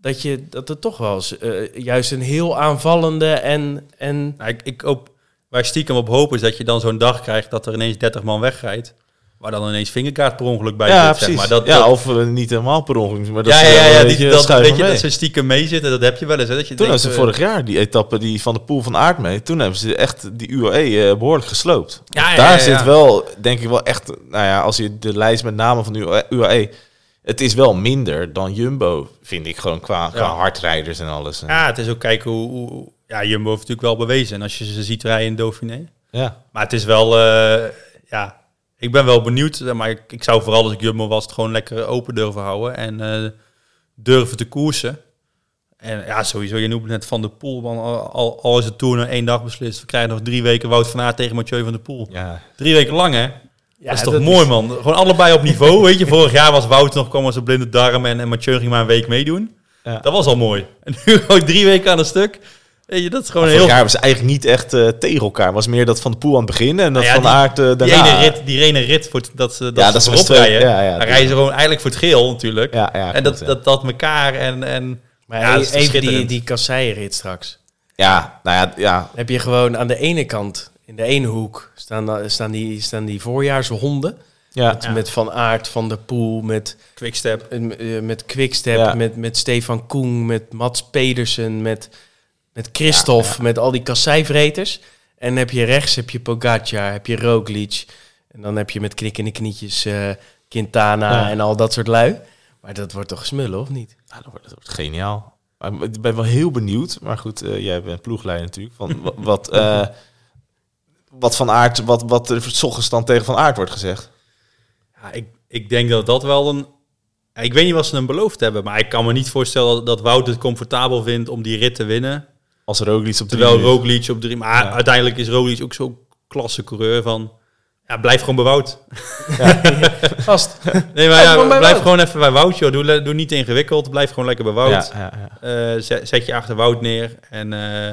[SPEAKER 1] dat, je, dat het toch wel eens eh, juist een heel aanvallende en... en
[SPEAKER 3] Nou, ik, ik hoop, waar ik stiekem op hoop is dat je dan zo'n dag krijgt dat er ineens 30 man wegrijdt. Waar dan ineens vingerkaart per ongeluk bij
[SPEAKER 2] Ja,
[SPEAKER 3] zit,
[SPEAKER 2] precies.
[SPEAKER 3] zeg maar. Dat,
[SPEAKER 2] ja,
[SPEAKER 3] dat-
[SPEAKER 2] of eh, niet helemaal per ongeluk. Maar dat
[SPEAKER 3] ja,
[SPEAKER 2] ze
[SPEAKER 3] ja,
[SPEAKER 2] wel
[SPEAKER 3] ja,
[SPEAKER 2] een
[SPEAKER 3] ja,
[SPEAKER 2] beetje
[SPEAKER 3] die, dat,
[SPEAKER 2] schuiven
[SPEAKER 3] weet je,
[SPEAKER 2] mee.
[SPEAKER 3] dat ze stiekem meezitten, dat heb je wel eens. Hè? Dat je
[SPEAKER 2] Toen
[SPEAKER 3] denkt,
[SPEAKER 2] hebben ze
[SPEAKER 3] eh,
[SPEAKER 2] vorig jaar die etappe die van de pool van Aard mee. Toen hebben ze echt die UAE eh, behoorlijk gesloopt.
[SPEAKER 3] Ja,
[SPEAKER 2] Want
[SPEAKER 3] ja,
[SPEAKER 2] daar
[SPEAKER 3] ja, ja.
[SPEAKER 2] zit wel, denk ik wel echt... Nou ja, als je de lijst met namen van de E- UAE... Het is wel minder dan Jumbo, vind ik gewoon, qua, qua
[SPEAKER 3] Ja.
[SPEAKER 2] hardrijders en alles. En-
[SPEAKER 3] Ja, het is ook kijken hoe, hoe... Ja, Jumbo heeft natuurlijk wel bewezen. En als je ze ziet rijden in Dauphiné.
[SPEAKER 2] ja.
[SPEAKER 3] Maar het is wel... eh, ja, ik ben wel benieuwd. eh, Maar ik, ik zou vooral als ik Jumbo was het gewoon lekker open durven houden. En eh, durven te koersen. En ja, sowieso, je noemt net Van de Poel. Want al- al, al is de Tour na één dag beslist. We krijgen nog drie weken Wout van Aert tegen Mathieu van de Poel.
[SPEAKER 2] ja.
[SPEAKER 3] Drie weken lang, hè?
[SPEAKER 1] ja,
[SPEAKER 3] dat is toch mooi, man? Gewoon allebei op niveau, weet je. Vorig jaar was Wout nog, kwam als een blinde darm en, en Mathieu ging maar een week meedoen.
[SPEAKER 2] Ja.
[SPEAKER 3] Dat was al mooi. En nu gewoon drie weken aan een stuk. Weet je, dat is gewoon
[SPEAKER 2] Vorig
[SPEAKER 3] heel...
[SPEAKER 2] jaar was eigenlijk niet echt eh, tegen elkaar. was meer dat van de poel aan het begin en dat
[SPEAKER 3] Nou ja,
[SPEAKER 2] van
[SPEAKER 3] die-
[SPEAKER 2] Aard eh,
[SPEAKER 3] Die
[SPEAKER 2] daarna.
[SPEAKER 3] ene rit, die ene rit voor het- dat ze, dat
[SPEAKER 2] Ja,
[SPEAKER 3] ze
[SPEAKER 2] dat is
[SPEAKER 3] voorop
[SPEAKER 2] een stuk.
[SPEAKER 3] rijden.
[SPEAKER 2] Ja, ja,
[SPEAKER 3] dan
[SPEAKER 2] tuurlijk.
[SPEAKER 3] rijden ze gewoon eigenlijk voor het geel natuurlijk.
[SPEAKER 2] Ja, ja,
[SPEAKER 3] en dat,
[SPEAKER 2] klopt, ja.
[SPEAKER 3] dat, dat mekaar en... en
[SPEAKER 1] Maar
[SPEAKER 3] ja, dat is toch
[SPEAKER 1] even die,
[SPEAKER 3] schitterend.
[SPEAKER 1] die kasseienrit straks.
[SPEAKER 2] Ja, nou ja, ja.
[SPEAKER 1] Dan heb je gewoon aan de ene kant, in de ene hoek, staan, eh, staan, die, staan die voorjaarshonden.
[SPEAKER 2] ja.
[SPEAKER 1] Met, met Van Aert, Van der Poel, met,
[SPEAKER 3] Quickstep.
[SPEAKER 1] eh, eh, met Quickstep,
[SPEAKER 2] Ja.
[SPEAKER 1] met, met Stefan Koen, met Mats Pedersen, met, met Christophe, met al die kasseivreters. En dan heb je rechts heb je Pogacar, heb je Roglic. En dan heb je met knikkende knietjes eh, Quintana
[SPEAKER 2] Ja.
[SPEAKER 1] en al dat soort lui. Maar dat wordt toch smullen, of niet?
[SPEAKER 2] Ja, ah, dat, wordt, dat wordt geniaal. Maar Ik ben wel heel benieuwd. Maar goed, eh, jij bent ploegleider natuurlijk. Van wa- wat, eh, wat van aard, wat, wat er s ochtends dan tegen van aard wordt gezegd.
[SPEAKER 3] Ja, ik, ik denk dat dat wel een... ja, Ik weet niet wat ze hem beloofd hebben, maar ik kan me niet voorstellen dat, dat Wout het comfortabel vindt om die rit te winnen.
[SPEAKER 2] Als er ook iets op
[SPEAKER 3] Terwijl
[SPEAKER 2] rook
[SPEAKER 3] Roglic op drie... Maar
[SPEAKER 2] Ja.
[SPEAKER 3] uiteindelijk is Roglic ook zo'n klasse coureur van... Ja, blijf gewoon bij Wout.
[SPEAKER 1] Vast.
[SPEAKER 3] Nee, maar
[SPEAKER 1] Blijf gewoon
[SPEAKER 3] ja,
[SPEAKER 1] bij
[SPEAKER 3] blijf
[SPEAKER 1] Wout.
[SPEAKER 3] gewoon even bij Wout, joh. Doe, le- doe niet ingewikkeld. Blijf gewoon lekker bij Wout.
[SPEAKER 2] Ja, ja, ja.
[SPEAKER 3] Eh, zet, zet je achter Wout neer. En eh,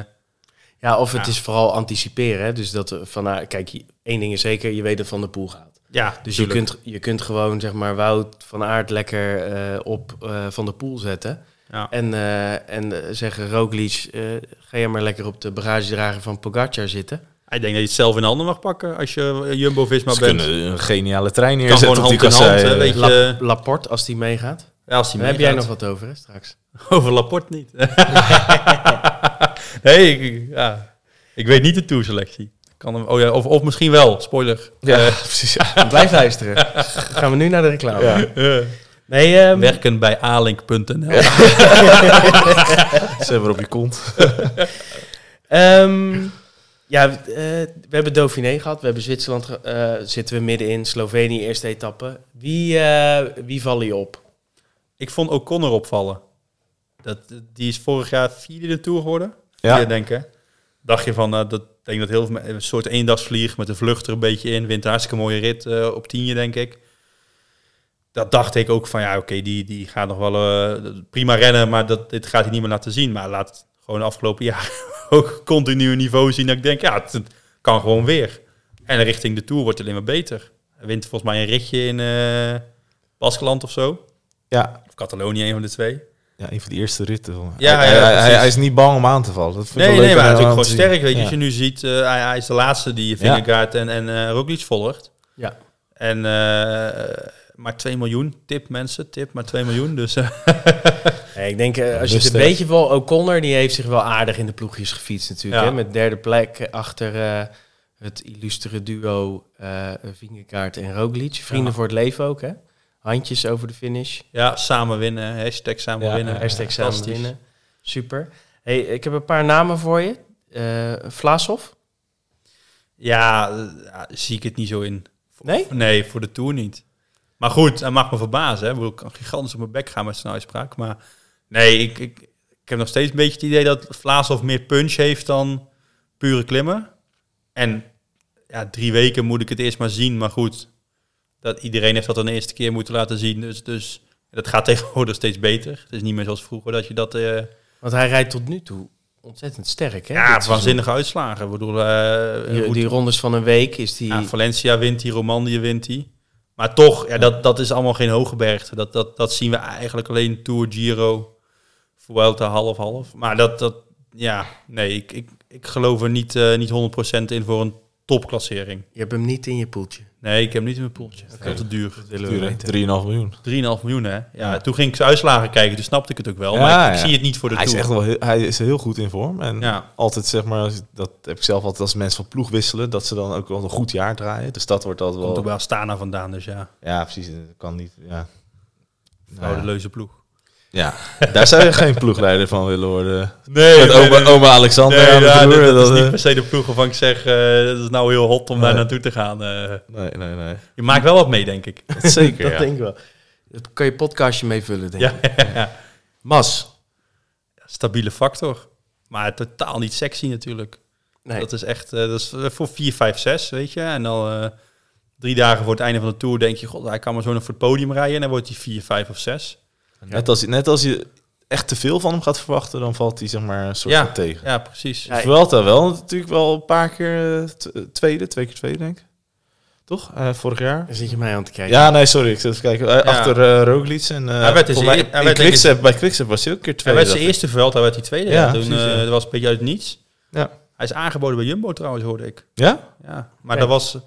[SPEAKER 1] Ja, of het
[SPEAKER 3] Ja.
[SPEAKER 1] is vooral anticiperen. Hè? Dus dat eh, van, nou, kijk, je- één ding is zeker, je weet dat Van der Poel gaat.
[SPEAKER 3] ja,
[SPEAKER 1] Dus
[SPEAKER 3] tuurlijk.
[SPEAKER 1] je kunt, je kunt gewoon, zeg maar, Wout van Aert lekker eh, op eh, Van der Poel zetten.
[SPEAKER 3] Ja.
[SPEAKER 1] En, eh, en eh, zeggen, Roglic, eh, ga jij maar lekker op de bagagedrager van Pogacar zitten.
[SPEAKER 3] Ik denk dat je het zelf in de handen mag pakken als je eh, Jumbo-Visma
[SPEAKER 2] Ze
[SPEAKER 3] bent.
[SPEAKER 2] kunnen een geniale trein
[SPEAKER 3] kan
[SPEAKER 2] neerzetten
[SPEAKER 3] gewoon
[SPEAKER 2] op die
[SPEAKER 3] hand in hand,
[SPEAKER 2] kassei. eh.
[SPEAKER 3] hè, weet
[SPEAKER 1] La-
[SPEAKER 3] je.
[SPEAKER 1] Laporte, als die meegaat.
[SPEAKER 3] Ja, als Dus, eh,
[SPEAKER 1] Daar
[SPEAKER 3] die
[SPEAKER 1] heb jij nog
[SPEAKER 3] meegaat.
[SPEAKER 1] wat over, hè, straks.
[SPEAKER 3] Over Laporte niet. nee, ik- ja. Ik weet niet de toerselectie. Kan hem, oh ja, of, of misschien wel, spoiler. Eh,
[SPEAKER 2] Ja, precies. Ja.
[SPEAKER 1] Eh, Blijf luisteren. Dan gaan we nu naar de reclame.
[SPEAKER 2] Ja.
[SPEAKER 1] Nee, ehm,
[SPEAKER 3] eh, Werken bij alink.nl.
[SPEAKER 2] Ze hebben er op je kont.
[SPEAKER 1] Ehm, ja, eh, we hebben Dauphiné gehad, we hebben Zwitserland, ge- eh, zitten we middenin, Slovenië eerste etappe. Wie, eh, wie vallen je op?
[SPEAKER 3] Ik vond O'Connor opvallen. Dat, die is vorig jaar vierde de Tour geworden.
[SPEAKER 2] Ja.
[SPEAKER 3] Ja. denken. Dacht je van, nou, dat ik denk dat heel veel me- een soort eendagsvlieg met de vlucht er een beetje in. Wint een hartstikke mooie rit eh, op tienje, denk ik. Dat dacht ik ook van, ja, oké, die, die gaat nog wel eh, prima rennen, maar dat, dit gaat hij niet meer laten zien. Maar laat het gewoon de afgelopen jaar ook continu een niveau zien dat ik denk, ja, het, het kan gewoon weer. En richting de Tour wordt het alleen maar beter. Hij wint volgens mij een ritje in eh Baskeland of zo.
[SPEAKER 2] Ja.
[SPEAKER 3] Of Catalonië, een van de twee.
[SPEAKER 2] ja, een van de eerste ritten. van-
[SPEAKER 3] Ja,
[SPEAKER 2] hij,
[SPEAKER 3] ja,
[SPEAKER 2] hij, hij,
[SPEAKER 3] precies.
[SPEAKER 2] hij is niet bang om aan te vallen. Dat vind ik
[SPEAKER 3] Nee,
[SPEAKER 2] wel
[SPEAKER 3] nee,
[SPEAKER 2] leuk
[SPEAKER 3] maar hij
[SPEAKER 2] om
[SPEAKER 3] is ook gewoon
[SPEAKER 2] aan te zien.
[SPEAKER 3] sterk. Weet je,
[SPEAKER 2] Ja.
[SPEAKER 3] als je nu ziet, eh, hij, hij is de laatste die
[SPEAKER 2] Ja.
[SPEAKER 3] Vingegaard en, en eh Roglic volgt.
[SPEAKER 1] Ja.
[SPEAKER 3] En eh, maar 2 miljoen. Tip mensen, tip maar 2 miljoen. Dus eh,
[SPEAKER 1] Nee, ik denk, eh, als je het
[SPEAKER 2] Rustig.
[SPEAKER 1] een beetje wel, O'Connor die heeft zich wel aardig in de ploegjes gefietst natuurlijk.
[SPEAKER 3] Ja.
[SPEAKER 1] Hè? Met derde plek eh, achter eh, het illustere duo eh Vingegaard en Roglic. Vrienden
[SPEAKER 3] Ja.
[SPEAKER 1] voor het leven ook, hè? Handjes over de finish.
[SPEAKER 3] ja, samen winnen. Hashtag samen
[SPEAKER 2] Ja,
[SPEAKER 3] winnen.
[SPEAKER 1] Hashtag samen
[SPEAKER 3] Fantastisch.
[SPEAKER 1] winnen. Super. Hey, ik heb een paar namen voor je. Eh Vlaashoff?
[SPEAKER 3] Ja, eh, ja, zie ik het niet zo in. Voor-
[SPEAKER 1] Nee?
[SPEAKER 3] Nee, voor de Tour niet. Maar goed, hij mag me verbazen. Hè. Ik bedoel, Ik kan gigantisch op mijn bek gaan met zijn uitspraak. Maar nee, ik, ik, ik heb nog steeds een beetje het idee dat Vlaashoff meer punch heeft dan pure klimmen. En ja, drie weken moet ik het eerst maar zien. Maar goed, dat, iedereen heeft dat dan de eerste keer moeten laten zien. Dus, dus dat gaat tegenwoordig steeds beter. Het is niet meer zoals vroeger dat je dat... eh,
[SPEAKER 1] Want hij rijdt tot nu toe ontzettend sterk, hè?
[SPEAKER 3] ja,
[SPEAKER 1] dit seizoen.
[SPEAKER 3] waanzinnige uitslagen. Ik bedoel, eh,
[SPEAKER 1] Die,
[SPEAKER 3] hoe-
[SPEAKER 1] die rondes van een week is die...
[SPEAKER 3] Ja, Valencia wint die, Romandie wint die. Maar toch, ja, dat, dat is allemaal geen hoge bergte. Dat, dat, dat zien we eigenlijk alleen Tour, Giro, Vuelta half-half. Maar dat, dat, ja, nee, ik, ik, ik geloof er niet, eh niet 100% in voor een topklassering.
[SPEAKER 1] Je hebt hem niet in je poeltje.
[SPEAKER 3] Nee, ik heb hem niet in mijn poeltje. Dat is te duur. 3,5
[SPEAKER 1] willen
[SPEAKER 2] Duur, hè? 3,5 miljoen.
[SPEAKER 3] miljoen, hè? Ja,
[SPEAKER 2] Ja.
[SPEAKER 3] toen ging ik zijn uitslagen kijken, toen snapte ik het ook wel.
[SPEAKER 2] Ja,
[SPEAKER 3] maar ik, ik
[SPEAKER 2] ja.
[SPEAKER 3] zie het niet voor de
[SPEAKER 2] Hij is,
[SPEAKER 3] Tour.
[SPEAKER 2] echt wel heel, hij is heel goed in vorm. En
[SPEAKER 3] Ja.
[SPEAKER 2] altijd zeg maar, als- dat heb ik zelf altijd als mensen van ploeg wisselen, dat ze dan ook wel een goed jaar draaien. Dus dat wordt altijd
[SPEAKER 3] Komt
[SPEAKER 2] wel.
[SPEAKER 3] ook wel Astana vandaan, dus ja.
[SPEAKER 2] Ja, precies. Dat kan niet. Ja.
[SPEAKER 3] Oude
[SPEAKER 2] Nou ja.
[SPEAKER 3] leuze ploeg.
[SPEAKER 2] Ja, daar zou je geen ploegleider van willen worden.
[SPEAKER 3] Nee,
[SPEAKER 2] Met oma, oma Alexander
[SPEAKER 3] Nee,
[SPEAKER 2] aan de
[SPEAKER 3] ja,
[SPEAKER 2] vloer,
[SPEAKER 3] dat, dat
[SPEAKER 2] dat,
[SPEAKER 3] is niet
[SPEAKER 2] eh,
[SPEAKER 3] per se de ploeg waarvan ik zeg, eh, dat is nou heel hot om daar
[SPEAKER 2] Nee.
[SPEAKER 3] naartoe te gaan. eh.
[SPEAKER 2] Nee, nee, nee.
[SPEAKER 3] je maakt wel wat mee, denk ik.
[SPEAKER 2] Dat zeker,
[SPEAKER 1] Dat
[SPEAKER 2] ja.
[SPEAKER 1] denk ik wel. Daar kan je podcastje mee vullen, denk ik.
[SPEAKER 3] Ja, ja, ja.
[SPEAKER 1] Mas.
[SPEAKER 3] Stabiele factor. Maar totaal niet sexy natuurlijk.
[SPEAKER 1] Nee.
[SPEAKER 3] Dat is echt, eh, dat is voor 4, 5, 6, weet je. En dan eh, drie dagen voor het einde van de Tour denk je, god, hij kan maar zo nog voor het podium rijden. En dan wordt hij 4, 5 of 6.
[SPEAKER 2] Net, als, je- net als je echt te veel van hem gaat verwachten, dan valt hij zeg maar een soort
[SPEAKER 3] Ja.
[SPEAKER 2] van tegen.
[SPEAKER 3] Ja, precies.
[SPEAKER 1] Ja,
[SPEAKER 2] Vuelta wel natuurlijk wel een paar keer eh, t- tweede, twee keer tweede denk ik. Toch? Eh, vorig jaar?
[SPEAKER 1] Dan zit je mij aan te kijken.
[SPEAKER 2] Ja, nee, sorry. Ik zit even kijken. Eh,
[SPEAKER 3] Ja.
[SPEAKER 2] Achter eh Roglic en... eh,
[SPEAKER 3] Hij werd dus
[SPEAKER 2] volgens mij
[SPEAKER 3] eer- hij
[SPEAKER 2] in
[SPEAKER 3] werd denk ik-
[SPEAKER 2] Quickstep- bij Quickstep was hij ook een keer
[SPEAKER 3] Hij
[SPEAKER 2] tweede.
[SPEAKER 3] werd dus zijn
[SPEAKER 2] dacht ik.
[SPEAKER 3] eerste veld, hij werd die tweede.
[SPEAKER 2] Ja,
[SPEAKER 3] Ja, toen,
[SPEAKER 2] precies, ja.
[SPEAKER 3] eh, dat was een beetje uit het niets.
[SPEAKER 2] Ja.
[SPEAKER 3] Hij is aangeboden bij Jumbo trouwens, hoorde ik.
[SPEAKER 2] Ja?
[SPEAKER 3] Ja, maar
[SPEAKER 1] Kijk.
[SPEAKER 3] dat was...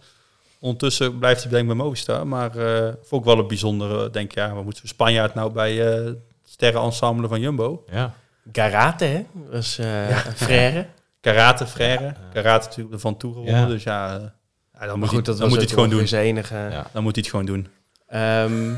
[SPEAKER 3] Ondertussen blijft hij denk ik bij Movistar. Maar eh vond ik wel een bijzondere, eh, denk ja, wat moeten we Spanjaard nou bij eh, het sterrenensemble van Jumbo?
[SPEAKER 2] Ja.
[SPEAKER 1] Garate, hè? Was eh een frère.
[SPEAKER 3] Karate frère. Karate natuurlijk van toe gewonnen.
[SPEAKER 2] Ja.
[SPEAKER 3] Dus ja, eh, ja,
[SPEAKER 1] Maar
[SPEAKER 3] dan moet,
[SPEAKER 1] goed, dat
[SPEAKER 3] hij, dan
[SPEAKER 1] was
[SPEAKER 3] moet hij het gewoon doen.
[SPEAKER 1] zijn enige.
[SPEAKER 3] Dan moet hij het gewoon doen.
[SPEAKER 1] Ehm,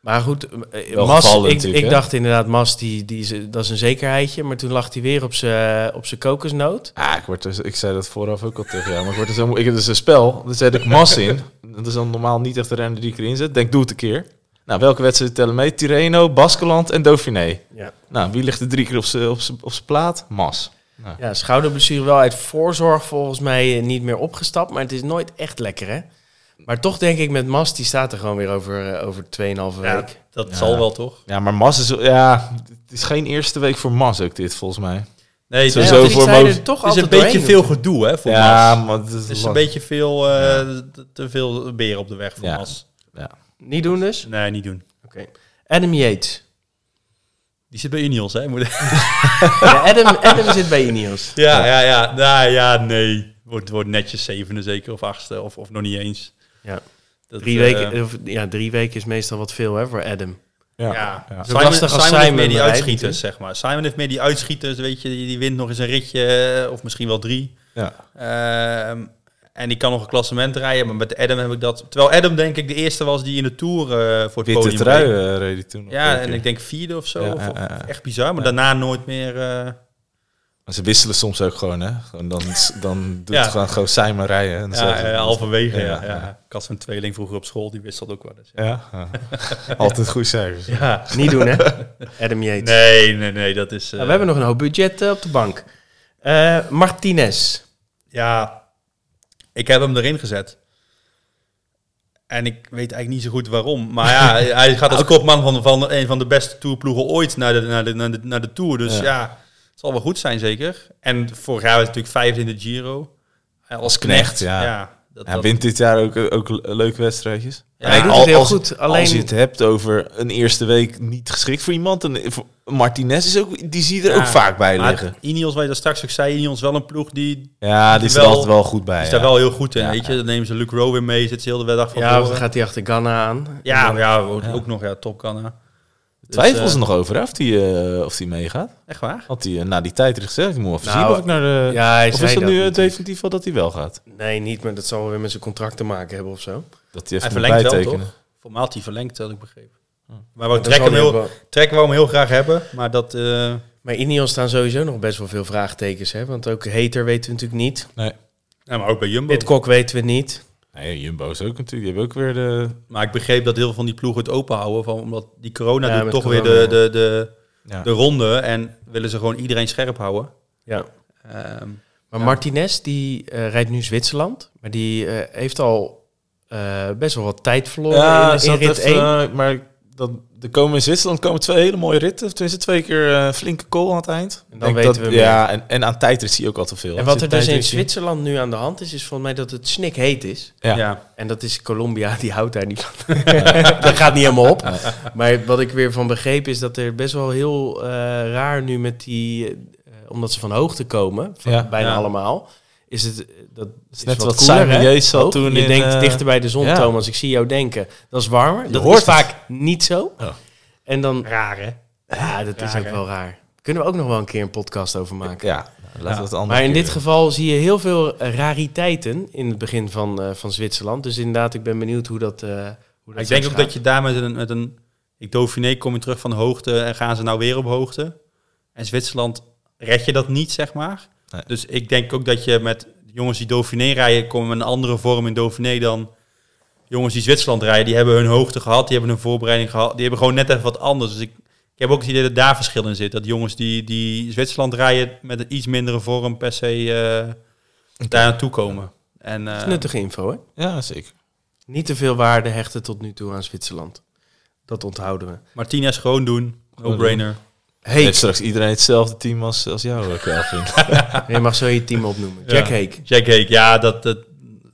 [SPEAKER 1] maar goed, eh,
[SPEAKER 2] Wel
[SPEAKER 1] Mas,
[SPEAKER 2] gevallen
[SPEAKER 1] ik,
[SPEAKER 2] natuurlijk,
[SPEAKER 1] ik
[SPEAKER 2] hè?
[SPEAKER 1] dacht inderdaad, Mas, die, die, is- dat is een zekerheidje. Maar toen lag hij weer op zijn op zijn kokosnoot.
[SPEAKER 2] Ah, ik, word dus, ik zei dat vooraf ook al tegen jou, maar ik, word dus helemaal, ik heb dus een spel, daar zet ik mas in. Dat is dan normaal niet echt de renner die ik erin zet. Denk, doe het een keer. Nou, welke wedstrijd tellen mee? Tireno, Baskeland en Dauphiné.
[SPEAKER 1] Ja.
[SPEAKER 2] Nou, wie ligt er drie keer op zijn op z'n- op z'n plaat? Mas.
[SPEAKER 1] ja, schouderblessure wel uit voorzorg volgens mij eh, niet meer opgestapt. Maar het is nooit echt lekker, hè? Maar toch denk ik met Mas, die staat er gewoon weer over, eh, over 2,5
[SPEAKER 3] Ja,
[SPEAKER 1] week.
[SPEAKER 3] dat
[SPEAKER 2] Ja.
[SPEAKER 3] zal wel toch?
[SPEAKER 2] Ja, maar Mas is... Ja, het is geen eerste week voor Mas ook dit, volgens mij.
[SPEAKER 3] Nee, het
[SPEAKER 2] Zo-
[SPEAKER 3] is-
[SPEAKER 2] zo
[SPEAKER 1] want die
[SPEAKER 2] voor
[SPEAKER 1] zei
[SPEAKER 2] Mo-
[SPEAKER 1] er toch
[SPEAKER 3] het is een
[SPEAKER 1] altijd
[SPEAKER 3] beetje
[SPEAKER 1] doorheen
[SPEAKER 3] veel gedoe hè, voor
[SPEAKER 2] ja,
[SPEAKER 3] Mas.
[SPEAKER 2] maar het is,
[SPEAKER 3] Het is een
[SPEAKER 2] lang.
[SPEAKER 3] beetje veel, eh, te- te veel beren op de weg voor
[SPEAKER 2] Ja.
[SPEAKER 3] Mas.
[SPEAKER 1] natuurlijk. Niet doen dus?
[SPEAKER 3] Nee, niet doen.
[SPEAKER 1] Oké. Adam Yates.
[SPEAKER 3] Die zit bij Ineos, hè? Moet-
[SPEAKER 1] Ja, Adam, Adam zit bij Ineos.
[SPEAKER 3] Ja, ja, ja. Nou ja, nee. Wordt, wordt netjes zevende zeker of achtste of, of nog niet eens.
[SPEAKER 1] Ja.
[SPEAKER 3] Dat,
[SPEAKER 1] Drie,
[SPEAKER 3] eh,
[SPEAKER 1] weken, of, ja, drie weken is meestal wat veel hè, voor Adam.
[SPEAKER 2] Ja.
[SPEAKER 3] ja.
[SPEAKER 2] Ja.
[SPEAKER 1] Zo lastig als
[SPEAKER 3] heeft
[SPEAKER 1] Simon
[SPEAKER 3] meer die
[SPEAKER 1] bereikt
[SPEAKER 3] uitschieters, zeg maar. Simon heeft meer die uitschieters, weet je. Die, die wint nog eens een ritje eh, of misschien wel drie.
[SPEAKER 2] Ja.
[SPEAKER 3] Ehm, en die kan nog een klassement rijden, maar met Adam heb ik dat... Terwijl Adam denk ik de eerste was die in de Tour eh, voor het
[SPEAKER 2] Witte
[SPEAKER 3] podium
[SPEAKER 2] trui
[SPEAKER 3] reed.
[SPEAKER 2] eh, reed hij toen. nog een
[SPEAKER 3] Ja, en
[SPEAKER 2] keer.
[SPEAKER 3] ik denk vierde of zo.
[SPEAKER 2] Ja,
[SPEAKER 3] of,
[SPEAKER 2] ja,
[SPEAKER 3] of-
[SPEAKER 2] ja, ja.
[SPEAKER 3] Echt bizar, maar
[SPEAKER 2] Ja.
[SPEAKER 3] daarna nooit meer... eh,
[SPEAKER 2] Maar ze wisselen soms ook gewoon, hè? Gewoon dan, dan doet
[SPEAKER 3] Ja.
[SPEAKER 2] het gewoon, gewoon Simon rijden. En dan
[SPEAKER 3] ja,
[SPEAKER 2] zeggen ze-
[SPEAKER 3] eh, halverwege, ja.
[SPEAKER 2] Ja,
[SPEAKER 3] ja, Ik had zo'n tweeling vroeger op school, die wist dat ook wel Dus- eens. Ja.
[SPEAKER 2] Ja, ja. altijd goede cijfers.
[SPEAKER 3] Ja.
[SPEAKER 1] Niet doen, hè? Adam Yates.
[SPEAKER 3] Nee, nee, nee, dat is... eh,
[SPEAKER 1] Nou, we hebben nog een hoop budget eh, op de bank. Eh, Martinez.
[SPEAKER 3] Ja, ik heb hem erin gezet. En ik weet eigenlijk niet zo goed waarom. Maar ja, hij gaat als kopman van, van een van de beste tourploegen ooit naar de, naar de, naar de, naar de Tour. Dus
[SPEAKER 2] Ja.
[SPEAKER 3] ja. het zal wel goed zijn zeker. En vorig jaar was hij natuurlijk vijfde in de Giro. Eh, Als
[SPEAKER 2] knecht, ja.
[SPEAKER 3] dat,
[SPEAKER 2] Hij
[SPEAKER 3] dat-
[SPEAKER 2] wint dit jaar ook, eh, ook leuke wedstrijdjes.
[SPEAKER 3] Ja, hij
[SPEAKER 1] doet
[SPEAKER 2] al-
[SPEAKER 1] het heel
[SPEAKER 2] als,
[SPEAKER 1] goed,
[SPEAKER 2] Als je
[SPEAKER 1] alleen-
[SPEAKER 2] het hebt over een eerste week niet geschikt voor iemand. En voor- Martinez is ook, die zie je er
[SPEAKER 3] ja.
[SPEAKER 2] ook vaak bij
[SPEAKER 3] Maar
[SPEAKER 2] liggen.
[SPEAKER 3] Ineos, waar je dat straks ook zei, Ineos wel een ploeg die
[SPEAKER 2] Ja, die
[SPEAKER 3] die
[SPEAKER 2] staat
[SPEAKER 3] wel-
[SPEAKER 2] altijd wel goed bij.
[SPEAKER 3] is
[SPEAKER 2] ja.
[SPEAKER 3] daar wel heel goed in.
[SPEAKER 2] Ja,
[SPEAKER 3] weet je, dan nemen ze Luke Rowe weer mee, zit ze heel de hele dag van
[SPEAKER 1] Ja,
[SPEAKER 3] tevoren.
[SPEAKER 1] dan gaat hij achter Ghana aan.
[SPEAKER 3] ja, maar ja, ook, ook nog ja, top kan. hè. Dus,
[SPEAKER 2] Twijfel ze
[SPEAKER 3] eh,
[SPEAKER 2] nog over hè, of die, eh, of die meegaat?
[SPEAKER 3] echt waar?
[SPEAKER 2] Had hij eh, na die tijd gezegd, ik moet even
[SPEAKER 1] Nou,
[SPEAKER 2] zien of ik naar de...
[SPEAKER 1] Ja, hij
[SPEAKER 2] of
[SPEAKER 1] zei
[SPEAKER 2] is
[SPEAKER 1] dat
[SPEAKER 2] dat nu eh,
[SPEAKER 1] natuurlijk.
[SPEAKER 2] definitief wel dat hij wel gaat?
[SPEAKER 1] Nee, niet, maar dat zal wel weer met zijn contract te maken hebben of zo.
[SPEAKER 2] Dat hij
[SPEAKER 3] Hij
[SPEAKER 2] even moet
[SPEAKER 3] verlengt wel,
[SPEAKER 2] bijtekenen.
[SPEAKER 3] toch? Formaal had hij verlengd, had ik begrepen. Maar we
[SPEAKER 1] Hm. Dat
[SPEAKER 3] trekken
[SPEAKER 1] zal
[SPEAKER 3] hem
[SPEAKER 1] hij
[SPEAKER 3] heel,
[SPEAKER 1] hebben.
[SPEAKER 3] Trek wou hem heel graag hebben, maar dat... eh,
[SPEAKER 1] Maar Ineos staan sowieso nog best wel veel vraagtekens, hè? Want ook Hater weten we natuurlijk niet.
[SPEAKER 2] Nee.
[SPEAKER 3] ja, maar ook bij Jumbo.
[SPEAKER 1] Pitcock weten we niet.
[SPEAKER 2] nee, Jumbo is ook natuurlijk. Die hebben ook weer de...
[SPEAKER 3] Maar ik begreep dat heel veel van die ploegen het open houden, van, omdat die corona
[SPEAKER 1] Ja,
[SPEAKER 3] doet
[SPEAKER 1] met
[SPEAKER 3] toch
[SPEAKER 1] corona,
[SPEAKER 3] weer de,
[SPEAKER 1] ja.
[SPEAKER 3] de, de,
[SPEAKER 2] Ja.
[SPEAKER 3] de ronde en willen ze gewoon iedereen scherp houden.
[SPEAKER 1] Ja.
[SPEAKER 3] Ehm,
[SPEAKER 1] Maar Martinez, die eh, rijdt nu Zwitserland. Maar die eh, heeft al eh, best wel wat tijd verloren
[SPEAKER 2] Ja,
[SPEAKER 1] in, in
[SPEAKER 2] zat
[SPEAKER 1] rit
[SPEAKER 2] even,
[SPEAKER 1] 1.
[SPEAKER 2] eh, maar dan, er komen in Zwitserland komen twee hele mooie ritten. Of Tenminste, twee keer eh, flinke kool aan het eind.
[SPEAKER 1] En dan
[SPEAKER 2] Denk
[SPEAKER 1] weten
[SPEAKER 2] dat,
[SPEAKER 1] we
[SPEAKER 2] Ja, en, en aan tijdrit zie je ook al te veel.
[SPEAKER 1] en wat er dus in
[SPEAKER 2] Zwitserland
[SPEAKER 1] Zwitserland nu aan de hand is, is volgens mij dat het snikheet is.
[SPEAKER 2] Ja.
[SPEAKER 3] ja.
[SPEAKER 1] En dat is Colombia, die houdt daar niet van. dat gaat niet helemaal op. Maar wat ik weer van begreep is dat er best wel heel eh, raar nu met die... eh, omdat ze van hoogte komen, van
[SPEAKER 2] Ja.
[SPEAKER 1] bijna
[SPEAKER 3] Ja.
[SPEAKER 1] allemaal... Is het eh, dat is
[SPEAKER 2] net
[SPEAKER 1] wat
[SPEAKER 2] wat
[SPEAKER 1] cooler,
[SPEAKER 2] Simon
[SPEAKER 1] hè?
[SPEAKER 2] Yates had
[SPEAKER 1] Hoog.
[SPEAKER 2] toen
[SPEAKER 1] Je
[SPEAKER 2] in,
[SPEAKER 1] denkt
[SPEAKER 2] eh,
[SPEAKER 1] dichter bij de zon,
[SPEAKER 2] ja.
[SPEAKER 1] Thomas. Ik zie jou denken. Dat is warmer. dat
[SPEAKER 2] hoort
[SPEAKER 1] is
[SPEAKER 2] het.
[SPEAKER 1] vaak niet zo.
[SPEAKER 2] Ja.
[SPEAKER 1] En dan
[SPEAKER 3] Raar, hè?
[SPEAKER 1] Ja, dat is
[SPEAKER 3] Raar,
[SPEAKER 1] ook
[SPEAKER 3] hè?
[SPEAKER 1] wel raar. Kunnen we ook nog wel een keer een podcast over maken.
[SPEAKER 2] Ja, nou, laten we het anders.
[SPEAKER 1] maar in dit geval zie je heel veel eh, rariteiten in het begin van, eh, van Zwitserland. Dus inderdaad, ik ben benieuwd hoe dat. eh, hoe dat
[SPEAKER 3] Ik denk
[SPEAKER 1] straks
[SPEAKER 3] ook
[SPEAKER 1] gaat.
[SPEAKER 3] dat je daar met een, met een... Ik Dauphiné kom je terug van hoogte en gaan ze nou weer op hoogte. En Zwitserland red je dat niet, zeg maar.
[SPEAKER 2] Nee.
[SPEAKER 3] Dus ik denk ook dat je met jongens die Dauphiné rijden... komen met een andere vorm in Dauphiné dan jongens die Zwitserland rijden. Die hebben hun hoogte gehad, die hebben hun voorbereiding gehad. Die hebben gewoon net even wat anders. Dus ik, ik heb ook het idee dat daar verschil in zit. Dat jongens die, die Zwitserland rijden met een iets mindere vorm per se eh, daar naartoe komen. En,
[SPEAKER 1] Dat
[SPEAKER 3] eh,
[SPEAKER 1] is nuttige info, hè?
[SPEAKER 2] Ja, zeker.
[SPEAKER 1] Niet te veel waarde hechten tot nu toe aan Zwitserland. Dat onthouden we.
[SPEAKER 3] Martinez gewoon doen, no-brainer.
[SPEAKER 1] Heek.
[SPEAKER 2] Heeft straks iedereen hetzelfde team als, als jou, eh, Kelvin?
[SPEAKER 1] Je mag zo je team opnoemen.
[SPEAKER 3] Ja.
[SPEAKER 1] Jack Heek.
[SPEAKER 3] Jack Hake, ja, dat, dat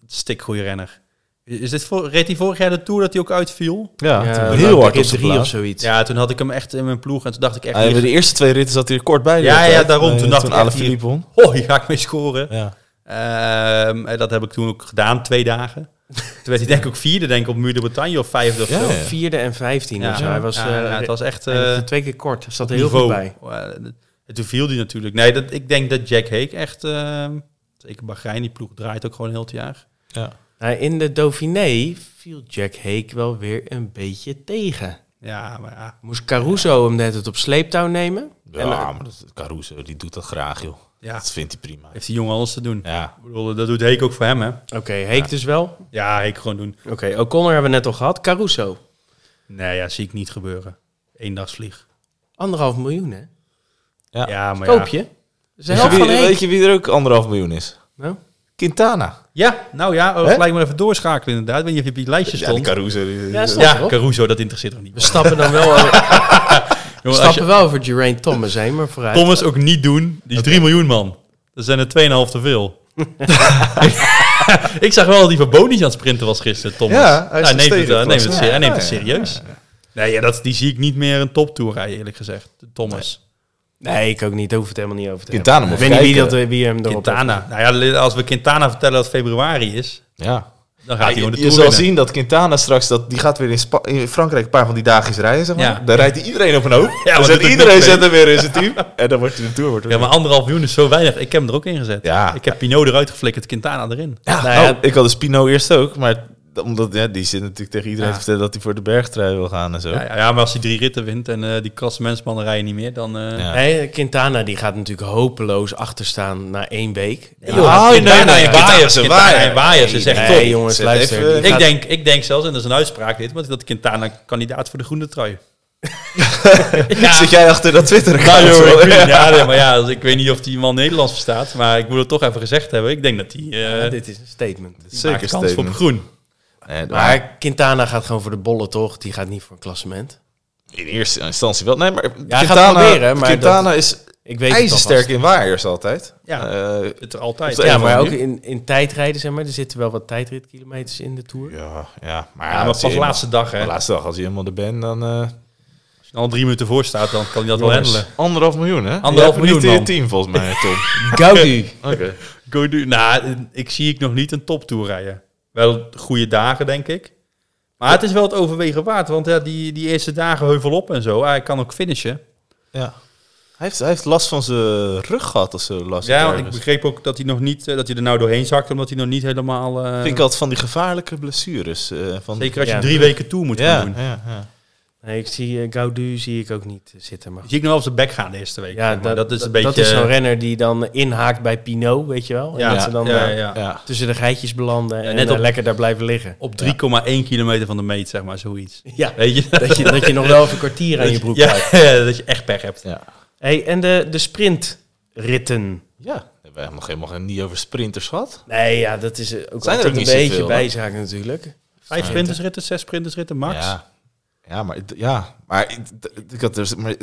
[SPEAKER 3] stik goede renner. Is dit voor, reed hij vorig jaar de Tour dat hij ook uitviel?
[SPEAKER 2] ja,
[SPEAKER 1] Ja,
[SPEAKER 2] toen heel hard op
[SPEAKER 1] rit
[SPEAKER 2] zijn
[SPEAKER 1] drie of
[SPEAKER 2] plaats.
[SPEAKER 1] zoiets.
[SPEAKER 3] Ja, toen had ik hem echt in mijn ploeg en toen dacht ik echt,
[SPEAKER 2] Hij
[SPEAKER 3] hier-
[SPEAKER 2] Ah, de eerste twee ritten zat hij er kort bij. de
[SPEAKER 3] Ja,
[SPEAKER 2] hele
[SPEAKER 3] ja,
[SPEAKER 2] tijd.
[SPEAKER 3] daarom.
[SPEAKER 2] Eh,
[SPEAKER 3] Toen dacht
[SPEAKER 2] toen
[SPEAKER 3] ik echt
[SPEAKER 2] Alaphilippe won.
[SPEAKER 3] oh, hier ga ik mee scoren.
[SPEAKER 2] Ja.
[SPEAKER 3] Ehm, en dat heb ik toen ook gedaan, twee dagen. Toen werd hij denk ik ook vierde, denk ik, op Muur de Bretagne of vijfde of
[SPEAKER 2] Ja,
[SPEAKER 3] zo.
[SPEAKER 2] ja.
[SPEAKER 1] Vierde en vijftiende.
[SPEAKER 3] Ja.
[SPEAKER 1] of zo. Hij was,
[SPEAKER 3] Ja,
[SPEAKER 1] eh,
[SPEAKER 3] ja, het was echt eh,
[SPEAKER 1] eindigde twee keer kort. Zat er heel
[SPEAKER 3] niveau.
[SPEAKER 1] goed bij.
[SPEAKER 3] Eh, en toen viel hij natuurlijk. Nee, dat, ik denk dat Jack Hake echt... ehm zeker Bahrein, die ploeg draait ook gewoon heel het jaar.
[SPEAKER 2] Ja.
[SPEAKER 1] Nou, in de Dauphiné viel Jack Heek wel weer een beetje tegen.
[SPEAKER 3] Ja, maar ja.
[SPEAKER 1] Moest Caruso hem net het op sleeptouw nemen?
[SPEAKER 2] Ja,
[SPEAKER 1] En, eh,
[SPEAKER 2] maar dat, Caruso die doet dat graag, joh.
[SPEAKER 3] ja.
[SPEAKER 2] Dat vindt hij prima.
[SPEAKER 3] Heeft die jongen alles te doen.
[SPEAKER 2] Ja,
[SPEAKER 3] Ik bedoel, dat doet Heek ook voor hem, hè?
[SPEAKER 1] Oké, Heek dus wel.
[SPEAKER 3] Ja, Heek gewoon doen.
[SPEAKER 1] Oké, O'Connor hebben we net al gehad. Caruso,
[SPEAKER 3] Nee, ja, zie ik niet gebeuren. Eendagsvlieg.
[SPEAKER 1] anderhalf miljoen hè?
[SPEAKER 2] Ja.
[SPEAKER 3] Ja, maar
[SPEAKER 1] Koop
[SPEAKER 3] ja.
[SPEAKER 1] je? Dat is de
[SPEAKER 2] Weet je,
[SPEAKER 1] helft
[SPEAKER 2] wie,
[SPEAKER 1] van Heek.
[SPEAKER 2] weet je wie er ook anderhalf miljoen is?
[SPEAKER 1] Nou,
[SPEAKER 2] Quintana.
[SPEAKER 3] Ja, nou ja, oh,
[SPEAKER 2] Hè?
[SPEAKER 3] gelijk maar even doorschakelen inderdaad. Ik weet niet of je op je lijstje stond. Ja,
[SPEAKER 2] Caruso.
[SPEAKER 1] Ja, stond erop.
[SPEAKER 3] Caruso, dat interesseert nog niet.
[SPEAKER 1] we stappen dan wel over, we
[SPEAKER 3] Jongen, als je
[SPEAKER 1] stappen wel over Geraint Thomas heen, maar vooruit.
[SPEAKER 3] Thomas ook niet doen, die is 3 miljoen man. Er zijn er 2,5 te veel. ik zag wel dat hij van Boni aan het sprinten was gisteren, Thomas.
[SPEAKER 2] Ja, hij is
[SPEAKER 3] neemt het,
[SPEAKER 2] gestegen,
[SPEAKER 3] eh, neemt het,
[SPEAKER 2] ja.
[SPEAKER 3] se- hij neemt het
[SPEAKER 2] Ja, ja,
[SPEAKER 3] serieus. Nee, ja, dat, die zie ik niet meer een toptour rijden, eerlijk gezegd. Thomas.
[SPEAKER 1] Nee, ik ook niet. Daar hoef het helemaal niet over te
[SPEAKER 2] Quintana
[SPEAKER 1] hebben.
[SPEAKER 2] moet
[SPEAKER 1] Ik weet niet wie,
[SPEAKER 2] kijken.
[SPEAKER 1] dat, wie hem erop
[SPEAKER 3] Quintana. Nou ja, als we Quintana vertellen dat het februari is,
[SPEAKER 2] Ja.
[SPEAKER 3] Dan gaat hij gewoon de
[SPEAKER 2] je
[SPEAKER 3] Tour
[SPEAKER 2] zal
[SPEAKER 3] winnen.
[SPEAKER 2] zien dat Quintana straks, dat, die gaat weer in, Spa- in Frankrijk een paar van die dagjes rijden. Zeg maar.
[SPEAKER 3] Ja.
[SPEAKER 2] Daar rijdt hij iedereen op een hoop.
[SPEAKER 3] maar
[SPEAKER 2] dan
[SPEAKER 3] dat
[SPEAKER 2] zet
[SPEAKER 3] doet
[SPEAKER 2] iedereen
[SPEAKER 3] nog
[SPEAKER 2] zet hem weer in zijn team. En dan wordt hij de Tour. Wordt
[SPEAKER 3] Ja, maar anderhalf miljoen is zo weinig. Ik heb hem er ook in gezet.
[SPEAKER 2] Ja.
[SPEAKER 3] Ik heb Pinot eruit geflikkerd, Quintana erin.
[SPEAKER 2] Ja,
[SPEAKER 1] Nou ja,
[SPEAKER 2] oh, ik had dus Pino eerst ook, maar omdat ja, die zit natuurlijk tegen iedereen
[SPEAKER 3] Ja.
[SPEAKER 2] te vertellen dat hij voor de bergtrui wil gaan en zo.
[SPEAKER 3] Ja, ja, ja, maar als hij drie ritten wint en eh, die klassementsmannen rijden niet meer, dan... eh,
[SPEAKER 2] Ja.
[SPEAKER 1] Nee, Quintana die gaat natuurlijk hopeloos achterstaan na één week.
[SPEAKER 3] Ah, Nee,
[SPEAKER 2] Ja.
[SPEAKER 3] joh,
[SPEAKER 2] Oh,
[SPEAKER 3] Quintana
[SPEAKER 2] nee, nee,
[SPEAKER 3] en
[SPEAKER 2] nee.
[SPEAKER 3] Waaiers,
[SPEAKER 2] Een
[SPEAKER 3] Quintana
[SPEAKER 2] waaier.
[SPEAKER 3] en Waaiers is echt
[SPEAKER 1] nee,
[SPEAKER 3] top.
[SPEAKER 1] jongens,
[SPEAKER 2] Zet
[SPEAKER 1] luister.
[SPEAKER 2] even-
[SPEAKER 1] die
[SPEAKER 3] Ik
[SPEAKER 1] gaat-
[SPEAKER 3] denk, ik denk zelfs, en dat is een uitspraak dit, maar dat Quintana kandidaat voor de groene trui. ja,
[SPEAKER 2] Zit jij achter dat Twitter?
[SPEAKER 3] nou, joh, ik, weet niet. ja, nee, maar ja, dus ik weet niet of die man Nederlands verstaat, maar ik moet het toch even gezegd hebben. Ik denk dat hij eh
[SPEAKER 1] Ja, dit is een statement.
[SPEAKER 3] maakt
[SPEAKER 2] Zeker
[SPEAKER 3] kans
[SPEAKER 2] statement.
[SPEAKER 3] op groen.
[SPEAKER 2] Nee, maar
[SPEAKER 1] Maar Quintana gaat gewoon voor de bollen, toch? Die gaat niet voor een klassement.
[SPEAKER 2] in eerste instantie wel. Nee, maar
[SPEAKER 1] gaat
[SPEAKER 2] Quintana,
[SPEAKER 1] proberen, maar
[SPEAKER 2] Quintana is
[SPEAKER 1] Ik weet
[SPEAKER 2] ijzersterk
[SPEAKER 1] het alvast.
[SPEAKER 2] in waaiers altijd.
[SPEAKER 3] Ja.
[SPEAKER 2] Eh,
[SPEAKER 3] Het er altijd.
[SPEAKER 2] Op de
[SPEAKER 1] Ja,
[SPEAKER 2] een of
[SPEAKER 1] maar ook
[SPEAKER 2] andere
[SPEAKER 1] in, in tijdrijden, zeg maar. Er zitten wel wat tijdritkilometers in de Tour.
[SPEAKER 2] ja, ja, maar,
[SPEAKER 3] Ja, maar
[SPEAKER 2] als
[SPEAKER 3] pas
[SPEAKER 2] je
[SPEAKER 3] de
[SPEAKER 2] eenmaal-
[SPEAKER 3] laatste dag, hè.
[SPEAKER 2] de laatste dag, als je helemaal er bent, dan... eh,
[SPEAKER 3] Als je al drie minuten voor staat, dan kan hij dat wel
[SPEAKER 2] jongens,
[SPEAKER 3] handelen.
[SPEAKER 2] Anderhalf miljoen, hè?
[SPEAKER 3] Anderhalf
[SPEAKER 2] Je hebt hem
[SPEAKER 3] miljoen,
[SPEAKER 2] niet in je
[SPEAKER 3] man.
[SPEAKER 2] team, volgens mij, Tom.
[SPEAKER 1] Gaudi.
[SPEAKER 2] Oké.
[SPEAKER 3] Go do. Nou, ik zie ik nog niet een toptoer rijden. Wel goede dagen, denk ik. Maar het is wel het overwegen waard, want ja, die, die eerste dagen heuvel op en zo. Ah, Hij kan ook finishen.
[SPEAKER 2] Ja. Hij heeft, hij heeft last van zijn rug gehad of zo. Last
[SPEAKER 3] Ja, want ik
[SPEAKER 2] ergens.
[SPEAKER 3] begreep ook dat hij nog niet, eh, dat hij er nou doorheen zakt, omdat hij nog niet helemaal. eh,
[SPEAKER 2] vind ik altijd van die gevaarlijke blessures. eh, van
[SPEAKER 3] zeker als je
[SPEAKER 1] Ja.
[SPEAKER 3] drie weken toe moet
[SPEAKER 2] ja,
[SPEAKER 3] gaan doen.
[SPEAKER 2] ja, ja.
[SPEAKER 1] Nee, ik zie eh, Gaudu zie ik ook niet eh, zitten. Maar
[SPEAKER 3] Zie ik nog wel op zijn bek gaan de eerste week.
[SPEAKER 1] ja,
[SPEAKER 3] zeg maar.
[SPEAKER 1] dat,
[SPEAKER 3] dat is een
[SPEAKER 1] dat is
[SPEAKER 3] beetje.
[SPEAKER 1] zo'n renner die dan eh, inhaakt bij Pinot, weet je wel. En
[SPEAKER 3] ja,
[SPEAKER 1] dat ze dan
[SPEAKER 3] ja,
[SPEAKER 1] eh,
[SPEAKER 3] ja.
[SPEAKER 2] Ja.
[SPEAKER 1] tussen de geitjes belanden en
[SPEAKER 3] net
[SPEAKER 1] eh,
[SPEAKER 3] op-
[SPEAKER 1] lekker daar blijven liggen.
[SPEAKER 3] Op 3,1 kilometer van de meet, zeg maar, zoiets.
[SPEAKER 1] Ja,
[SPEAKER 3] Weet je?
[SPEAKER 1] dat je, dat je nog wel even een kwartier aan je broek
[SPEAKER 3] ja,
[SPEAKER 1] blijft.
[SPEAKER 3] dat je echt pech hebt.
[SPEAKER 2] ja.
[SPEAKER 1] Hey, en de, de sprintritten.
[SPEAKER 2] Ja, daar hebben we helemaal, helemaal geen- niet over sprinters gehad.
[SPEAKER 1] Nee, ja, dat is eh, ook
[SPEAKER 2] Zijn er
[SPEAKER 1] altijd
[SPEAKER 2] ook
[SPEAKER 1] een
[SPEAKER 2] niet
[SPEAKER 1] beetje
[SPEAKER 2] zoveel, hè?
[SPEAKER 1] bijzaak natuurlijk.
[SPEAKER 3] Vijf sprintersritten, zes sprintersritten, max.
[SPEAKER 2] Ja, ja maar, d- ja, maar, ik- d- ik had dus, maar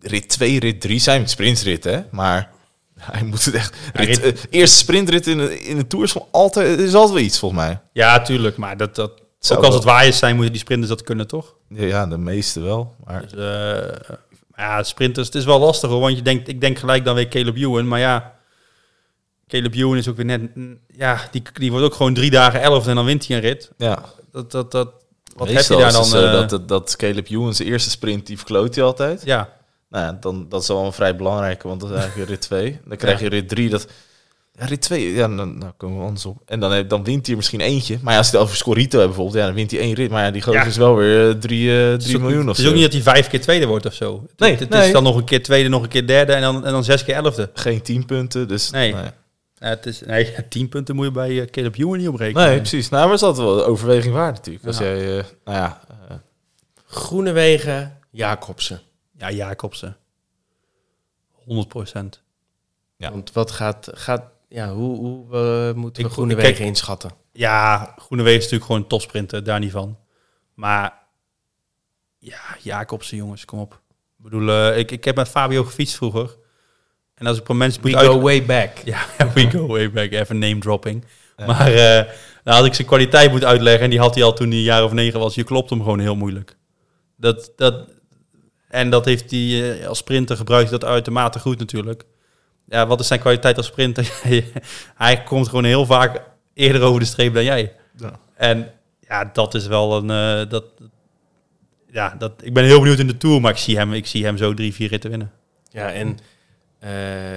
[SPEAKER 2] rit 2, rit 3 zijn sprintritten, hè? Maar hij moet het echt... Rit,
[SPEAKER 3] rit-
[SPEAKER 2] eh, eerste sprintrit in de, in de Tour is, van altijd, is altijd wel iets, volgens mij.
[SPEAKER 3] Ja, tuurlijk. Maar dat, dat,
[SPEAKER 2] Zou
[SPEAKER 3] ook als
[SPEAKER 2] wel-
[SPEAKER 3] het waaiers zijn, moeten die sprinters dat kunnen, toch?
[SPEAKER 2] Ja, ja, de meeste wel. Maar
[SPEAKER 3] Dus, eh, ja, sprinters, het is wel lastig hoor. Want je denkt, ik denk gelijk dan weer Caleb Ewan. Maar ja, Caleb Ewan is ook weer net... mm, Ja, die, die wordt ook gewoon drie dagen elf en dan wint hij een rit.
[SPEAKER 2] ja,
[SPEAKER 3] Dat, dat, dat, wat heb je
[SPEAKER 2] meestal
[SPEAKER 3] daar
[SPEAKER 2] is
[SPEAKER 3] dan?
[SPEAKER 2] het zo
[SPEAKER 3] eh,
[SPEAKER 2] dat, dat, dat Caleb Ewan zijn eerste sprint, die verkloot hij altijd.
[SPEAKER 3] ja,
[SPEAKER 2] Nou ja, dan, dat is wel een vrij belangrijke, want dat is eigenlijk rit 2. Dan krijg je rit 3. Dat, ja, rit 2, ja, dan, dan komen we anders op. En dan, heb- dan wint hij er misschien eentje. Maar ja, als je het over Scorito hebt bijvoorbeeld, ja, dan wint hij één rit. Maar ja, die gozer
[SPEAKER 3] Ja.
[SPEAKER 2] is wel weer eh, 3
[SPEAKER 3] het is ook-
[SPEAKER 2] miljoen of
[SPEAKER 3] Het is
[SPEAKER 2] zo.
[SPEAKER 3] ook niet dat hij vijf keer tweede wordt of zo.
[SPEAKER 2] Nee,
[SPEAKER 3] het, het
[SPEAKER 2] nee.
[SPEAKER 3] is dan nog een keer tweede, nog een keer derde en dan, en dan zes keer elfde.
[SPEAKER 2] Geen 10 punten, dus...
[SPEAKER 3] Nee.
[SPEAKER 2] nee.
[SPEAKER 3] Ja, het is, nee, tien punten moet je bij eh, Caleb Ewan niet oprekenen.
[SPEAKER 2] Nee, precies. Nou, maar het is altijd wel de overweging waard natuurlijk. Als jij, eh, nou ja... eh,
[SPEAKER 1] Groenewegen, Jacobsen.
[SPEAKER 3] Ja, Jacobsen. 100 procent.
[SPEAKER 2] Ja.
[SPEAKER 1] Want wat gaat... gaat ja, hoe, hoe eh, moeten we
[SPEAKER 3] Ik-
[SPEAKER 1] Groenewegen
[SPEAKER 3] ik kijk-
[SPEAKER 1] inschatten?
[SPEAKER 3] Ja, Groenewegen is natuurlijk gewoon een topsprinter, daar niet van. Maar ja, Jacobsen jongens, kom op. Ik bedoel, eh, ik, ik heb met Fabio gefietst vroeger. En als ik een mens moet
[SPEAKER 1] We
[SPEAKER 3] uit...
[SPEAKER 1] go way back.
[SPEAKER 3] Ja, we go way back. Even name dropping. Maar eh nou had ik zijn kwaliteit moeten uitleggen. En die had hij al toen hij een jaar of negen was. Je klopt hem gewoon heel moeilijk. Dat, dat, en dat heeft hij eh, als sprinter gebruikt dat uitermate goed natuurlijk. Ja, wat is zijn kwaliteit als sprinter? hij komt gewoon heel vaak eerder over de streep dan jij.
[SPEAKER 2] Ja.
[SPEAKER 3] En ja, dat is wel een... eh, dat, ja, dat, ik ben heel benieuwd in de Tour, maar ik zie hem, ik zie hem zo drie, vier ritten winnen.
[SPEAKER 1] Ja, en... eh,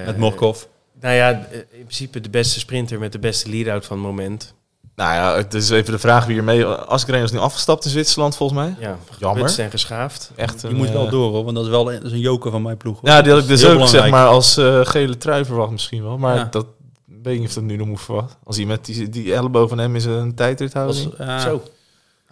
[SPEAKER 3] Met Morkov.
[SPEAKER 1] Nou ja, eh, in principe de beste sprinter met de beste lead-out van het moment.
[SPEAKER 2] nou ja, het is even de vraag wie ermee... Asgreen is nu afgestapt in Zwitserland, volgens mij.
[SPEAKER 1] Ja,
[SPEAKER 2] Jammer.
[SPEAKER 1] geputst en geschaafd.
[SPEAKER 2] Echt
[SPEAKER 3] Je
[SPEAKER 2] een,
[SPEAKER 3] moet wel
[SPEAKER 2] eh,
[SPEAKER 3] door hoor, want dat is wel een, dat is een joker van mijn ploeg. hoor.
[SPEAKER 2] Ja, die had ik
[SPEAKER 3] Dat is
[SPEAKER 2] dus ook
[SPEAKER 3] heel belangrijk.
[SPEAKER 2] zeg maar als eh, gele trui verwacht misschien wel. Maar
[SPEAKER 3] Ja.
[SPEAKER 2] dat weet ik niet of dat nu nog moet verwacht. Als hij met die, die elleboog van hem is een tijdrit
[SPEAKER 3] Dat
[SPEAKER 2] houdt.
[SPEAKER 3] was- ja.
[SPEAKER 1] Zo.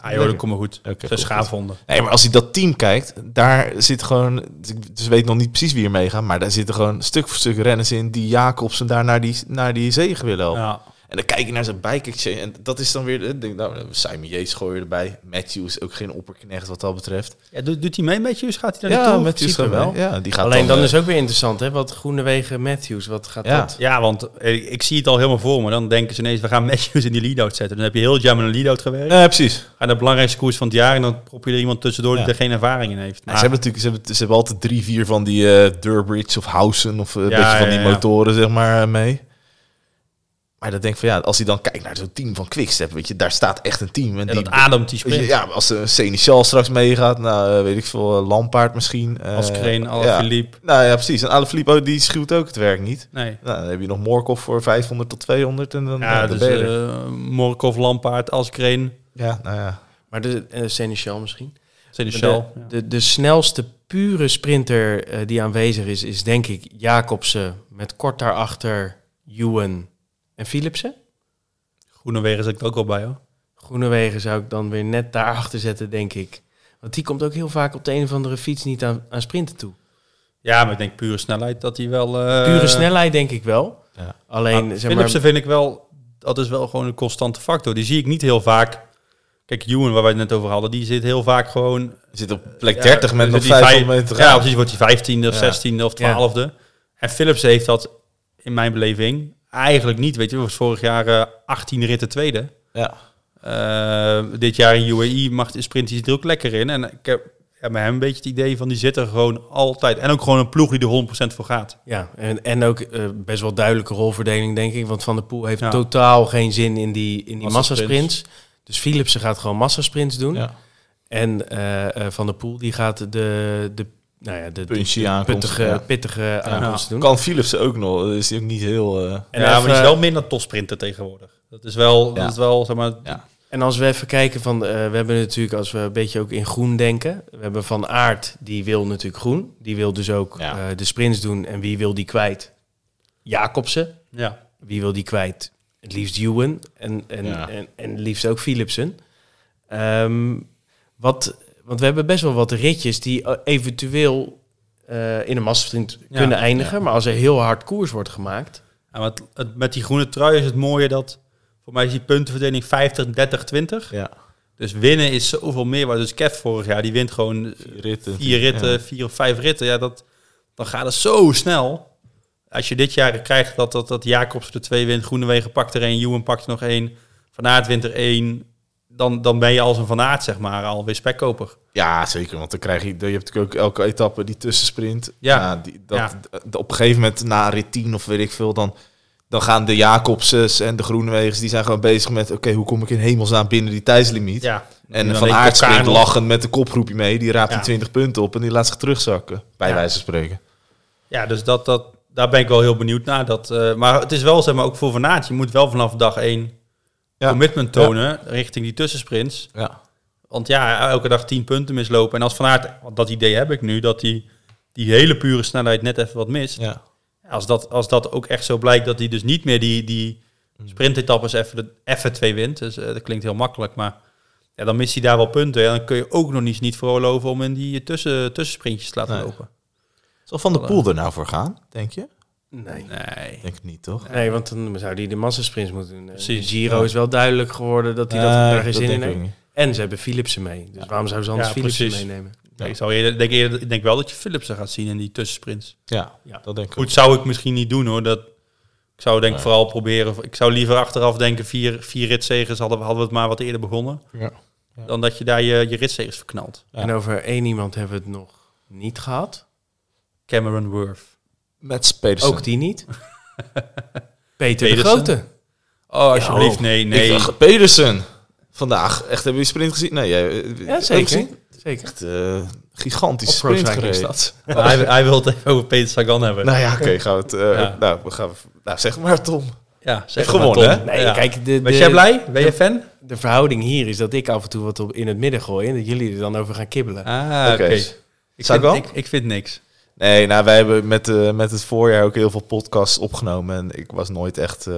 [SPEAKER 3] Ah joh, dat komt maar goed.
[SPEAKER 2] Oké,
[SPEAKER 3] Ze
[SPEAKER 2] goed,
[SPEAKER 3] schaafhonden.
[SPEAKER 2] Nee, maar als hij dat team kijkt, daar zit gewoon... Dus ik weet nog niet precies wie er meegaan, maar daar zitten gewoon stuk voor stuk renners in die Jacobsen daar naar die, naar die zegen willen helpen.
[SPEAKER 3] Ja.
[SPEAKER 2] En dan kijk je naar zijn bike exchange en dat is dan weer... eh, Denk, nou, Simon Yates gooi je erbij. Matthews ook geen opperknecht wat dat betreft.
[SPEAKER 3] doet, doet hij mee met je? Gaat hij naar
[SPEAKER 2] Ja,
[SPEAKER 3] toe?
[SPEAKER 2] Matthews
[SPEAKER 1] principe
[SPEAKER 2] gewoon wel.
[SPEAKER 1] wel.
[SPEAKER 2] Ja, die gaat
[SPEAKER 1] Alleen dan
[SPEAKER 2] eh,
[SPEAKER 1] is ook weer interessant, hè? Wat Groenewegen, Matthews, wat gaat
[SPEAKER 2] Ja.
[SPEAKER 1] dat?
[SPEAKER 3] Ja, want eh, ik, zie het al helemaal voor me. Dan denken ze ineens, we gaan Matthews in die lead-out zetten. Dan heb je heel het jaar met een lead-out gewerkt.
[SPEAKER 2] Nee, precies.
[SPEAKER 3] Aan de belangrijkste koers van het jaar. En dan prop je er iemand tussendoor
[SPEAKER 2] Ja.
[SPEAKER 3] die er geen ervaring in heeft.
[SPEAKER 2] Ja, ze hebben natuurlijk, ze hebben, ze hebben altijd drie, vier van die eh Durbridge of Housen of eh, een
[SPEAKER 3] Ja,
[SPEAKER 2] beetje van
[SPEAKER 3] ja,
[SPEAKER 2] die
[SPEAKER 3] ja.
[SPEAKER 2] motoren zeg maar eh, mee. Maar dan denk ik van ja, als hij dan kijkt naar zo'n team van Quickstep, weet je, daar staat echt een team. En,
[SPEAKER 3] En
[SPEAKER 2] die,
[SPEAKER 3] dat ademt die
[SPEAKER 2] weet je,
[SPEAKER 3] sprint.
[SPEAKER 2] ja, als eh, Seneschal straks meegaat, nou eh, weet ik veel, eh, Lampaard misschien. eh,
[SPEAKER 3] Als Kreen, alle
[SPEAKER 2] ja.
[SPEAKER 3] Philippe.
[SPEAKER 2] Nou ja, precies. En Alaphilippe die schuwt ook het werk niet.
[SPEAKER 3] Nee.
[SPEAKER 2] Nou, dan heb je nog Morkov voor 500 tot 200 en dan, ja,
[SPEAKER 3] Ja,
[SPEAKER 2] dan
[SPEAKER 3] dus
[SPEAKER 2] ben je er.
[SPEAKER 3] eh Morkov, Lampaard, Als Kreen,
[SPEAKER 2] Ja, nou ja.
[SPEAKER 1] Maar de eh, Seneschal misschien.
[SPEAKER 3] Seneschal.
[SPEAKER 1] De,
[SPEAKER 3] Ja.
[SPEAKER 1] de, de snelste pure sprinter eh, die aanwezig is, is denk ik Jacobsen. Met kort daarachter Ewan en Philipsen.
[SPEAKER 3] Groenewegen zit er ook al bij, hoor.
[SPEAKER 1] Groenewegen zou ik dan weer net daarachter zetten, denk ik. Want die komt ook heel vaak op de een of andere fiets niet aan, aan sprinten toe.
[SPEAKER 3] Ja, maar ik denk pure snelheid dat hij wel... eh, Ah,
[SPEAKER 1] Pure snelheid denk ik wel.
[SPEAKER 2] Ja.
[SPEAKER 1] Alleen,
[SPEAKER 3] Maar
[SPEAKER 1] zeg maar,
[SPEAKER 3] Nou, Philipsen vind ik wel, dat is wel gewoon een constante factor. Die zie ik niet heel vaak. Kijk, Ewan, waar wij het net over hadden, die zit heel vaak gewoon...
[SPEAKER 2] Je zit op plek
[SPEAKER 3] ja,
[SPEAKER 2] 30 met
[SPEAKER 3] dus
[SPEAKER 2] nog
[SPEAKER 3] die vijf-
[SPEAKER 2] 500 meter te
[SPEAKER 3] Ja,
[SPEAKER 2] gaan.
[SPEAKER 3] precies, wordt hij 15e of
[SPEAKER 2] Ja.
[SPEAKER 3] 16e of
[SPEAKER 1] Ja.
[SPEAKER 3] 12e. En Philipsen heeft dat, in mijn beleving, eigenlijk niet. Weet je, was vorig jaar eh, 18 ritten tweede.
[SPEAKER 2] Ja.
[SPEAKER 3] Eh, dit jaar in UAE mag de sprint hij er ook lekker in. En ik heb ja, bij hem een beetje het idee van die zit er gewoon altijd. En ook gewoon een ploeg die er 100% voor gaat.
[SPEAKER 1] ja, en, en ook eh, best wel duidelijke rolverdeling, denk ik. Want Van der Poel heeft
[SPEAKER 3] Ja.
[SPEAKER 1] totaal geen zin in die, in die
[SPEAKER 3] Massasprints.
[SPEAKER 1] massasprints. Dus Philipsen gaat gewoon massasprints doen.
[SPEAKER 2] Ja.
[SPEAKER 1] En eh, eh, Van der Poel die gaat de, de, nou ja, de, de
[SPEAKER 2] Puntje aankomst.
[SPEAKER 1] pittige,
[SPEAKER 2] ja.
[SPEAKER 1] pittige aankomsten doen.
[SPEAKER 2] Kan Philips ook nog. Dat is ook niet heel... eh,
[SPEAKER 1] En,
[SPEAKER 3] ja,
[SPEAKER 1] even-
[SPEAKER 3] maar die is wel minder topsprinter tegenwoordig. Dat is wel,
[SPEAKER 2] Ja.
[SPEAKER 3] dat is wel zeg maar...
[SPEAKER 2] Ja.
[SPEAKER 1] en als we even kijken van, eh, we hebben natuurlijk, als we een beetje ook in groen denken, we hebben Van Aert, die wil natuurlijk groen. Die wil dus ook
[SPEAKER 2] Ja.
[SPEAKER 1] eh, de sprints doen. En wie wil die kwijt? Jacobsen.
[SPEAKER 3] Ja.
[SPEAKER 1] Wie wil die kwijt? Het liefst Ewan en, en,
[SPEAKER 2] Ja.
[SPEAKER 1] en, en het liefst ook Philipsen. Ehm, wat, want we hebben best wel wat ritjes die eh, eventueel eh, in een massasprint
[SPEAKER 3] Ja.
[SPEAKER 1] kunnen eindigen. Maar als er heel hard koers wordt gemaakt...
[SPEAKER 3] Ja, maar het- het- met die groene trui is het mooie dat... Voor mij is die puntenverdeling 50, 30, 20.
[SPEAKER 2] ja.
[SPEAKER 3] Dus winnen is zoveel meer. waard. Dus Kev vorig jaar, die wint gewoon eh,
[SPEAKER 2] Vier ritten.
[SPEAKER 3] vier ritten,
[SPEAKER 2] Ja.
[SPEAKER 3] vier of vijf ritten. Ja, dat, dan gaat het zo snel. Als je dit jaar krijgt dat, dat, dat Jacobs er twee wint, Groenewegen pakt er één, Juwen pakt er nog één, Van Aert wint er één, dan, dan ben je als een Van Aert, zeg maar, alweer spekkoper.
[SPEAKER 2] Ja, zeker. Want dan krijg je, je hebt natuurlijk ook elke etappe die tussensprint.
[SPEAKER 3] Ja.
[SPEAKER 2] die, dat,
[SPEAKER 3] Ja.
[SPEAKER 2] d- Op een gegeven moment na rit 10 of weet ik veel, dan, dan gaan de Jacobses en de Groenewegers, die zijn gewoon bezig met, oké, hoe kom ik in hemelsnaam binnen die tijdslimiet?
[SPEAKER 3] Ja.
[SPEAKER 2] En
[SPEAKER 3] dan
[SPEAKER 2] Van
[SPEAKER 3] weet
[SPEAKER 2] Aert
[SPEAKER 3] elkaar
[SPEAKER 2] springt
[SPEAKER 3] nog.
[SPEAKER 2] lachend met de kopgroepje mee, die raapt
[SPEAKER 3] Ja.
[SPEAKER 2] die 20 punten op en die laat zich terugzakken, bij
[SPEAKER 3] Ja.
[SPEAKER 2] wijze van spreken.
[SPEAKER 3] Ja, dus dat, dat, daar ben ik wel heel benieuwd naar. Dat, eh, maar het is wel, zeg maar, ook voor Van Aert, je moet wel vanaf dag één
[SPEAKER 2] Ja.
[SPEAKER 3] commitment tonen richting die tussensprints.
[SPEAKER 2] Ja.
[SPEAKER 3] Want ja, elke dag 10 punten mislopen. En als Van Aert, want dat idee heb ik nu, dat die, die hele pure snelheid net even wat mist.
[SPEAKER 2] ja.
[SPEAKER 3] Als dat, als dat ook echt zo blijkt, dat hij dus niet meer die, die
[SPEAKER 2] Mm.
[SPEAKER 3] sprintetappes even, de- even twee wint. Dus eh, dat klinkt heel makkelijk, maar ja, dan mist hij daar wel punten. En dan kun je ook nog niet, niet veroorloven om in die tussen, tussensprintjes te laten
[SPEAKER 2] Nee.
[SPEAKER 3] lopen.
[SPEAKER 2] Zal Van der Poel er nou voor gaan, denk je?
[SPEAKER 1] Nee.
[SPEAKER 3] Nee.
[SPEAKER 2] Denk het niet, toch?
[SPEAKER 1] Nee, want dan zou hij de massasprints moeten doen.
[SPEAKER 3] Precies.
[SPEAKER 1] Precies. Giro
[SPEAKER 2] Ja.
[SPEAKER 1] is wel duidelijk geworden dat hij dat
[SPEAKER 2] Nee,
[SPEAKER 1] daar geen zin in
[SPEAKER 2] Eh, denk ik
[SPEAKER 1] heeft.
[SPEAKER 2] ook niet.
[SPEAKER 1] En ze hebben Philipsen mee. Dus waarom zou ze anders
[SPEAKER 3] Ja,
[SPEAKER 1] Philipsen
[SPEAKER 3] precies.
[SPEAKER 1] meenemen?
[SPEAKER 2] Ja.
[SPEAKER 3] Ik, zou eerder, denk eerder, ik denk wel dat je Philipsen gaat zien in die tussensprints.
[SPEAKER 2] Ja,
[SPEAKER 1] Ja.
[SPEAKER 2] dat denk ik ook.
[SPEAKER 3] Goed, zou ik misschien niet doen hoor. Dat, ik zou denk
[SPEAKER 2] Nee.
[SPEAKER 3] vooral proberen. Ik zou liever achteraf denken, vier, vier ritzegers hadden, we- hadden we het maar wat eerder begonnen.
[SPEAKER 2] Ja. Ja.
[SPEAKER 3] Dan dat je daar je, je ritzegers verknalt.
[SPEAKER 2] Ja.
[SPEAKER 1] En over één iemand hebben we het nog niet gehad.
[SPEAKER 3] Cameron Worth.
[SPEAKER 2] Met Spedersen.
[SPEAKER 1] Ook die niet. Peter de
[SPEAKER 3] Pedersen.
[SPEAKER 1] Grote.
[SPEAKER 3] Oh, alsjeblieft, nee,
[SPEAKER 2] Nee.
[SPEAKER 3] nee.
[SPEAKER 2] Pedersen. Vandaag. Echt, hebben we die sprint gezien? Nee, jij,
[SPEAKER 1] Ja,
[SPEAKER 2] heb je
[SPEAKER 1] zeker.
[SPEAKER 2] gezien?
[SPEAKER 1] Zeker.
[SPEAKER 2] Echt, eh, gigantische
[SPEAKER 1] Op road
[SPEAKER 2] sprint
[SPEAKER 1] cycling
[SPEAKER 2] gereden.
[SPEAKER 3] Maar hij, hij wil het even over Peter Sagan hebben.
[SPEAKER 2] Nou ja, oké, gaan we het... eh,
[SPEAKER 3] Ja.
[SPEAKER 2] Nou, we gaan... Nou, zeg maar, Tom.
[SPEAKER 3] ja, zeg
[SPEAKER 2] Heeft
[SPEAKER 3] maar,
[SPEAKER 2] gewonnen,
[SPEAKER 3] Tom.
[SPEAKER 1] Nee,
[SPEAKER 3] Ja.
[SPEAKER 1] kijk, de,
[SPEAKER 3] Ben
[SPEAKER 1] de-
[SPEAKER 3] jij blij? Ben je fan?
[SPEAKER 1] De verhouding hier is dat ik af en toe wat op in het midden gooi en dat jullie er dan over gaan kibbelen.
[SPEAKER 3] Ah, oké.
[SPEAKER 2] Oké.
[SPEAKER 3] Ik, vind,
[SPEAKER 2] Sagan?
[SPEAKER 3] ik, ik vind niks.
[SPEAKER 2] Nee, nou, wij hebben met, eh, met het voorjaar ook heel veel podcasts opgenomen. En ik was nooit echt eh,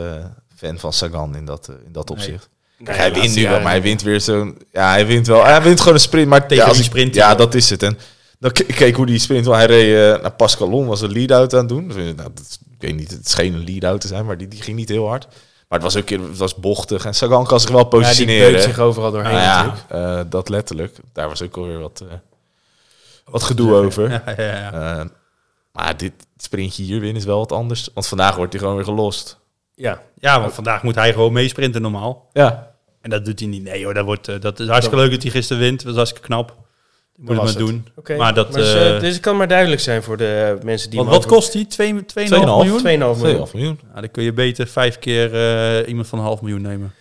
[SPEAKER 2] fan van Sagan in dat, eh, in dat
[SPEAKER 3] Nee.
[SPEAKER 2] opzicht.
[SPEAKER 1] Nee,
[SPEAKER 2] hij
[SPEAKER 1] laatste
[SPEAKER 2] wint nu wel,
[SPEAKER 1] jaren
[SPEAKER 2] maar hij wint weer zo'n... Ja, hij wint wel. Hij wint gewoon een sprint, maar
[SPEAKER 3] Tegen
[SPEAKER 2] ja, als
[SPEAKER 3] die
[SPEAKER 2] ik-
[SPEAKER 3] sprint.
[SPEAKER 2] Ja, dat is het. En dan ke- ik keek hoe die sprint... want Hij reed eh naar Pascalon, was een lead-out aan het doen. Dus, eh, nou, dat, ik weet niet, het scheen een lead-out te zijn, maar die, die ging niet heel hard. Maar het was ook het was bochtig. En Sagan kan zich wel
[SPEAKER 1] niet. Ja, die
[SPEAKER 2] positioneren.
[SPEAKER 1] beukt zich overal doorheen
[SPEAKER 2] Nou ja,
[SPEAKER 1] natuurlijk.
[SPEAKER 2] eh, dat letterlijk. Daar was ook alweer wat, eh, wat gedoe over.
[SPEAKER 3] Ja, ja, ja.
[SPEAKER 2] Eh, maar dit sprintje hier winnen is wel wat anders. Want vandaag wordt hij gewoon weer gelost.
[SPEAKER 1] Ja,
[SPEAKER 3] Ja, want vandaag moet hij gewoon meesprinten normaal.
[SPEAKER 2] Ja.
[SPEAKER 3] En dat doet hij niet. Nee hoor, dat, wordt, eh, dat is hartstikke leuk dat hij gisteren wint. Dat is hartstikke knap. Moet het maar doen.
[SPEAKER 1] Oké.
[SPEAKER 3] Maar dat,
[SPEAKER 1] Maar dus, eh,
[SPEAKER 3] eh,
[SPEAKER 1] dus het kan maar duidelijk zijn voor de eh, mensen die...
[SPEAKER 3] Want wat kost die? 2,5 miljoen?
[SPEAKER 1] 2,5 miljoen.
[SPEAKER 2] 2,5 miljoen.
[SPEAKER 3] Nou, dan kun je beter vijf keer eh, iemand van een half miljoen nemen.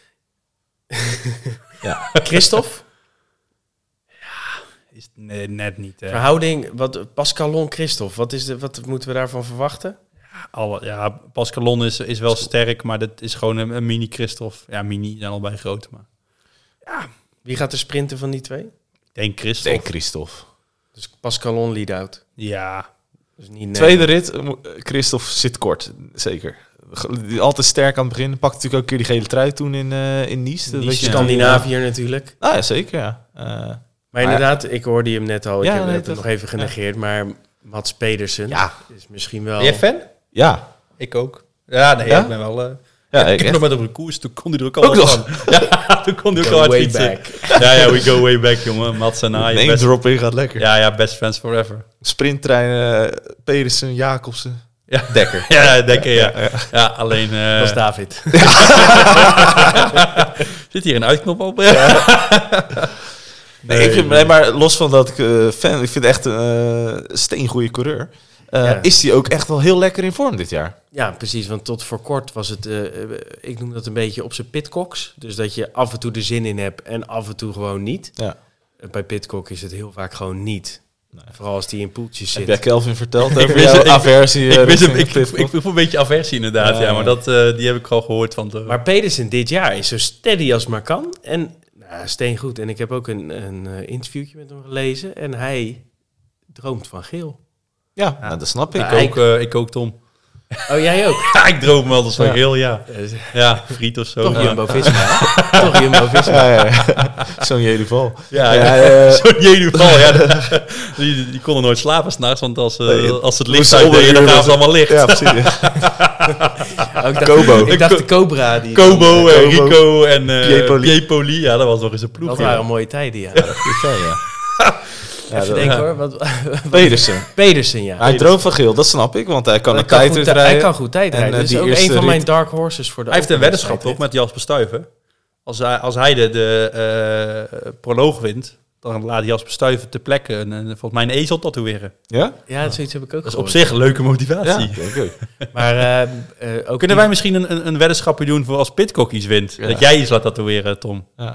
[SPEAKER 1] Christophe,
[SPEAKER 3] Is het ne- net niet. Hè.
[SPEAKER 1] verhouding, wat, Pascalon Christophe, wat, is de, wat moeten we daarvan verwachten?
[SPEAKER 3] Alle, ja, Pascalon is, is wel sterk, maar dat is gewoon een, een mini Christophe. Ja, mini zijn allebei groot, maar
[SPEAKER 1] Wie gaat er sprinten van die twee?
[SPEAKER 3] ik denk Christophe.
[SPEAKER 2] Denk Christophe.
[SPEAKER 1] Dus Pascalon lead-out.
[SPEAKER 3] Ja,
[SPEAKER 1] Dus niet Nederland.
[SPEAKER 2] Tweede rit, eh, mo- eh, Christophe zit kort, zeker. Ge- die- Altijd sterk aan het begin. Pakte natuurlijk ook een keer die gele trui toen in, eh in Nice. Dat
[SPEAKER 3] Nice,
[SPEAKER 2] weet je
[SPEAKER 3] ja.
[SPEAKER 2] dan.
[SPEAKER 1] Scandinaviër natuurlijk.
[SPEAKER 2] Ah, ja, zeker, ja. Eh,
[SPEAKER 1] Maar
[SPEAKER 2] Ah, ja.
[SPEAKER 1] inderdaad, ik hoorde hem net al. Ik
[SPEAKER 2] Ja,
[SPEAKER 1] heb,
[SPEAKER 2] nee,
[SPEAKER 1] heb het
[SPEAKER 2] dat-
[SPEAKER 1] nog even genegeerd. Maar Mats Pedersen
[SPEAKER 2] ja,
[SPEAKER 1] is misschien wel...
[SPEAKER 3] Ben jij fan?
[SPEAKER 2] oh. ja.
[SPEAKER 3] Ik ook. Ja, nee,
[SPEAKER 2] Ja?
[SPEAKER 3] ik ben wel... eh,
[SPEAKER 2] Ja, ik
[SPEAKER 3] ik heb
[SPEAKER 2] echt.
[SPEAKER 3] nog met op een koers, toen kon hij er ook al
[SPEAKER 2] Ook
[SPEAKER 3] wat
[SPEAKER 2] nog.
[SPEAKER 3] van. Ja, toen kon hij ook al hard
[SPEAKER 1] way
[SPEAKER 3] fietsen.
[SPEAKER 1] back.
[SPEAKER 3] Ja, ja, we go way back, jongen. Mats en I,
[SPEAKER 2] Name
[SPEAKER 3] best,
[SPEAKER 2] drop in gaat lekker.
[SPEAKER 3] ja, ja, best friends forever.
[SPEAKER 2] Sprinttrein, eh Pedersen, Jacobsen.
[SPEAKER 3] Ja.
[SPEAKER 2] Dekker.
[SPEAKER 3] Ja, denk je, ja. Ja, alleen... eh,
[SPEAKER 1] Dat is David.
[SPEAKER 3] Zit hier een uitknop op?
[SPEAKER 2] Nee, ik vind, nee, maar los van dat ik eh, fan, ik vind echt een eh, steengoede coureur. eh,
[SPEAKER 1] Ja.
[SPEAKER 2] Is hij ook echt wel heel lekker in vorm dit jaar?
[SPEAKER 1] Ja, precies. Want tot voor kort was het, eh, eh, ik noem dat een beetje op zijn pitcocks. Dus dat je af en toe er zin in hebt en af en toe gewoon niet.
[SPEAKER 2] Ja.
[SPEAKER 1] Eh, Bij pitcock is het heel vaak gewoon niet.
[SPEAKER 2] Nee.
[SPEAKER 1] Vooral als die in poeltjes
[SPEAKER 2] Heb jij
[SPEAKER 1] zit.
[SPEAKER 2] Kelvin verteld
[SPEAKER 3] Ik
[SPEAKER 2] over
[SPEAKER 3] wist het,
[SPEAKER 2] jouw
[SPEAKER 3] ik-
[SPEAKER 2] aversie? eh,
[SPEAKER 3] ik, wist hem,
[SPEAKER 2] richting de
[SPEAKER 3] ik, ik,
[SPEAKER 2] pitstop?
[SPEAKER 3] voel een beetje aversie inderdaad,
[SPEAKER 2] Ja,
[SPEAKER 3] ja.
[SPEAKER 2] ja.
[SPEAKER 3] maar dat, eh, die heb ik al gehoord van de...
[SPEAKER 1] Maar Pedersen dit jaar is zo steady als maar kan. En nou, steengoed. En ik heb ook een, een eh, interviewtje met hem gelezen. En hij droomt van geel.
[SPEAKER 2] ja, nou, dat snap ik.
[SPEAKER 1] Ja,
[SPEAKER 2] ook.
[SPEAKER 1] hij-
[SPEAKER 3] ik, ook, eh, ik ook, Tom.
[SPEAKER 1] Oh, jij ook?
[SPEAKER 3] Ja, ik droom wel eens van
[SPEAKER 2] Ja.
[SPEAKER 3] heel, ja.
[SPEAKER 1] Eh,
[SPEAKER 3] Ja, friet of zo.
[SPEAKER 1] Toch
[SPEAKER 3] ja.
[SPEAKER 1] Jumbo-Visma. hè? Toch Jumbo-Visma.
[SPEAKER 2] Ja, ja, ja. Zo'n Jedeval.
[SPEAKER 3] Ja,
[SPEAKER 2] ja,
[SPEAKER 3] ja.
[SPEAKER 2] ja.
[SPEAKER 3] Zo'n Jenuval, ja. dat- Die, die konden nooit slapen s'nachts, want als, eh,
[SPEAKER 2] Nee,
[SPEAKER 3] als het
[SPEAKER 2] moest
[SPEAKER 3] licht uit
[SPEAKER 2] onder
[SPEAKER 3] deed, dan
[SPEAKER 2] uren-
[SPEAKER 3] gaven ze allemaal licht.
[SPEAKER 2] Ja, precies.
[SPEAKER 1] Oh, ik dacht,
[SPEAKER 2] Kobo.
[SPEAKER 1] Ik dacht de Cobra. Die
[SPEAKER 3] Kobo, en
[SPEAKER 2] Kobo.
[SPEAKER 3] Rico en eh
[SPEAKER 2] Piepoli.
[SPEAKER 3] Piepoli. Ja, dat was nog eens een ploeg.
[SPEAKER 1] Dat
[SPEAKER 3] ja.
[SPEAKER 1] waren mooie tijden, ja. Even
[SPEAKER 2] Ja, ja. Ja, dat-
[SPEAKER 1] denken hoor. Wat,
[SPEAKER 2] Pedersen.
[SPEAKER 1] Pedersen, ja.
[SPEAKER 2] Hij droomt van geel, dat snap ik, want hij kan
[SPEAKER 1] Hij
[SPEAKER 2] een
[SPEAKER 1] kan goed
[SPEAKER 2] tijdrit
[SPEAKER 1] tij- Hij kan
[SPEAKER 2] rijden.
[SPEAKER 1] goed tijd
[SPEAKER 2] En,
[SPEAKER 1] rijden.
[SPEAKER 2] eh,
[SPEAKER 1] Dat is
[SPEAKER 2] die
[SPEAKER 1] ook
[SPEAKER 2] eerste
[SPEAKER 1] een van
[SPEAKER 2] rit-
[SPEAKER 1] mijn dark horses voor de
[SPEAKER 3] Hij heeft een
[SPEAKER 1] open
[SPEAKER 3] weddenschap toch
[SPEAKER 1] wedstrijd.
[SPEAKER 3] met Jasper Stuyven? Als hij, als hij de, de eh, proloog wint, dan laat Jasper Stuyven ter plekke een, een- volgens mij een ezel tatoeëren.
[SPEAKER 2] Ja?
[SPEAKER 1] Ja, zoiets heb ik ook
[SPEAKER 3] Dat is op
[SPEAKER 1] gehoord.
[SPEAKER 3] zich een leuke
[SPEAKER 2] Ja,
[SPEAKER 3] motivatie.
[SPEAKER 2] denk ik ook.
[SPEAKER 1] Maar eh, eh, ook
[SPEAKER 3] Kunnen
[SPEAKER 1] die-
[SPEAKER 3] wij misschien een, een, een weddenschapje doen voor als Pitcock iets wint?
[SPEAKER 2] Ja.
[SPEAKER 3] Dat jij iets laat tatoeëren, Tom.
[SPEAKER 1] Eh,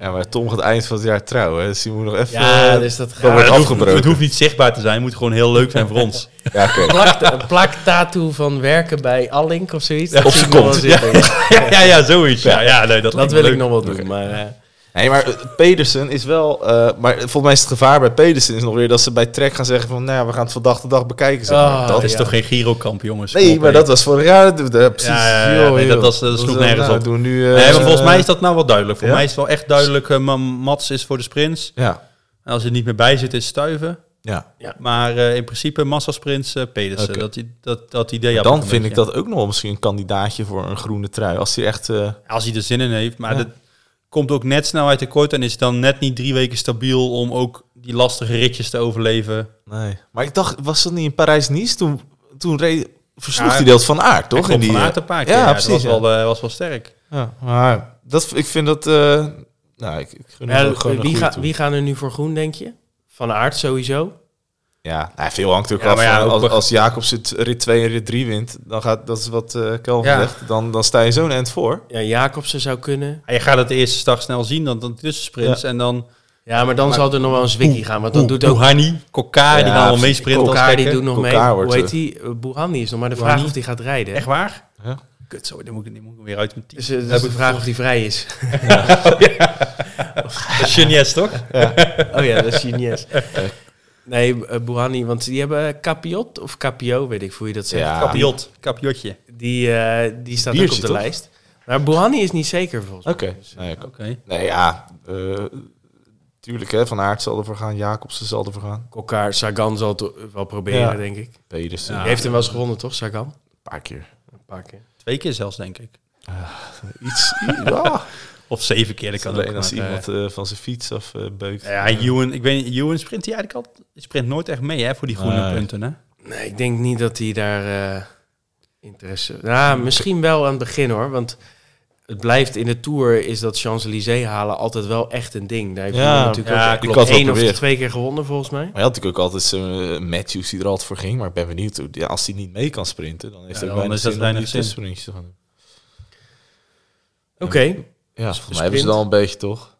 [SPEAKER 2] Ja, maar Tom gaat eind van het jaar trouwen, dus die moet nog even...
[SPEAKER 1] ja, dus dat
[SPEAKER 2] dat wordt
[SPEAKER 1] gaat...
[SPEAKER 3] het hoeft,
[SPEAKER 2] afgebroken.
[SPEAKER 3] het hoeft niet zichtbaar te zijn, het moet gewoon heel leuk zijn voor ons.
[SPEAKER 2] Ja, oké.
[SPEAKER 1] Plak, een plak tattoo van werken bij Allink of zoiets.
[SPEAKER 2] op
[SPEAKER 1] zie
[SPEAKER 2] zijn
[SPEAKER 1] ik nog wel
[SPEAKER 2] kont.
[SPEAKER 1] zitten.
[SPEAKER 3] ja, ja, ja, zoiets. Ja, ja, nee, dat,
[SPEAKER 1] Dat
[SPEAKER 3] lijkt me
[SPEAKER 1] wil ik
[SPEAKER 3] leuk.
[SPEAKER 1] nog wel doen. Maar eh,
[SPEAKER 2] Nee, maar eh, Pedersen is wel... eh, maar volgens mij is het gevaar bij Pedersen is nog weer dat ze bij Trek gaan zeggen van... Nou ja, we gaan het van dag tot dag bekijken. Zeg maar.
[SPEAKER 1] Ah,
[SPEAKER 2] dat
[SPEAKER 3] Dat is
[SPEAKER 1] Ja.
[SPEAKER 3] toch geen Girokamp, jongens?
[SPEAKER 2] Nee,
[SPEAKER 3] Kom
[SPEAKER 2] maar
[SPEAKER 3] op,
[SPEAKER 2] dat was vorig jaar. dat- dat- Precies.
[SPEAKER 3] Ja, ja, ja,
[SPEAKER 2] Joh,
[SPEAKER 3] nee, dat
[SPEAKER 2] joh.
[SPEAKER 3] was- dat sloeg
[SPEAKER 2] is-
[SPEAKER 3] nergens
[SPEAKER 2] nou,
[SPEAKER 3] op.
[SPEAKER 2] doen nu,
[SPEAKER 3] hé.
[SPEAKER 2] eh,
[SPEAKER 3] Nee, maar volgens
[SPEAKER 2] eh,
[SPEAKER 3] mij is dat nou wel duidelijk. Voor
[SPEAKER 2] ja?
[SPEAKER 3] mij is het wel echt duidelijk. eh, Ma- Mats is voor de sprints.
[SPEAKER 2] Ja,
[SPEAKER 3] En als hij er niet meer bij zit, is stuiven.
[SPEAKER 2] ja.
[SPEAKER 3] Maar eh, in principe massasprints eh Pedersen.
[SPEAKER 2] Oké.
[SPEAKER 3] Dat, i- dat, dat idee heb
[SPEAKER 2] dan
[SPEAKER 3] een
[SPEAKER 2] vind ik
[SPEAKER 3] beetje.
[SPEAKER 2] dat ook nog wel misschien een kandidaatje voor een groene trui. Als hij echt... eh,
[SPEAKER 3] Als hij er zin in heeft. Maar
[SPEAKER 2] Ja.
[SPEAKER 3] dat komt ook net snelheid tekort. En is dan net niet drie weken stabiel om ook die lastige ritjes te overleven.
[SPEAKER 2] Nee. Maar ik dacht, was dat niet in Parijs-Nice? Toen, toen reed, versloeg
[SPEAKER 3] Ja,
[SPEAKER 2] hij deelt van aard, toch? In
[SPEAKER 3] Hij komt
[SPEAKER 2] die,
[SPEAKER 3] van
[SPEAKER 2] eh,
[SPEAKER 3] aard een paar
[SPEAKER 2] ja,
[SPEAKER 3] keer. Ja,
[SPEAKER 2] precies,
[SPEAKER 3] Dat was,
[SPEAKER 2] ja.
[SPEAKER 3] wel, eh, was wel sterk.
[SPEAKER 2] Ja, maar dat, ik vind dat... eh, nou, ik, ik gun hem
[SPEAKER 1] ja,
[SPEAKER 2] ook gewoon
[SPEAKER 1] eh, wie,
[SPEAKER 2] een
[SPEAKER 1] ga-
[SPEAKER 2] goede
[SPEAKER 1] wie
[SPEAKER 2] toer.
[SPEAKER 1] gaan er nu voor groen, denk je? Van Aert sowieso.
[SPEAKER 2] Ja, nou, veel hangt ook
[SPEAKER 3] Ja,
[SPEAKER 2] af.
[SPEAKER 3] maar ja,
[SPEAKER 2] van-
[SPEAKER 3] ook-
[SPEAKER 2] als, als Jacobs het rit 2 en rit 3 wint, dan gaat, dat is wat eh Kelvin
[SPEAKER 3] Ja.
[SPEAKER 2] zegt, dan, dan sta je zo'n end voor.
[SPEAKER 1] Ja, Jacobsen zou kunnen.
[SPEAKER 3] En Ah, Je gaat het de eerste stag snel zien. Dan, dan tussensprints. En dan
[SPEAKER 1] Ja, maar dan
[SPEAKER 3] Maar-
[SPEAKER 1] zal er nog wel een zwikkie gaan. Want dan doet ook
[SPEAKER 3] Hani, Kokar,
[SPEAKER 2] Ja,
[SPEAKER 3] die gaan allemaal
[SPEAKER 2] precies.
[SPEAKER 3] meesprinten. als
[SPEAKER 1] Elkaar die
[SPEAKER 3] gekken.
[SPEAKER 1] doet nog
[SPEAKER 2] Elkaar
[SPEAKER 1] mee.
[SPEAKER 2] wordt,
[SPEAKER 1] Hoe heet
[SPEAKER 2] eh,
[SPEAKER 1] die? Eh, Bouhanni is nog maar de
[SPEAKER 3] Bouhanni.
[SPEAKER 1] vraag of die gaat rijden. hè?
[SPEAKER 3] Echt waar?
[SPEAKER 2] Ja.
[SPEAKER 3] Kut, zo, dan moet ik, dan moet ik weer uit mijn team.
[SPEAKER 1] Dus, eh, dus
[SPEAKER 3] Heb
[SPEAKER 1] de
[SPEAKER 3] ik
[SPEAKER 1] vraag of die vrij is.
[SPEAKER 3] Genies, toch?
[SPEAKER 1] Oh ja, dat is Chinees. Nee, eh, Bouhanni, want die hebben eh, Capiot of Capio, weet ik hoe je dat zegt.
[SPEAKER 2] Ja.
[SPEAKER 3] Kapiot, kapiotje.
[SPEAKER 1] Die, eh, die staat
[SPEAKER 2] Biertje,
[SPEAKER 1] ook op de
[SPEAKER 2] toch?
[SPEAKER 1] lijst. Maar Bouhanni is niet zeker volgens
[SPEAKER 2] Oké.
[SPEAKER 1] mij.
[SPEAKER 2] Nee, ik-
[SPEAKER 3] Oké.
[SPEAKER 2] Nou, nee, ja. eh, tuurlijk, hè, Van Aert zal ervoor gaan, Jacobsen zal ervoor gaan.
[SPEAKER 1] Elkaar, Sagan zal het eh, wel proberen,
[SPEAKER 2] Ja.
[SPEAKER 1] denk ik.
[SPEAKER 2] Pedersen,
[SPEAKER 3] Ja.
[SPEAKER 1] Die heeft hem wel eens gewonnen, toch, Sagan?
[SPEAKER 2] Ah, een paar keer.
[SPEAKER 1] Een paar keer.
[SPEAKER 3] Twee keer zelfs, denk ik.
[SPEAKER 2] Iets, ja.
[SPEAKER 3] Of zeven keer, dat kan ook.
[SPEAKER 2] Alleen als
[SPEAKER 3] maar, eh,
[SPEAKER 2] iemand eh, van zijn fiets af eh, beukt.
[SPEAKER 3] ja, Ewan, ik weet niet, Ewan sprint hij eigenlijk al, die sprint nooit echt mee, hè, voor die groene
[SPEAKER 2] Nee.
[SPEAKER 3] punten, hè?
[SPEAKER 1] Nee, ik denk niet dat hij daar eh, interesse... Nou, misschien wel aan het begin, hoor. Want het blijft in de Tour is dat Champs-Élysées halen altijd wel echt een ding. Daar heeft
[SPEAKER 2] Ja,
[SPEAKER 1] hij natuurlijk
[SPEAKER 3] ja,
[SPEAKER 1] ook
[SPEAKER 2] klopt. Ik had het
[SPEAKER 1] één
[SPEAKER 2] wel
[SPEAKER 1] of
[SPEAKER 2] geprobeerd.
[SPEAKER 1] twee keer gewonnen volgens mij.
[SPEAKER 2] Maar je had natuurlijk ook altijd zo'n eh, Matthews die er altijd voor ging. Maar ik ben benieuwd, hoe- ja, als hij niet mee kan sprinten, dan heeft
[SPEAKER 3] Ja,
[SPEAKER 2] hij ook
[SPEAKER 3] dan
[SPEAKER 2] weinig
[SPEAKER 3] is dat
[SPEAKER 2] zin om die
[SPEAKER 3] weinig zin.
[SPEAKER 2] testsprints te gaan doen.
[SPEAKER 1] Oké.
[SPEAKER 2] Ja,
[SPEAKER 1] Dus
[SPEAKER 2] volgens mij hebben
[SPEAKER 1] sprint.
[SPEAKER 2] ze dan een beetje, toch?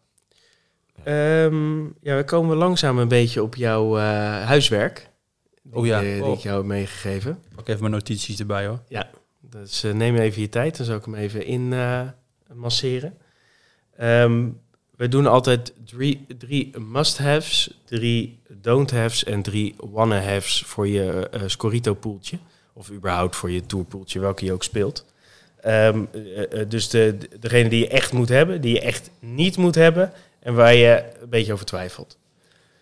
[SPEAKER 1] Ehm, ja, we komen langzaam een beetje op jouw eh, huiswerk. Die,
[SPEAKER 3] Oh ja.
[SPEAKER 1] eh, die
[SPEAKER 3] Oh.
[SPEAKER 1] ik jou heb meegegeven.
[SPEAKER 3] Pak even mijn notities erbij hoor.
[SPEAKER 1] Dus eh, neem even je tijd, dan zal ik hem even in eh, masseren. Ehm, we doen altijd drie, drie must-haves, drie don't-haves en drie wanna-haves voor je eh Scorito-poeltje. Of überhaupt voor je tourpoeltje, welke je ook speelt. Ehm, eh, eh, dus de, degene die je echt moet hebben, die je echt niet moet hebben en waar je een beetje over twijfelt.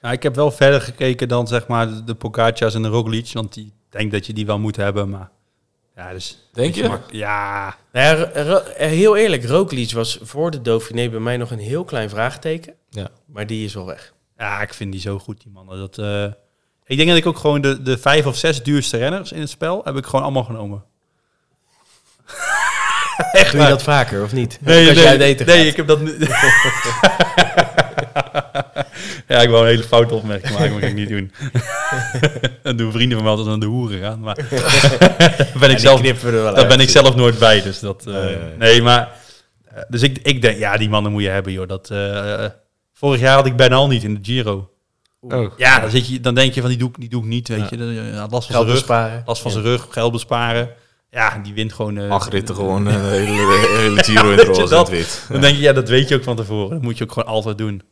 [SPEAKER 3] Nou, ik heb wel verder gekeken dan zeg maar de- de Pogacar's en de Roglic. Want die ik denk dat je die wel moet hebben. Maar ja, dus...
[SPEAKER 2] Denk je?
[SPEAKER 3] mak- Ja.
[SPEAKER 1] Nou ja, Ro- Ro- eh, heel eerlijk, Roglic was voor de Dauphiné bij mij nog een heel klein vraagteken.
[SPEAKER 2] Ja.
[SPEAKER 1] Maar die is wel weg.
[SPEAKER 3] ja, ik vind die zo goed die mannen. Dat, eh, ik denk dat ik ook gewoon de, de vijf of zes duurste renners in het spel heb ik gewoon allemaal genomen.
[SPEAKER 1] Doe
[SPEAKER 3] Echt
[SPEAKER 1] je
[SPEAKER 3] waar.
[SPEAKER 1] dat vaker of niet? Als jij uit eten
[SPEAKER 3] nee
[SPEAKER 1] gaat.
[SPEAKER 3] ik heb dat niet. ja, ik wou een hele foute opmerking maken, maar dat kan ik niet doen. dat doen vrienden van mij altijd aan de hoeren gaan. Maar daar ben ik zelf,
[SPEAKER 1] knippen we er wel
[SPEAKER 3] daar ben ik zelf nooit bij. Dus dat, eh,
[SPEAKER 2] Ja, ja, ja.
[SPEAKER 3] Nee, maar. eh, Dus ik, ik denk, ja, die mannen moet je hebben, joh. Dat, eh, vorig jaar had ik bijna al niet in de Giro.
[SPEAKER 2] Oh.
[SPEAKER 3] Ja, dan, zit je, dan denk je van die doe ik, die doe ik niet, weet
[SPEAKER 1] Ja.
[SPEAKER 3] je. Dan, eh, last van
[SPEAKER 1] Geld
[SPEAKER 3] zijn rug,
[SPEAKER 1] besparen.
[SPEAKER 3] last van zijn rug, geld besparen. Ja, die wint gewoon. eh,
[SPEAKER 2] Acht ritten gewoon eh, de hele, de hele Giro in het
[SPEAKER 3] weet
[SPEAKER 2] roze
[SPEAKER 3] je
[SPEAKER 2] en
[SPEAKER 3] dat?
[SPEAKER 2] het wit.
[SPEAKER 3] Dan denk je, ja, dat weet je ook van tevoren. Dat moet je ook gewoon altijd doen.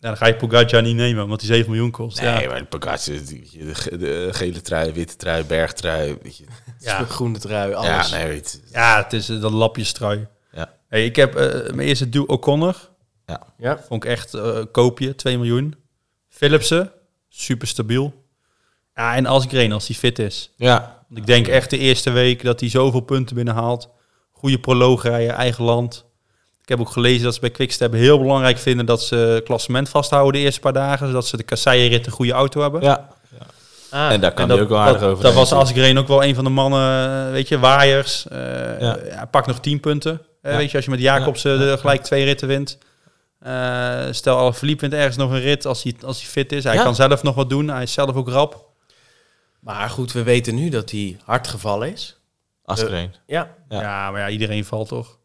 [SPEAKER 3] Ja, dan ga je Pogacar niet nemen, want die 7 miljoen kost.
[SPEAKER 2] Nee,
[SPEAKER 3] ja.
[SPEAKER 2] maar de Pogacar, die- die- de, ge- de gele trui, witte trui, bergtrui. Weet je.
[SPEAKER 3] Ja.
[SPEAKER 1] Groene trui,
[SPEAKER 2] Ja,
[SPEAKER 1] alles.
[SPEAKER 2] nee, weet je.
[SPEAKER 3] ja, het is eh, dat lapjestrui.
[SPEAKER 2] Ja.
[SPEAKER 3] Hey, ik heb eh, mijn eerste duw O'Connor.
[SPEAKER 1] Ja.
[SPEAKER 3] Vond ik echt eh, koopje, 2 miljoen. Philipsen, super stabiel. Ja, en Asgreen als hij fit is.
[SPEAKER 2] Ja,
[SPEAKER 3] Want ik denk echt de eerste week dat hij zoveel punten binnenhaalt. Goede proloog rijden, eigen land. Ik heb ook gelezen dat ze bij Quickstep heel belangrijk vinden dat ze het klassement vasthouden de eerste paar dagen. Zodat ze de kasseienrit een goede auto hebben.
[SPEAKER 2] ja.
[SPEAKER 1] Ah,
[SPEAKER 2] En daar kan
[SPEAKER 3] En
[SPEAKER 2] je
[SPEAKER 3] dat-
[SPEAKER 2] ook wel aardig
[SPEAKER 3] dat-
[SPEAKER 2] over
[SPEAKER 3] Dat was
[SPEAKER 2] denken.
[SPEAKER 3] Asgreen ook wel een van de mannen, weet je, waaiers. eh,
[SPEAKER 2] Ja.
[SPEAKER 3] ja, pak nog 10 punten. Eh,
[SPEAKER 2] Ja.
[SPEAKER 3] Weet je, als je met Jacobsen
[SPEAKER 2] Ja.
[SPEAKER 3] de- gelijk twee ritten wint. Eh, stel, Alaphilippe wint ergens nog een rit als hij, als hij fit is. Hij
[SPEAKER 1] Ja.
[SPEAKER 3] kan zelf nog wat doen. Hij is zelf ook rap.
[SPEAKER 1] Maar goed, we weten nu dat hij hard gevallen is.
[SPEAKER 2] Asgreen.
[SPEAKER 1] Ja,
[SPEAKER 2] Ja.
[SPEAKER 3] Ja, maar ja, iedereen valt toch?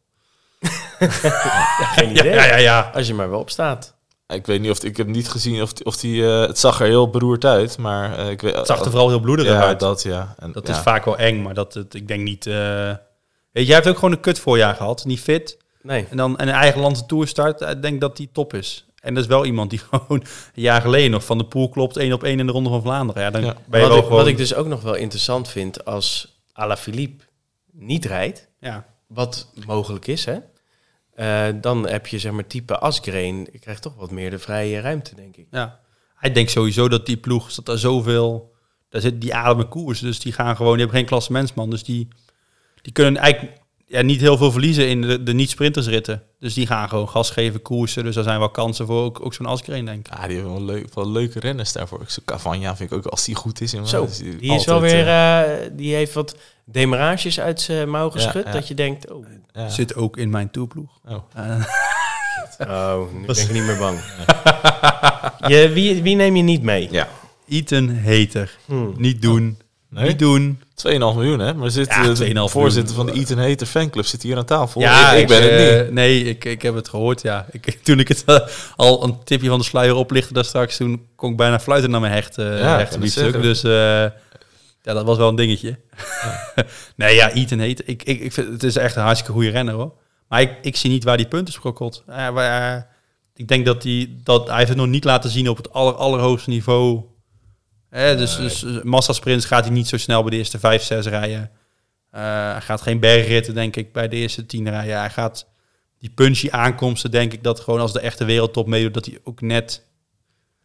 [SPEAKER 1] geen
[SPEAKER 3] Ja,
[SPEAKER 1] idee.
[SPEAKER 3] ja, ja. ja.
[SPEAKER 1] Als je maar wel opstaat.
[SPEAKER 2] Ik weet niet of ik heb niet gezien of, of die. eh, het zag er heel beroerd uit, maar eh, ik weet.
[SPEAKER 3] Het zag er vooral heel bloederig
[SPEAKER 2] ja,
[SPEAKER 3] uit. Dat,
[SPEAKER 2] dat ja. En, ja.
[SPEAKER 3] is vaak wel eng, maar dat, het, ik denk niet... eh, Weet je, jij hebt ook gewoon een kut voorjaar gehad. Niet fit.
[SPEAKER 1] Nee.
[SPEAKER 3] En dan een eigen land de tour start, ik denk dat die top is. En dat is wel iemand die gewoon een jaar geleden nog van de pool klopt, één op één in de Ronde van Vlaanderen. Ja, dan
[SPEAKER 2] Ja.
[SPEAKER 3] ben je
[SPEAKER 1] wat,
[SPEAKER 3] wel
[SPEAKER 1] ik,
[SPEAKER 3] gewoon...
[SPEAKER 1] wat ik dus ook nog wel interessant vind, als Alaphilippe niet rijdt,
[SPEAKER 3] ja.
[SPEAKER 1] wat mogelijk is, hè, eh, dan heb je zeg maar type Asgreen, je krijgt toch wat meer de vrije ruimte, denk ik.
[SPEAKER 3] Ja. Hij denkt sowieso dat die ploeg, dat er zoveel... Daar zit die ademen koers, dus die gaan gewoon... Die hebben geen klassementsman, dus die, die kunnen eigenlijk ja, niet heel veel verliezen in de, de niet-sprintersritten. Dus die gaan gewoon gas geven, koersen. Dus daar zijn wel kansen voor, ook, ook zo'n Asgreen, denk ik.
[SPEAKER 2] Ja, Ah, die hebben wel, leuk, wel leuke renners daarvoor. Ik zo Cavagna vind ik ook als die goed is. jongen,
[SPEAKER 1] Zo,
[SPEAKER 2] is
[SPEAKER 1] die is wel
[SPEAKER 2] altijd,
[SPEAKER 1] weer,
[SPEAKER 2] eh,
[SPEAKER 1] eh, die heeft wat demarages uit zijn eh, mouw geschud,
[SPEAKER 2] ja.
[SPEAKER 1] dat je denkt, oh,
[SPEAKER 2] ja.
[SPEAKER 3] eh, Zit ook in mijn toerploeg.
[SPEAKER 2] Oh.
[SPEAKER 3] Eh,
[SPEAKER 1] Oh, nu ben ik niet meer bang. je, wie, wie neem je niet mee?
[SPEAKER 2] Ja, 2,5
[SPEAKER 3] Ethan Heter.
[SPEAKER 1] Hmm.
[SPEAKER 3] Niet doen.
[SPEAKER 2] Nee?
[SPEAKER 3] Niet doen.
[SPEAKER 2] miljoen hè? Maar zit
[SPEAKER 3] Ja,
[SPEAKER 2] eh,
[SPEAKER 3] 2,5
[SPEAKER 2] de voorzitter
[SPEAKER 3] miljoen.
[SPEAKER 2] van de Eat and Hater fanclub zit hier aan tafel. ik, ik ben
[SPEAKER 3] eh,
[SPEAKER 2] het niet.
[SPEAKER 3] Nee, ik, ik heb het gehoord, ja. Ik, toen ik het eh, al een tipje van de sluier oplichtte daar straks, toen kon ik bijna fluiten naar mijn hecht, eh
[SPEAKER 2] kan
[SPEAKER 3] rechterbiefstuk.
[SPEAKER 2] het zeggen.
[SPEAKER 3] Dus eh, ja, dat was wel een dingetje. nee, ja, Ethan heet. Ik, ik, ik vind, het is echt een hartstikke goede renner, hoor. Maar ik, ik zie niet waar die punten sprokkelt. Eh, waar- eh, ik denk dat, die, dat hij heeft het nog niet laten zien op het aller, allerhoogste niveau. Eh, dus, dus eh, massasprints gaat hij niet zo snel bij de eerste vijf, zes rijen. Eh, hij gaat geen bergritten, denk ik, bij de eerste tien rijen. Hij gaat die punchy aankomsten, denk ik, dat gewoon als de echte wereldtop meedoet, dat hij ook net,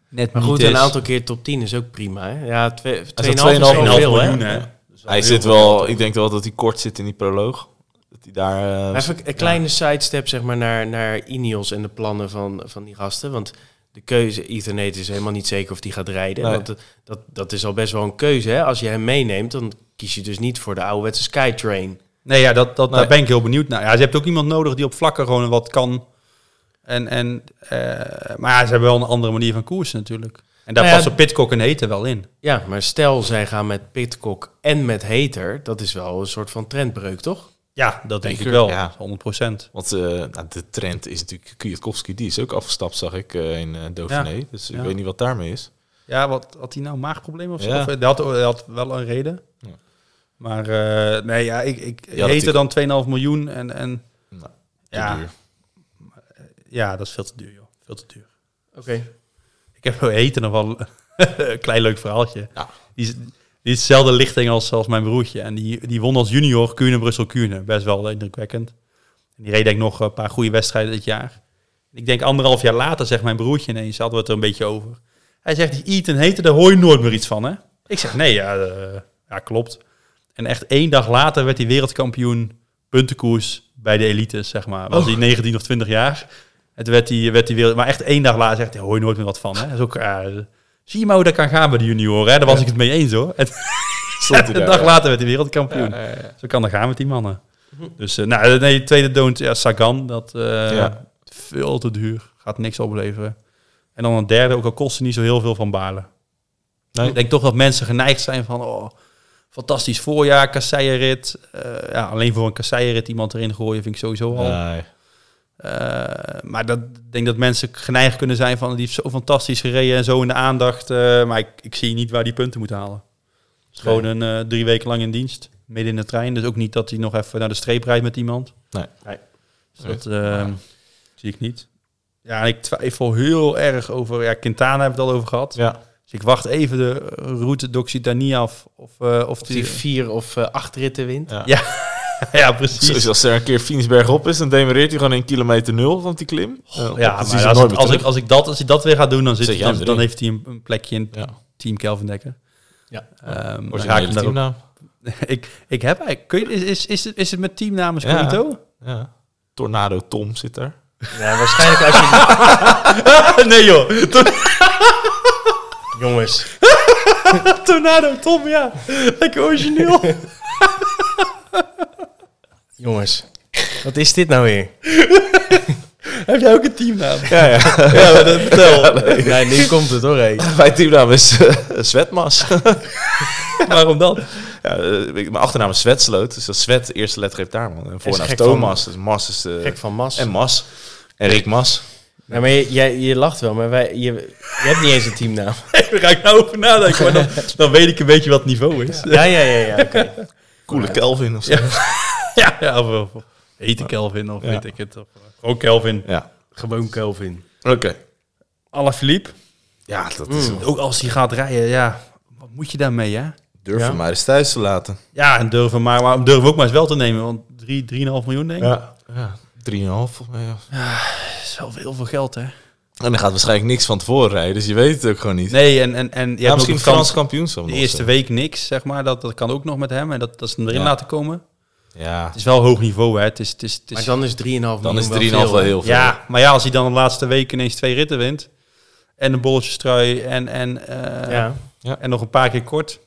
[SPEAKER 3] net
[SPEAKER 1] Maar
[SPEAKER 3] niet
[SPEAKER 1] goed,
[SPEAKER 3] is.
[SPEAKER 1] een aantal keer top 10 is ook prima. Hè? Ja, twee- 2,5 is
[SPEAKER 2] 2,5
[SPEAKER 1] wel
[SPEAKER 2] miljoen,
[SPEAKER 1] veel, hè?
[SPEAKER 3] miljoen, hè?
[SPEAKER 2] Hij zit wel, ik denk wel dat hij kort zit in die proloog. Dat hij daar. eh,
[SPEAKER 1] Even een kleine sidestep zeg maar, naar, naar Ineos en de plannen van, van die gasten. Want de keuze, Ethan Hate is helemaal niet zeker of die gaat rijden.
[SPEAKER 2] Nee.
[SPEAKER 1] Want dat, dat, dat is al best wel een keuze. Hè? Als je hem meeneemt, dan kies je dus niet voor de ouderwetse Skytrain.
[SPEAKER 3] Nee, ja, dat, dat,
[SPEAKER 2] Nee.
[SPEAKER 3] daar ben ik heel benieuwd naar. Ja, ze hebben ook iemand nodig die op vlakken gewoon wat kan. En, en, eh, maar ja, ze hebben wel een andere manier van koersen natuurlijk. En daar
[SPEAKER 1] Nou ja,
[SPEAKER 3] passen Pitcock en Heten wel in.
[SPEAKER 1] Ja, maar stel zij gaan met Pitcock en met Hater, dat is wel een soort van trendbreuk, toch?
[SPEAKER 3] Ja, dat denk ik
[SPEAKER 2] Zeker,
[SPEAKER 3] wel.
[SPEAKER 2] ja.
[SPEAKER 3] 100 procent.
[SPEAKER 2] Want eh, nou, de trend is natuurlijk Kwiatkowski, die is ook afgestapt, zag ik eh, in eh Dauphiné. Dus ik
[SPEAKER 3] Ja.
[SPEAKER 2] weet niet wat daarmee is.
[SPEAKER 3] Ja, wat had hij nou? Maagproblemen of zo?
[SPEAKER 2] Ja.
[SPEAKER 3] Of, eh, hij, had, hij had wel een reden.
[SPEAKER 2] Ja.
[SPEAKER 3] Maar eh, nee, ja, ik, ik
[SPEAKER 2] Ja, dat
[SPEAKER 3] Heten
[SPEAKER 2] ik-
[SPEAKER 3] dan 2,5 miljoen. En, en
[SPEAKER 2] Nou, te
[SPEAKER 3] ja,
[SPEAKER 2] duur.
[SPEAKER 3] ja, dat is veel te duur, joh. Veel te duur.
[SPEAKER 1] Oké.
[SPEAKER 3] Ik heb wel eten nog wel een klein leuk verhaaltje.
[SPEAKER 2] Ja.
[SPEAKER 3] Die, is, die is dezelfde lichting als, als mijn broertje. En die, die won als junior Kuurne-Brussel-Kuurne. Best wel indrukwekkend. En die reed denk ik nog een paar goede wedstrijden dit jaar. Ik denk anderhalf jaar later zegt mijn broertje ineens, hadden we het er een beetje over. Hij zegt, die Eaton heten, daar hoor je nooit meer iets van hè? Ik zeg, nee, ja, eh, ja klopt. En echt één dag later werd hij wereldkampioen puntenkoers bij de elites, zeg maar. Was hij 19 of 20 jaar. Het werd die, werd die wereld, maar echt één dag later zegt hij, hoor je nooit meer wat van. Hè? Dat is ook, eh, zie je maar hoe dat kan gaan bij de junioren. hè? Daar was ik het mee eens hoor. En
[SPEAKER 2] Stond hij
[SPEAKER 3] een
[SPEAKER 2] daar,
[SPEAKER 3] dag
[SPEAKER 2] ja.
[SPEAKER 3] later werd hij wereldkampioen.
[SPEAKER 2] Ja, ja, ja. Hm.
[SPEAKER 3] Zo kan dat gaan met die mannen. Dus eh, nou, nee, tweede don't, ja, Sagan, dat eh,
[SPEAKER 2] Ja.
[SPEAKER 3] veel te duur. Gaat niks opleveren. En dan een derde, ook al kost ze niet zo heel veel van balen. Nou,
[SPEAKER 2] Nee.
[SPEAKER 3] Ik denk toch dat mensen geneigd zijn van, oh, fantastisch voorjaar, kasseienrit. Eh, ja, alleen voor een kasseienrit iemand erin gooien vind ik sowieso al.
[SPEAKER 2] Nee.
[SPEAKER 3] Eh, maar dat, ik denk dat mensen geneigd kunnen zijn van, die heeft zo fantastisch gereden en zo in de aandacht. eh, maar ik, ik zie niet waar die punten moet halen. Het is gewoon een, eh, drie weken lang in dienst, midden in de trein. Dus ook niet dat hij nog even naar de streep rijdt met iemand.
[SPEAKER 2] Nee.
[SPEAKER 3] Dus dat eh, zie ik niet. Ja, en ik twijfel heel erg over, ja, Quintana hebben we het al over gehad.
[SPEAKER 2] Ja.
[SPEAKER 3] Dus ik wacht even de route d'Occitanie af. Of, eh, of
[SPEAKER 1] Of
[SPEAKER 3] die-
[SPEAKER 1] die vier of eh, acht ritten wint.
[SPEAKER 2] Ja.
[SPEAKER 3] ja, precies.
[SPEAKER 2] Dus als er een keer Fiensberg op is, dan demereert hij gewoon in kilometer nul van die klim. Eh,
[SPEAKER 3] Ja,
[SPEAKER 2] dan is
[SPEAKER 3] maar
[SPEAKER 2] hij
[SPEAKER 3] als,
[SPEAKER 2] nooit
[SPEAKER 3] het-
[SPEAKER 2] meer
[SPEAKER 3] als, ik, als, ik dat, als ik dat weer ga doen, dan, zit,
[SPEAKER 2] Zit jij
[SPEAKER 3] dan,
[SPEAKER 2] hem
[SPEAKER 3] dan
[SPEAKER 2] erin.
[SPEAKER 3] heeft hij een, een plekje in
[SPEAKER 2] terug.
[SPEAKER 3] Team Kelvin Dekker.
[SPEAKER 1] Ja.
[SPEAKER 3] Ehm, dan
[SPEAKER 2] Ja.
[SPEAKER 3] raak ik
[SPEAKER 2] Originele
[SPEAKER 3] hem daarop.
[SPEAKER 2] teamnaam.
[SPEAKER 3] ik, ik heb eigenlijk... Kun je, is, is, is, het, is het met team namens
[SPEAKER 2] Ja.
[SPEAKER 3] Corito?
[SPEAKER 2] Ja. Tornado Tom zit daar.
[SPEAKER 1] Ja, waarschijnlijk als je...
[SPEAKER 3] Ah, nee joh,
[SPEAKER 1] Jongens,
[SPEAKER 3] Tornado Tom, ja. Lekker origineel.
[SPEAKER 1] jongens. Wat is dit nou weer?
[SPEAKER 3] heb jij ook een teamnaam?
[SPEAKER 2] Ja, ja.
[SPEAKER 3] ja, dat vertel.
[SPEAKER 1] Nee, nu komt het hoor, hé.
[SPEAKER 2] Mijn teamnaam is eh, Zwetmas.
[SPEAKER 3] Waarom dan?
[SPEAKER 2] Ja, eh, ik- mijn achternaam is Zwetsloot, dus dat is Zwet, eerste lettergreep daar, man. En voornaam is
[SPEAKER 1] gek van-
[SPEAKER 2] Thomas, dus Mas is... eh,
[SPEAKER 1] Gek van Mas.
[SPEAKER 2] en Mas. En Rick Mas.
[SPEAKER 1] Nou, maar je, jij- je lacht wel, maar wij, je, je hebt niet eens een teamnaam.
[SPEAKER 3] Daar ga ik nou over nadenken. Maar dan, dan weet ik een beetje wat het niveau is.
[SPEAKER 1] Ja, ja, ja, ja, oké.
[SPEAKER 2] Coole Kelvin of zo. Ja.
[SPEAKER 3] Ja, ja of, of hete Kelvin of
[SPEAKER 2] Ja.
[SPEAKER 3] weet ik het. Of, eh, gewoon Kelvin.
[SPEAKER 1] Gewoon Kelvin.
[SPEAKER 2] Oké.
[SPEAKER 3] Alaphilippe.
[SPEAKER 2] Ja, dat is...
[SPEAKER 1] Mm.
[SPEAKER 3] Ook als hij gaat rijden, ja. Wat moet je daarmee, hè?
[SPEAKER 2] Durf
[SPEAKER 1] Ja.
[SPEAKER 2] hem maar eens thuis te laten.
[SPEAKER 3] Ja, en durven maar, maar durven ook maar eens wel te nemen. Want 3, 3,5 miljoen denk ik.
[SPEAKER 2] Ja. ja. 3,5 volgens mij. ja.
[SPEAKER 3] Dat is wel heel veel geld, hè?
[SPEAKER 2] En dan gaat waarschijnlijk niks van tevoren rijden, dus je weet het ook gewoon niet.
[SPEAKER 3] Nee, en, en,
[SPEAKER 1] Nou,
[SPEAKER 3] en
[SPEAKER 2] ja,
[SPEAKER 3] je hebt ook
[SPEAKER 2] misschien
[SPEAKER 3] de kans-
[SPEAKER 2] Frans kampioenschap
[SPEAKER 3] de
[SPEAKER 2] nog
[SPEAKER 3] eerste
[SPEAKER 1] eh.
[SPEAKER 2] zo.
[SPEAKER 3] week niks, zeg maar. Dat, dat kan ook nog met hem. En dat, dat ze hem erin
[SPEAKER 2] Ja.
[SPEAKER 3] laten komen.
[SPEAKER 2] Ja,
[SPEAKER 3] Het is wel hoog niveau, hè? Het is, het is, het is,
[SPEAKER 1] Maar dan is 3,5 miljoen
[SPEAKER 2] dan is 3,5
[SPEAKER 1] wel
[SPEAKER 2] wel
[SPEAKER 1] veel, hè?
[SPEAKER 2] heel veel.
[SPEAKER 3] Ja, maar ja, als hij dan de laatste week ineens twee ritten wint. En een bolletjestrui en, en, eh,
[SPEAKER 1] Ja.
[SPEAKER 3] en nog een paar keer kort.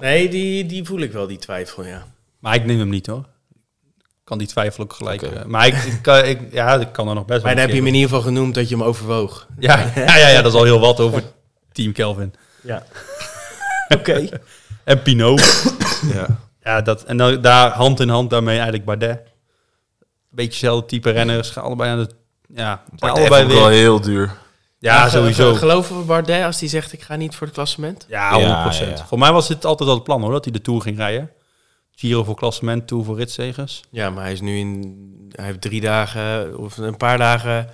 [SPEAKER 1] Nee, die, die voel ik wel, die twijfel, ja.
[SPEAKER 3] Maar ik neem hem niet, hoor. Ik kan die twijfel ook gelijk.
[SPEAKER 2] Oké.
[SPEAKER 3] eh, maar ik, ik, kan, ik, ja, ik kan er nog best
[SPEAKER 1] Maar
[SPEAKER 3] wel
[SPEAKER 1] dan heb
[SPEAKER 3] een
[SPEAKER 1] je
[SPEAKER 3] keer
[SPEAKER 1] hem in ieder geval genoemd dat je hem overwoog.
[SPEAKER 3] Ja, ja, ja, ja, dat is al heel wat over Team Kelvin.
[SPEAKER 1] Ja. Oké.
[SPEAKER 3] En Pinot.
[SPEAKER 2] ja.
[SPEAKER 3] ja, dat, en dan, daar hand in hand daarmee eigenlijk Bardet. Beetje hetzelfde type renners. gaan Allebei aan de... Ja, zijn
[SPEAKER 2] Maar
[SPEAKER 3] allebei
[SPEAKER 2] wel
[SPEAKER 3] weer.
[SPEAKER 2] heel duur.
[SPEAKER 3] Ja, sowieso.
[SPEAKER 1] Geloven we Bardet als hij zegt ik ga niet voor het klassement?
[SPEAKER 3] Ja, 100%.
[SPEAKER 2] Ja, ja, ja.
[SPEAKER 3] Voor mij was dit altijd al het plan hoor, dat hij de Tour ging rijden. Giro voor klassement, Tour voor ritzegers.
[SPEAKER 1] Ja, maar hij is nu in... Hij heeft drie dagen of een paar dagen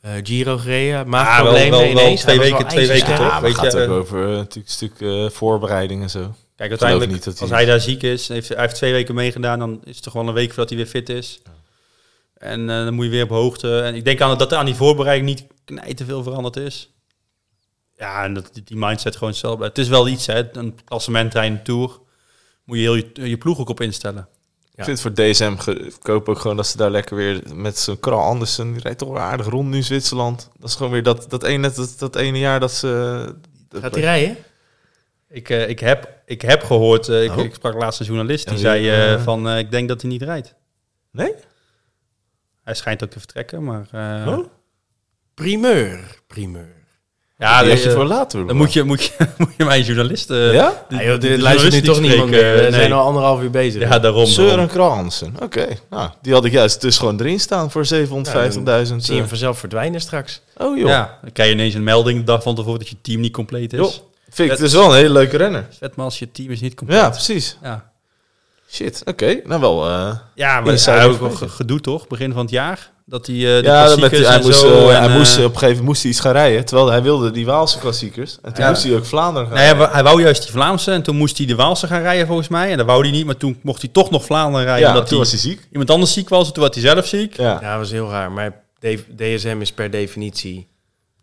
[SPEAKER 1] eh, Giro gereden. Maagproblemen
[SPEAKER 3] wel- wel
[SPEAKER 1] ineens.
[SPEAKER 3] twee
[SPEAKER 1] Hij was
[SPEAKER 3] weken-
[SPEAKER 1] Ah, wel
[SPEAKER 3] twee
[SPEAKER 1] ijzersterk.
[SPEAKER 3] weken,
[SPEAKER 2] Ja,
[SPEAKER 3] toch?
[SPEAKER 2] maar het
[SPEAKER 3] Weet
[SPEAKER 2] gaat
[SPEAKER 3] je,
[SPEAKER 2] ook
[SPEAKER 3] eh,
[SPEAKER 2] over eh, natuurlijk een stuk eh, voorbereiding en zo.
[SPEAKER 3] Kijk,
[SPEAKER 2] uiteindelijk,
[SPEAKER 3] uiteindelijk,
[SPEAKER 2] niet dat hij-
[SPEAKER 3] als hij daar ziek is, heeft, hij heeft twee weken meegedaan, dan is het toch wel een week voordat hij weer fit is. En eh, dan moet je weer op hoogte. En ik denk aan, dat er aan die voorbereiding niet knijt te veel veranderd is. Ja, en dat, die mindset gewoon hetzelfde blijft. Het is wel iets, hè. Een klassement rijden, een tour. Moet je heel je, je ploeg ook op instellen.
[SPEAKER 1] Ja.
[SPEAKER 2] Ik vind het voor DSM ge- koop ook gewoon dat ze daar lekker weer met zo'n Kral Andersen, die rijdt toch wel aardig rond nu in Zwitserland. eh, Dat is gewoon weer dat, dat, ene, dat, dat ene jaar dat ze... dat-
[SPEAKER 1] Gaat hij rijden?
[SPEAKER 3] Ik, eh, ik, heb, ik heb gehoord, eh, ik,
[SPEAKER 2] Oh.
[SPEAKER 3] ik sprak laatst een journalist, die
[SPEAKER 2] Oh,
[SPEAKER 3] zei
[SPEAKER 2] ja.
[SPEAKER 3] eh, van eh, ik denk dat hij niet rijdt.
[SPEAKER 2] Nee?
[SPEAKER 3] Hij schijnt ook te vertrekken, maar... eh,
[SPEAKER 2] Oh.
[SPEAKER 1] Primeur, primeur.
[SPEAKER 3] Ja,
[SPEAKER 2] Die
[SPEAKER 3] dat
[SPEAKER 2] heb je voor later.
[SPEAKER 3] dan moet je, moet, je, moet je mijn journalist... eh,
[SPEAKER 2] Ja?
[SPEAKER 3] die-
[SPEAKER 1] Ja, joh,
[SPEAKER 3] die
[SPEAKER 1] dit luistert nu
[SPEAKER 3] journalist
[SPEAKER 1] toch niemand
[SPEAKER 3] spreken,
[SPEAKER 1] meer.
[SPEAKER 3] eh,
[SPEAKER 1] We zijn
[SPEAKER 3] nee.
[SPEAKER 1] al anderhalf uur bezig.
[SPEAKER 3] Ja, daarom.
[SPEAKER 2] Søren
[SPEAKER 3] daarom.
[SPEAKER 2] Kransen. Oké. Nou, die had ik juist dus gewoon erin staan voor eh, 750.000.
[SPEAKER 1] Zie je hem vanzelf verdwijnen straks.
[SPEAKER 2] oh joh.
[SPEAKER 3] Ja, dan krijg je ineens een melding de dag van tevoren dat je team niet compleet is.
[SPEAKER 2] Joh. Vind ik
[SPEAKER 3] Dat-
[SPEAKER 2] dus wel een hele leuke renner.
[SPEAKER 3] Vet maar als je team is niet compleet.
[SPEAKER 2] Ja, precies.
[SPEAKER 3] ja.
[SPEAKER 2] Shit. Oké. Nou wel. eh,
[SPEAKER 3] Ja, maar
[SPEAKER 2] dat
[SPEAKER 3] hij
[SPEAKER 2] zou
[SPEAKER 3] had
[SPEAKER 2] ik
[SPEAKER 3] ook wel
[SPEAKER 2] weten.
[SPEAKER 3] ge- gedoe toch, begin van het jaar? Dat hij eh de
[SPEAKER 2] ja, met,
[SPEAKER 3] klassiekers
[SPEAKER 2] hij,
[SPEAKER 3] en
[SPEAKER 2] moest,
[SPEAKER 3] zo...
[SPEAKER 2] eh,
[SPEAKER 3] en,
[SPEAKER 2] hij moest op
[SPEAKER 3] eh,
[SPEAKER 2] een gegeven moment moest hij iets gaan rijden. Terwijl hij wilde die Waalse klassiekers. En toen
[SPEAKER 3] Ja.
[SPEAKER 2] moest hij ook Vlaanderen gaan.
[SPEAKER 3] Nee, hij wou- hij wou juist die Vlaamse en toen moest hij de Waalse gaan rijden volgens mij. En dat wou hij niet, maar toen mocht hij toch nog Vlaanderen
[SPEAKER 2] ja,
[SPEAKER 3] rijden.
[SPEAKER 2] toen
[SPEAKER 3] omdat hij,
[SPEAKER 2] was hij ziek.
[SPEAKER 3] iemand anders ziek was en toen werd hij zelf ziek.
[SPEAKER 2] Ja.
[SPEAKER 1] Ja, dat was heel raar. Maar D- DSM is per definitie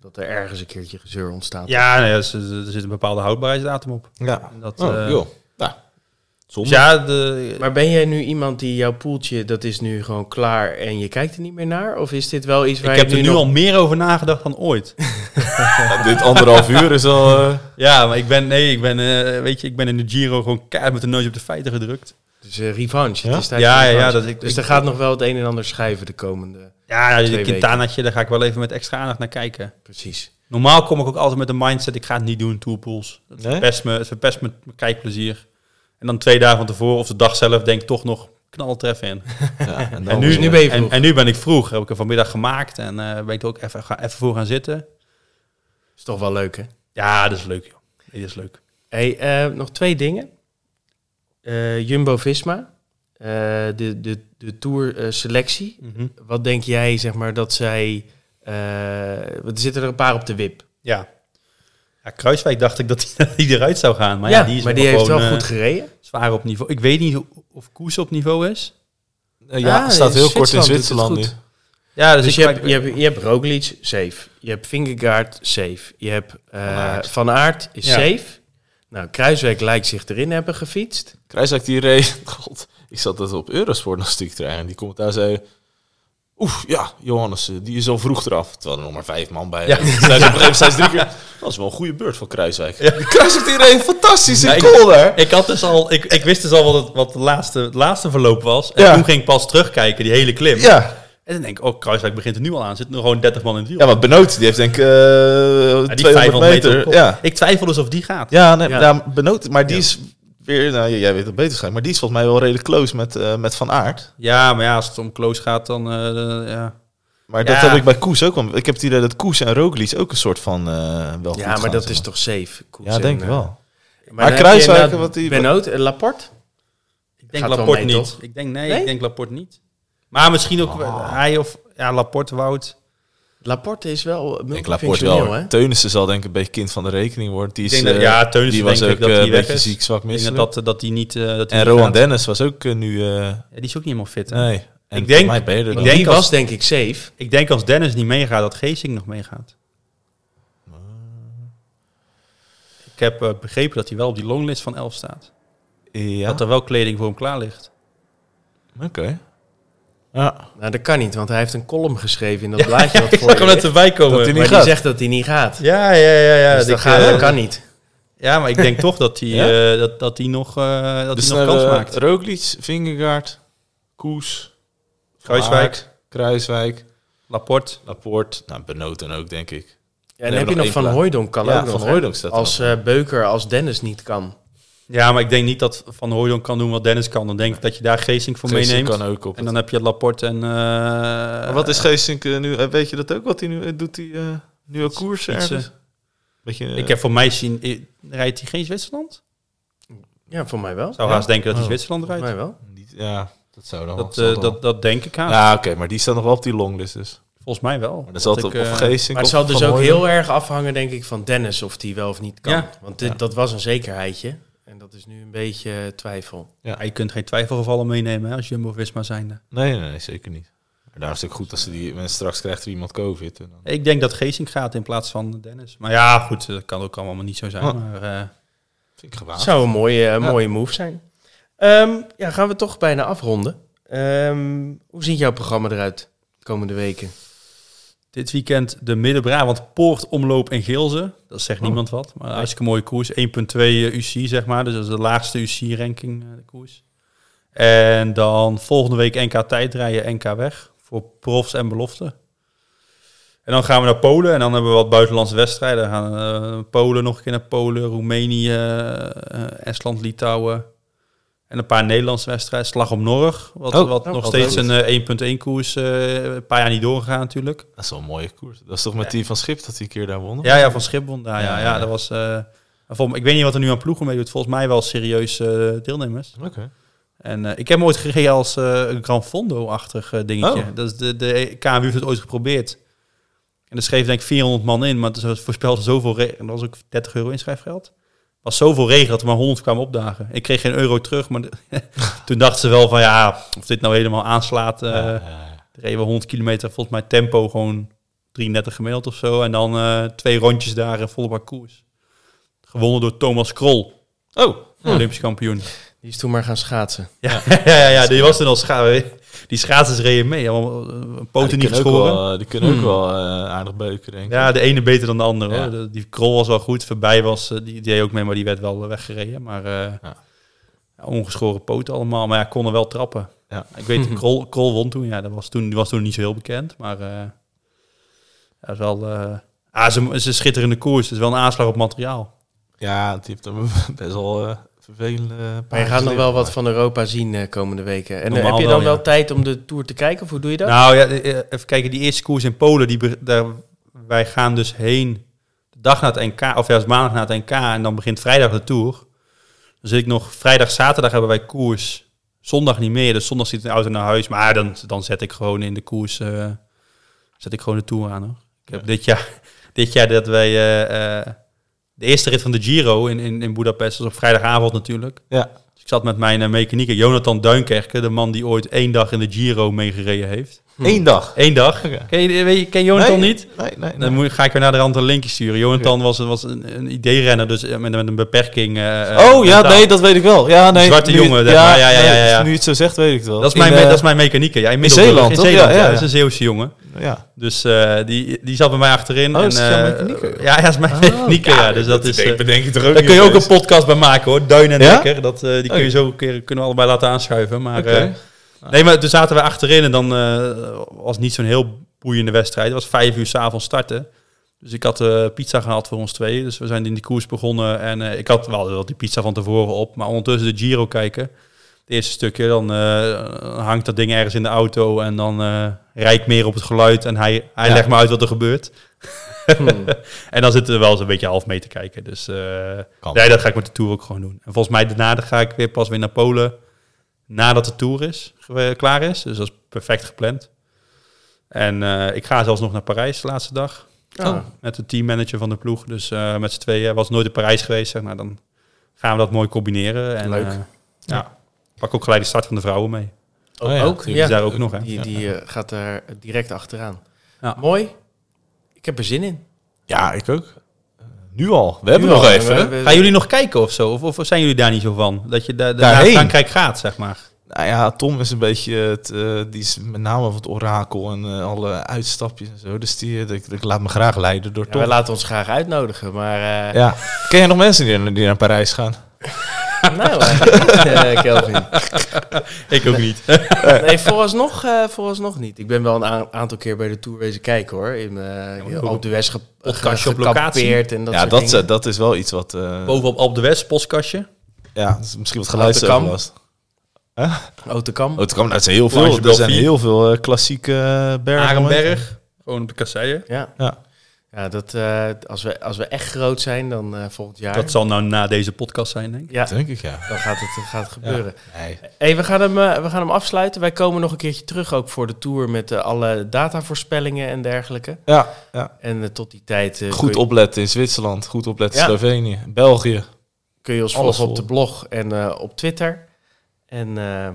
[SPEAKER 1] dat er ergens een keertje gezeur ontstaat.
[SPEAKER 3] Ja, nou ja, er zit- er zit een bepaalde houdbaarheidsdatum op.
[SPEAKER 2] Ja.
[SPEAKER 3] En Dat,
[SPEAKER 2] Oh,
[SPEAKER 3] eh,
[SPEAKER 2] joh. Nou,
[SPEAKER 3] dus
[SPEAKER 2] zonde.
[SPEAKER 3] ja, de,
[SPEAKER 1] Maar ben jij nu iemand die jouw poeltje, dat is nu gewoon klaar en je kijkt er niet meer naar? Of is dit wel iets waar
[SPEAKER 3] ik
[SPEAKER 1] je
[SPEAKER 3] heb er nu
[SPEAKER 1] nog...
[SPEAKER 3] al meer over nagedacht dan ooit.
[SPEAKER 2] Ja, dit anderhalf uur is al... eh,
[SPEAKER 3] ja, maar ik ben, nee, ik ben, eh, weet je, ik ben in de Giro gewoon keihard met de neus op de feiten gedrukt.
[SPEAKER 1] Dus eh, revanche.
[SPEAKER 2] Ja?
[SPEAKER 1] Het is tijd
[SPEAKER 3] Ja,
[SPEAKER 1] voor
[SPEAKER 3] ja, ja,
[SPEAKER 1] revanche.
[SPEAKER 3] dat ik-
[SPEAKER 1] dus
[SPEAKER 3] ik-
[SPEAKER 1] er gaat nog wel het een en ander schrijven de komende.
[SPEAKER 3] Ja, ja, die
[SPEAKER 1] Twee
[SPEAKER 3] Quintanaatje, daar ga ik wel even met extra aandacht naar kijken.
[SPEAKER 1] Precies.
[SPEAKER 3] Normaal kom ik ook altijd met de mindset, ik ga het niet doen, toolpools. Het
[SPEAKER 2] Nee?
[SPEAKER 3] verpest me, het verpest me mijn kijkplezier. En dan twee dagen van tevoren of de dag zelf denk ik toch nog knal treffen in.
[SPEAKER 2] ja, en,
[SPEAKER 3] Nou,
[SPEAKER 1] En
[SPEAKER 2] dan
[SPEAKER 1] nu,
[SPEAKER 2] weer.
[SPEAKER 1] nu ben je
[SPEAKER 3] En,
[SPEAKER 1] vroeg.
[SPEAKER 3] en nu ben ik vroeg, heb ik er vanmiddag gemaakt en eh, ben ik er ook even, ga, even voor gaan zitten.
[SPEAKER 1] Is toch wel leuk, hè?
[SPEAKER 3] Ja, dat is leuk joh. Nee, Dat is leuk.
[SPEAKER 1] Hey, eh, nog twee dingen. Eh, Jumbo-Visma, eh, de, de, de eh, Tour-selectie.
[SPEAKER 3] Mhm.
[SPEAKER 1] Wat denk jij, zeg maar, dat zij... eh, want er zitten er een paar op de wip.
[SPEAKER 3] Ja. ja. Kruiswijk dacht ik dat hij- die eruit zou gaan. Maar ja, die is
[SPEAKER 1] heeft wel
[SPEAKER 3] gewoon, eh,
[SPEAKER 1] goed gereden.
[SPEAKER 3] zwaar op niveau. Ik weet niet hoe- of Koes op niveau is.
[SPEAKER 2] Eh, ja,
[SPEAKER 1] Ah,
[SPEAKER 2] staat heel kort in
[SPEAKER 1] Zwitserland
[SPEAKER 2] Zwitserland
[SPEAKER 1] doet
[SPEAKER 2] nu.
[SPEAKER 1] het
[SPEAKER 3] Ja, dus,
[SPEAKER 1] Dus
[SPEAKER 3] ik
[SPEAKER 1] je
[SPEAKER 3] maak-
[SPEAKER 1] hebt, je, hebt, je hebt Roglic, safe. Je hebt Vingegaard, safe. Je hebt eh,
[SPEAKER 2] Van Aert.
[SPEAKER 1] Van Aert, is
[SPEAKER 3] Ja.
[SPEAKER 1] safe. Nou, Kruiswijk lijkt zich erin hebben gefietst.
[SPEAKER 2] Kruiswijk die reed... God, ik zat dat op Eurosport nog stiek te rijden. En die komt daar zei... Oef, ja, Johannes, eh, die is al vroeg eraf. Terwijl er nog maar vijf man bij
[SPEAKER 3] Ja.
[SPEAKER 2] zijn. Ze op een gegeven moment zijn ze drie keer... Dat is wel een goede beurt van Kruiswijk. Die Kruiswijk die reed fantastisch
[SPEAKER 3] Nee,
[SPEAKER 2] in
[SPEAKER 3] ik-
[SPEAKER 2] kool daar.
[SPEAKER 3] Ik, had dus al, ik, ik wist dus al wat het, wat het, laatste, het laatste verloop was. En
[SPEAKER 2] Ja.
[SPEAKER 3] toen ging ik pas terugkijken, die hele klim.
[SPEAKER 2] Ja.
[SPEAKER 3] En dan denk ik, oh, Kruiswijk begint er nu al aan. Zit er gewoon 30 man in het wiel.
[SPEAKER 2] ja, want Benoot, die heeft denk ik eh,
[SPEAKER 3] Ja,
[SPEAKER 2] 200 meter.
[SPEAKER 3] op kop.
[SPEAKER 2] ja.
[SPEAKER 3] Ik twijfel dus of die gaat.
[SPEAKER 2] Ja, nee,
[SPEAKER 1] Ja.
[SPEAKER 2] nou, Benoot, maar die
[SPEAKER 3] Ja.
[SPEAKER 2] is weer... Nou, j- jij weet het beter waarschijnlijk. Maar die is volgens mij wel redelijk close met, eh, met Van Aert.
[SPEAKER 3] Ja, maar ja, als het om Kloos gaat, dan... eh, ja.
[SPEAKER 2] Maar dat
[SPEAKER 3] Ja.
[SPEAKER 2] heb ik bij Koes ook. Want ik heb het idee dat Koes en Roglic ook een soort van... eh, wel
[SPEAKER 1] ja,
[SPEAKER 2] goed
[SPEAKER 1] maar
[SPEAKER 2] gaan,
[SPEAKER 1] dat
[SPEAKER 2] zeg
[SPEAKER 1] is toch safe? Koets
[SPEAKER 2] Ja,
[SPEAKER 1] en,
[SPEAKER 2] denk ik
[SPEAKER 1] eh,
[SPEAKER 2] wel.
[SPEAKER 1] Maar,
[SPEAKER 2] Maar Kruijswijk,
[SPEAKER 1] Kruiswijk,
[SPEAKER 2] wat
[SPEAKER 1] wat
[SPEAKER 2] die-
[SPEAKER 1] die... Benoot, eh, Laporte?
[SPEAKER 3] Ik denk
[SPEAKER 1] Gaat wel
[SPEAKER 3] Laporte
[SPEAKER 1] mee,
[SPEAKER 3] niet.
[SPEAKER 1] toch?
[SPEAKER 3] Ik denk, nee,
[SPEAKER 1] Nee?
[SPEAKER 3] ik denk Laporte niet. Maar misschien
[SPEAKER 2] Ah.
[SPEAKER 3] ook eh, hij of ja, Laporte, Wout.
[SPEAKER 1] Laporte is wel eh,
[SPEAKER 2] Ik denk Laporte
[SPEAKER 1] multifunctioneel,
[SPEAKER 2] wel.
[SPEAKER 1] hè?
[SPEAKER 2] hè? Teunissen zal denk ik een beetje kind van de rekening worden. Die is,
[SPEAKER 3] Ik denk dat-
[SPEAKER 2] eh,
[SPEAKER 3] ja, Teunissen
[SPEAKER 2] die was
[SPEAKER 3] denk
[SPEAKER 2] ook
[SPEAKER 3] ik dat
[SPEAKER 2] eh,
[SPEAKER 3] die
[SPEAKER 2] een
[SPEAKER 3] weg
[SPEAKER 2] beetje
[SPEAKER 3] is.
[SPEAKER 2] ziek, zwak,
[SPEAKER 3] Ik denk
[SPEAKER 2] misselijk.
[SPEAKER 3] dat, dat hij niet... eh, dat hij
[SPEAKER 2] en
[SPEAKER 3] niet
[SPEAKER 2] Rowan
[SPEAKER 3] gaat.
[SPEAKER 2] Dennis was ook eh, nu... eh,
[SPEAKER 3] Ja, die is ook niet helemaal fit. hè?
[SPEAKER 2] nee. En
[SPEAKER 3] Ik denk-
[SPEAKER 2] voor mij ben je er
[SPEAKER 3] ik
[SPEAKER 2] dan.
[SPEAKER 1] Die
[SPEAKER 3] denk
[SPEAKER 1] was
[SPEAKER 3] als-
[SPEAKER 1] denk ik safe.
[SPEAKER 3] Ik denk als Dennis niet meegaat, dat Geesing nog meegaat. Ik heb eh, begrepen dat hij wel op die longlist van 11 staat.
[SPEAKER 2] Ja,
[SPEAKER 3] Dat er wel kleding voor hem klaar ligt.
[SPEAKER 2] oké. Ja.
[SPEAKER 1] Nou, dat kan niet, want hij heeft een column geschreven in dat blaadje wat voor je ligt,
[SPEAKER 3] erbij komen.
[SPEAKER 2] Dat hij niet
[SPEAKER 1] waar die
[SPEAKER 2] gaat.
[SPEAKER 1] zegt dat hij niet gaat.
[SPEAKER 3] Ja, ja, ja. ja.
[SPEAKER 1] dus dat,
[SPEAKER 3] Ik,
[SPEAKER 1] gaat-
[SPEAKER 3] eh,
[SPEAKER 1] dat kan niet.
[SPEAKER 3] ja, maar ik denk toch dat hij,
[SPEAKER 2] Ja?
[SPEAKER 3] eh, dat, dat hij nog, eh, dat
[SPEAKER 2] Dus
[SPEAKER 3] hij nog
[SPEAKER 2] dan
[SPEAKER 3] kans
[SPEAKER 2] hebben we
[SPEAKER 3] maakt.
[SPEAKER 2] Roglic, Vingegaard, Koes,
[SPEAKER 3] Kruiswijk,
[SPEAKER 2] Aert, Kruiswijk,
[SPEAKER 3] Laporte.
[SPEAKER 2] Laporte. Nou, Benoten ook, denk ik.
[SPEAKER 1] Ja, en
[SPEAKER 2] we
[SPEAKER 1] heb je
[SPEAKER 2] nog
[SPEAKER 1] nog
[SPEAKER 2] één
[SPEAKER 1] Van
[SPEAKER 2] plaat.
[SPEAKER 1] Hooijdonk kan
[SPEAKER 2] Ja,
[SPEAKER 1] ook
[SPEAKER 2] Van
[SPEAKER 1] nog. hè?
[SPEAKER 2] Hooijdonk staat er
[SPEAKER 1] Als eh, Beuker, als Dennis niet kan.
[SPEAKER 3] Ja, maar ik denk niet dat Van Hooijdonk kan doen wat Dennis kan. Dan denk ik dat je daar Geesing voor
[SPEAKER 2] Geesink
[SPEAKER 3] meeneemt.
[SPEAKER 2] kan ook op.
[SPEAKER 3] En dan heb je Laporte en... eh,
[SPEAKER 2] Maar wat is Geesink eh, nu? Eh, Weet je dat ook? Wat hij nu eh, doet? Hij eh, nu ook koers
[SPEAKER 3] iets,
[SPEAKER 2] ergens? Beetje, eh,
[SPEAKER 3] eh, Ik heb voor mij zien... eh, Rijdt hij geen Zwitserland?
[SPEAKER 1] Ja, voor mij wel.
[SPEAKER 3] zou
[SPEAKER 2] Ja?
[SPEAKER 3] haast denken dat hij
[SPEAKER 2] Oh.
[SPEAKER 3] Zwitserland
[SPEAKER 1] Voor
[SPEAKER 3] rijdt.
[SPEAKER 1] mij wel.
[SPEAKER 2] niet- Ja, dat zou dan
[SPEAKER 3] Dat,
[SPEAKER 2] zal
[SPEAKER 3] eh,
[SPEAKER 2] dan.
[SPEAKER 3] dat, dat denk ik aan.
[SPEAKER 2] Ja, oké, maar die staat nog wel op die longlist dus.
[SPEAKER 3] Volgens mij wel.
[SPEAKER 2] Maar dan zal het
[SPEAKER 3] Dat
[SPEAKER 2] op
[SPEAKER 3] ik, eh,
[SPEAKER 2] Geesink
[SPEAKER 1] Maar het
[SPEAKER 2] of
[SPEAKER 1] zal dus
[SPEAKER 2] Van
[SPEAKER 1] ook
[SPEAKER 2] Hooydonk.
[SPEAKER 1] heel erg afhangen, denk ik, van Dennis of die wel of niet kan.
[SPEAKER 3] Ja.
[SPEAKER 1] Want dit, dat was een zekerheidje. En dat is nu een beetje eh, twijfel.
[SPEAKER 3] ja, je kunt geen twijfelgevallen meenemen hè, als Jumbo-Visma zijnde.
[SPEAKER 2] Nee, nee, nee, zeker niet. Maar daarom is het ook goed als ze die mensen straks krijgt er iemand COVID. En dan...
[SPEAKER 3] Ik denk dat Geesink gaat in plaats van Dennis. Maar ja, goed, dat kan ook allemaal niet zo zijn.
[SPEAKER 2] Oh.
[SPEAKER 3] Maar, eh,
[SPEAKER 2] Vind ik gewaagd.
[SPEAKER 1] zou een mooie, eh, mooie move zijn. Ehm, ja, gaan we toch bijna afronden. Ehm, hoe ziet jouw programma eruit de komende weken?
[SPEAKER 3] Dit weekend de Midden-Brabant Poort, Omloop en Geelze. Dat zegt
[SPEAKER 2] Oh.
[SPEAKER 3] niemand wat, maar hartstikke mooie koers. 1.2 eh, UC, zeg maar. Dus dat is de laagste UC-ranking, de koers. En dan volgende week NK tijdrijden, NK weg. Voor profs en belofte. En dan gaan we naar Polen en dan hebben we wat buitenlandse wedstrijden. Dan gaan we, eh, Polen nog een keer naar Polen, Roemenië, eh, Estland, Litouwen. En een paar Nederlandse wedstrijden. Slag om Norg, wat,
[SPEAKER 2] Oh,
[SPEAKER 3] wat
[SPEAKER 2] oh,
[SPEAKER 3] nog
[SPEAKER 2] wat
[SPEAKER 3] steeds
[SPEAKER 2] leuk.
[SPEAKER 3] een eh, 1.1 koers, eh, een paar jaar niet doorgegaan natuurlijk.
[SPEAKER 2] Dat is wel een mooie koers. Dat is toch met die van Schip dat die keer daar won?
[SPEAKER 3] Ja, ja, van Schiphol. Ja, ja,
[SPEAKER 2] Ja,
[SPEAKER 3] ja,
[SPEAKER 2] ja.
[SPEAKER 3] dat was. eh, volgens mij- ik weet niet wat er nu aan ploegen mee doet. Volgens mij wel serieus eh, deelnemers.
[SPEAKER 2] Oké.
[SPEAKER 3] En eh, ik heb hem ooit gegeven als eh, een Gran Fondo-achtig eh, dingetje.
[SPEAKER 2] Oh.
[SPEAKER 3] Dat is de, de KMU heeft het ooit geprobeerd. En er schreef denk ik 400 man in, maar het voorspelde zoveel regen. En dat was ook 30 euro inschrijfgeld. was zoveel regen dat er maar 100 kwamen opdagen. Ik kreeg geen euro terug, maar de- toen dachten ze wel van ja, of dit nou helemaal aanslaat. eh
[SPEAKER 2] Ja, ja, ja.
[SPEAKER 3] er reden we 100 kilometer, volgens mij tempo gewoon 33 gemiddeld of zo. En dan eh, twee rondjes daar en volle bak koers. Gewonnen door Thomas Krol,
[SPEAKER 2] Oh,
[SPEAKER 3] Olympisch kampioen.
[SPEAKER 1] Die is toen maar gaan schaatsen.
[SPEAKER 3] Ja, ja, ja, die was er al scha Die schaatsers reden mee. Allemaal eh,
[SPEAKER 2] Ja,
[SPEAKER 3] poten
[SPEAKER 2] die
[SPEAKER 3] niet
[SPEAKER 2] kunnen ook
[SPEAKER 3] geschoren.
[SPEAKER 2] wel, eh, die kunnen ook wel eh, aardig beuken, denk ik.
[SPEAKER 3] Ja, de ene beter dan de ander.
[SPEAKER 2] Ja.
[SPEAKER 3] Hoor. De- die krol was wel goed. Voorbij was, eh, die deed ook mee, maar die werd wel eh, weggereden. Maar eh,
[SPEAKER 2] Ja.
[SPEAKER 3] ja, ongeschoren poten allemaal. Maar ja, kon er wel trappen.
[SPEAKER 2] Ja.
[SPEAKER 3] Ik weet, krol, krol won toen. Ja, dat was toen, die was toen niet zo heel bekend. Maar eh ja, dat is wel... eh ah, ze, ze schitterende koers. Het is wel een aanslag op materiaal.
[SPEAKER 2] Ja, die heeft hem best wel eh vervelende
[SPEAKER 1] Maar je
[SPEAKER 2] paardjes
[SPEAKER 1] gaat nog wel
[SPEAKER 2] liggen,
[SPEAKER 1] wat van Europa zien eh, komende weken. En eh,
[SPEAKER 3] Normaal
[SPEAKER 1] heb je dan
[SPEAKER 3] wel,
[SPEAKER 1] wel,
[SPEAKER 3] ja.
[SPEAKER 1] tijd om de Tour te kijken? Of hoe doe je dat?
[SPEAKER 3] Nou ja, eh, eh, even kijken. Die eerste koers in Polen, die, be- daar, wij gaan dus heen de dag na het NK, of ja, het is maandag na het NK en dan begint vrijdag de Tour. Dan zit ik nog, vrijdag, zaterdag hebben wij koers. Zondag niet meer, dus zondag zit ik in de auto naar huis. Maar dan, dan zet ik gewoon in de koers, eh, zet ik gewoon de Tour aan hoor. Ik heb dit jaar, dit jaar dat wij, eh, eh, de eerste rit van de Giro in, in, in Budapest, dat is op vrijdagavond natuurlijk.
[SPEAKER 2] Ja.
[SPEAKER 3] Dus ik zat met mijn eh, mechanieker Jonathan Duinkerke, de man die ooit één dag in de Giro meegereden heeft.
[SPEAKER 2] Eén dag.
[SPEAKER 3] Eén dag.
[SPEAKER 2] Oké.
[SPEAKER 3] Ken, je, weet je- ken Jonathan
[SPEAKER 2] Nee,
[SPEAKER 3] niet?
[SPEAKER 2] Nee, nee, nee.
[SPEAKER 3] Dan moet, ga ik weer naar de rand een linkje sturen. Jonathan was, was een, een idee-renner, dus met, met een beperking. eh,
[SPEAKER 2] Oh ja,
[SPEAKER 3] mentaal.
[SPEAKER 2] nee, dat weet ik wel. Ja, nee,
[SPEAKER 3] zwarte
[SPEAKER 2] nu-
[SPEAKER 3] jongen, zeg maar. Ja, ja, ja,
[SPEAKER 2] nee,
[SPEAKER 3] ja.
[SPEAKER 2] Nu je het zo zegt, weet ik het wel.
[SPEAKER 3] Dat is
[SPEAKER 2] In,
[SPEAKER 3] mijn, me-
[SPEAKER 2] eh,
[SPEAKER 3] dat is mijn mechanieker. Ja, in, Middelburg.
[SPEAKER 2] Zeeland,
[SPEAKER 3] In
[SPEAKER 2] toch?
[SPEAKER 3] Zeeland,
[SPEAKER 2] Ja,
[SPEAKER 3] ja,
[SPEAKER 2] ja.
[SPEAKER 3] Dat is een Zeeuwse jongen.
[SPEAKER 2] Ja.
[SPEAKER 3] Dus eh, die, die zat bij mij achterin.
[SPEAKER 2] Oh, dat is
[SPEAKER 3] en,
[SPEAKER 2] jouw Oh.
[SPEAKER 3] eh,
[SPEAKER 2] mechanieker.
[SPEAKER 3] ja, ja, dat is mijn mechanieker. Ja, dus dat, is... eh,
[SPEAKER 2] bedenk je toch ook
[SPEAKER 3] daar kun je ook een podcast bij maken hoor. Duin en
[SPEAKER 2] Ja?
[SPEAKER 3] Dekker. Dat, eh, die kun je
[SPEAKER 2] Oké.
[SPEAKER 3] zo een keer, kunnen we allebei laten aanschuiven. Maar,
[SPEAKER 2] Oké.
[SPEAKER 3] eh, nee, maar toen zaten we achterin en dan eh, was niet zo'n heel boeiende wedstrijd. Het was vijf uur s'avonds starten. Dus ik had eh, pizza gehaald voor ons twee. Dus we zijn in die koers begonnen. En eh, ik had wel wel die pizza van tevoren op. Maar ondertussen de Giro kijken. Het eerste stukje. Dan eh, hangt dat ding ergens in de auto. En dan eh rijd ik meer op het geluid. En hij, hij
[SPEAKER 2] Ja.
[SPEAKER 3] legt me uit wat er gebeurt.
[SPEAKER 1] Hmm.
[SPEAKER 3] En dan zitten we wel eens een beetje half mee te kijken. Dus eh,
[SPEAKER 2] Kan.
[SPEAKER 3] nee, dat ga ik met de Tour ook gewoon doen. En volgens mij daarna dan ga ik weer pas weer naar Polen. Nadat de Tour is, ge- klaar is. Dus dat is perfect gepland. En eh, ik ga zelfs nog naar Parijs de laatste dag.
[SPEAKER 1] Ah.
[SPEAKER 3] Met de teammanager van de ploeg. Dus eh, met z'n tweeën. Was nooit in Parijs geweest. Zeg, nou, dan gaan we dat mooi combineren. En,
[SPEAKER 1] Leuk.
[SPEAKER 3] eh, ja. Pak ook gelijk de start van de vrouwen mee.
[SPEAKER 2] Oh, ja,
[SPEAKER 1] ook,
[SPEAKER 3] Die is
[SPEAKER 1] ja.
[SPEAKER 3] daar ook nog. Hè?
[SPEAKER 1] Die, die eh, gaat er direct achteraan.
[SPEAKER 3] Ah, Ja.
[SPEAKER 1] Mooi. Ik heb er zin in.
[SPEAKER 2] Ja, ik ook. Eh, Nu al. We hebben
[SPEAKER 1] Nu
[SPEAKER 2] nog
[SPEAKER 1] al.
[SPEAKER 2] even.
[SPEAKER 1] We-
[SPEAKER 2] hè?
[SPEAKER 1] we-
[SPEAKER 3] Gaan jullie nog kijken of zo? Of, of zijn jullie daar niet zo van? Dat je daar, daar naar
[SPEAKER 2] Daarheen?
[SPEAKER 3] Frankrijk gaat, zeg maar.
[SPEAKER 2] Nou ja, Tom is een beetje het, eh, die is met name van het orakel en eh, alle uitstapjes en zo. Dus die, eh, ik, ik laat me graag leiden door
[SPEAKER 1] Ja,
[SPEAKER 2] Tom.
[SPEAKER 1] wij laten ons graag uitnodigen, maar... eh,
[SPEAKER 2] Ja. Ken jij nog mensen die, die naar Parijs gaan?
[SPEAKER 1] Nou, eigenlijk niet, eh, Kelvin.
[SPEAKER 3] Ik ook niet.
[SPEAKER 1] Nee, vooralsnog, eh, vooralsnog niet. Ik ben wel een a- aantal keer bij de Tour wezen kijken, hoor. In eh
[SPEAKER 3] maar ook
[SPEAKER 1] Alpe d'Huez ge-
[SPEAKER 3] podcastje op
[SPEAKER 1] gekampeerd en dat
[SPEAKER 2] ja,
[SPEAKER 1] soort
[SPEAKER 2] dat,
[SPEAKER 1] dingen.
[SPEAKER 2] eh, dat is wel iets wat... eh,
[SPEAKER 3] Bovenop Alp de West, postkastje.
[SPEAKER 2] ja, dat is misschien wat
[SPEAKER 1] Houten Kam.
[SPEAKER 2] geluidsoverlast.
[SPEAKER 1] Autocamp.
[SPEAKER 2] Oh, het kan uit heel
[SPEAKER 3] Lange
[SPEAKER 2] veel. Er zijn
[SPEAKER 3] Belfie.
[SPEAKER 2] heel veel eh, klassieke eh, bergen.
[SPEAKER 3] Arenberg. Gewoon op de kasseien.
[SPEAKER 1] Ja.
[SPEAKER 2] Ja.
[SPEAKER 1] Ja, dat, eh, als, we, als we echt groot zijn, dan eh, volgend jaar...
[SPEAKER 3] Dat zal nou na deze podcast zijn, denk ik.
[SPEAKER 1] ja,
[SPEAKER 2] Denk ik, ja.
[SPEAKER 1] dan gaat het, eh, gaat het gebeuren.
[SPEAKER 2] Nee.
[SPEAKER 1] Hey, we, gaan hem, eh, we gaan hem afsluiten. Wij komen nog een keertje terug ook voor de Tour met eh, alle datavoorspellingen en dergelijke.
[SPEAKER 2] Ja, ja.
[SPEAKER 1] En eh, tot die tijd eh, kun,
[SPEAKER 2] Goed
[SPEAKER 1] je,
[SPEAKER 2] opletten in Zwitserland. Goed opletten in
[SPEAKER 1] Ja.
[SPEAKER 2] Slovenië. België.
[SPEAKER 1] kun je ons
[SPEAKER 2] alles
[SPEAKER 1] volgen op de
[SPEAKER 2] vol.
[SPEAKER 1] blog en eh, op Twitter. En eh,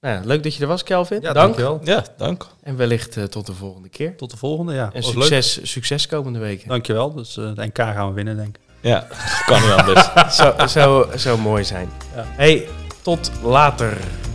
[SPEAKER 1] nou, ja, leuk dat je er was, Kelvin. Dank.
[SPEAKER 3] dankjewel.
[SPEAKER 2] Ja, dank.
[SPEAKER 1] En wellicht eh, tot de volgende keer.
[SPEAKER 3] Tot de volgende, ja.
[SPEAKER 1] En
[SPEAKER 3] Was leuk.
[SPEAKER 1] succes, succes komende weken.
[SPEAKER 3] Dankjewel. Dus eh de NK gaan we winnen, denk ik.
[SPEAKER 2] Ja, kan niet anders.
[SPEAKER 1] Zou, zou, zou mooi zijn.
[SPEAKER 3] Ja.
[SPEAKER 1] Hey, tot later.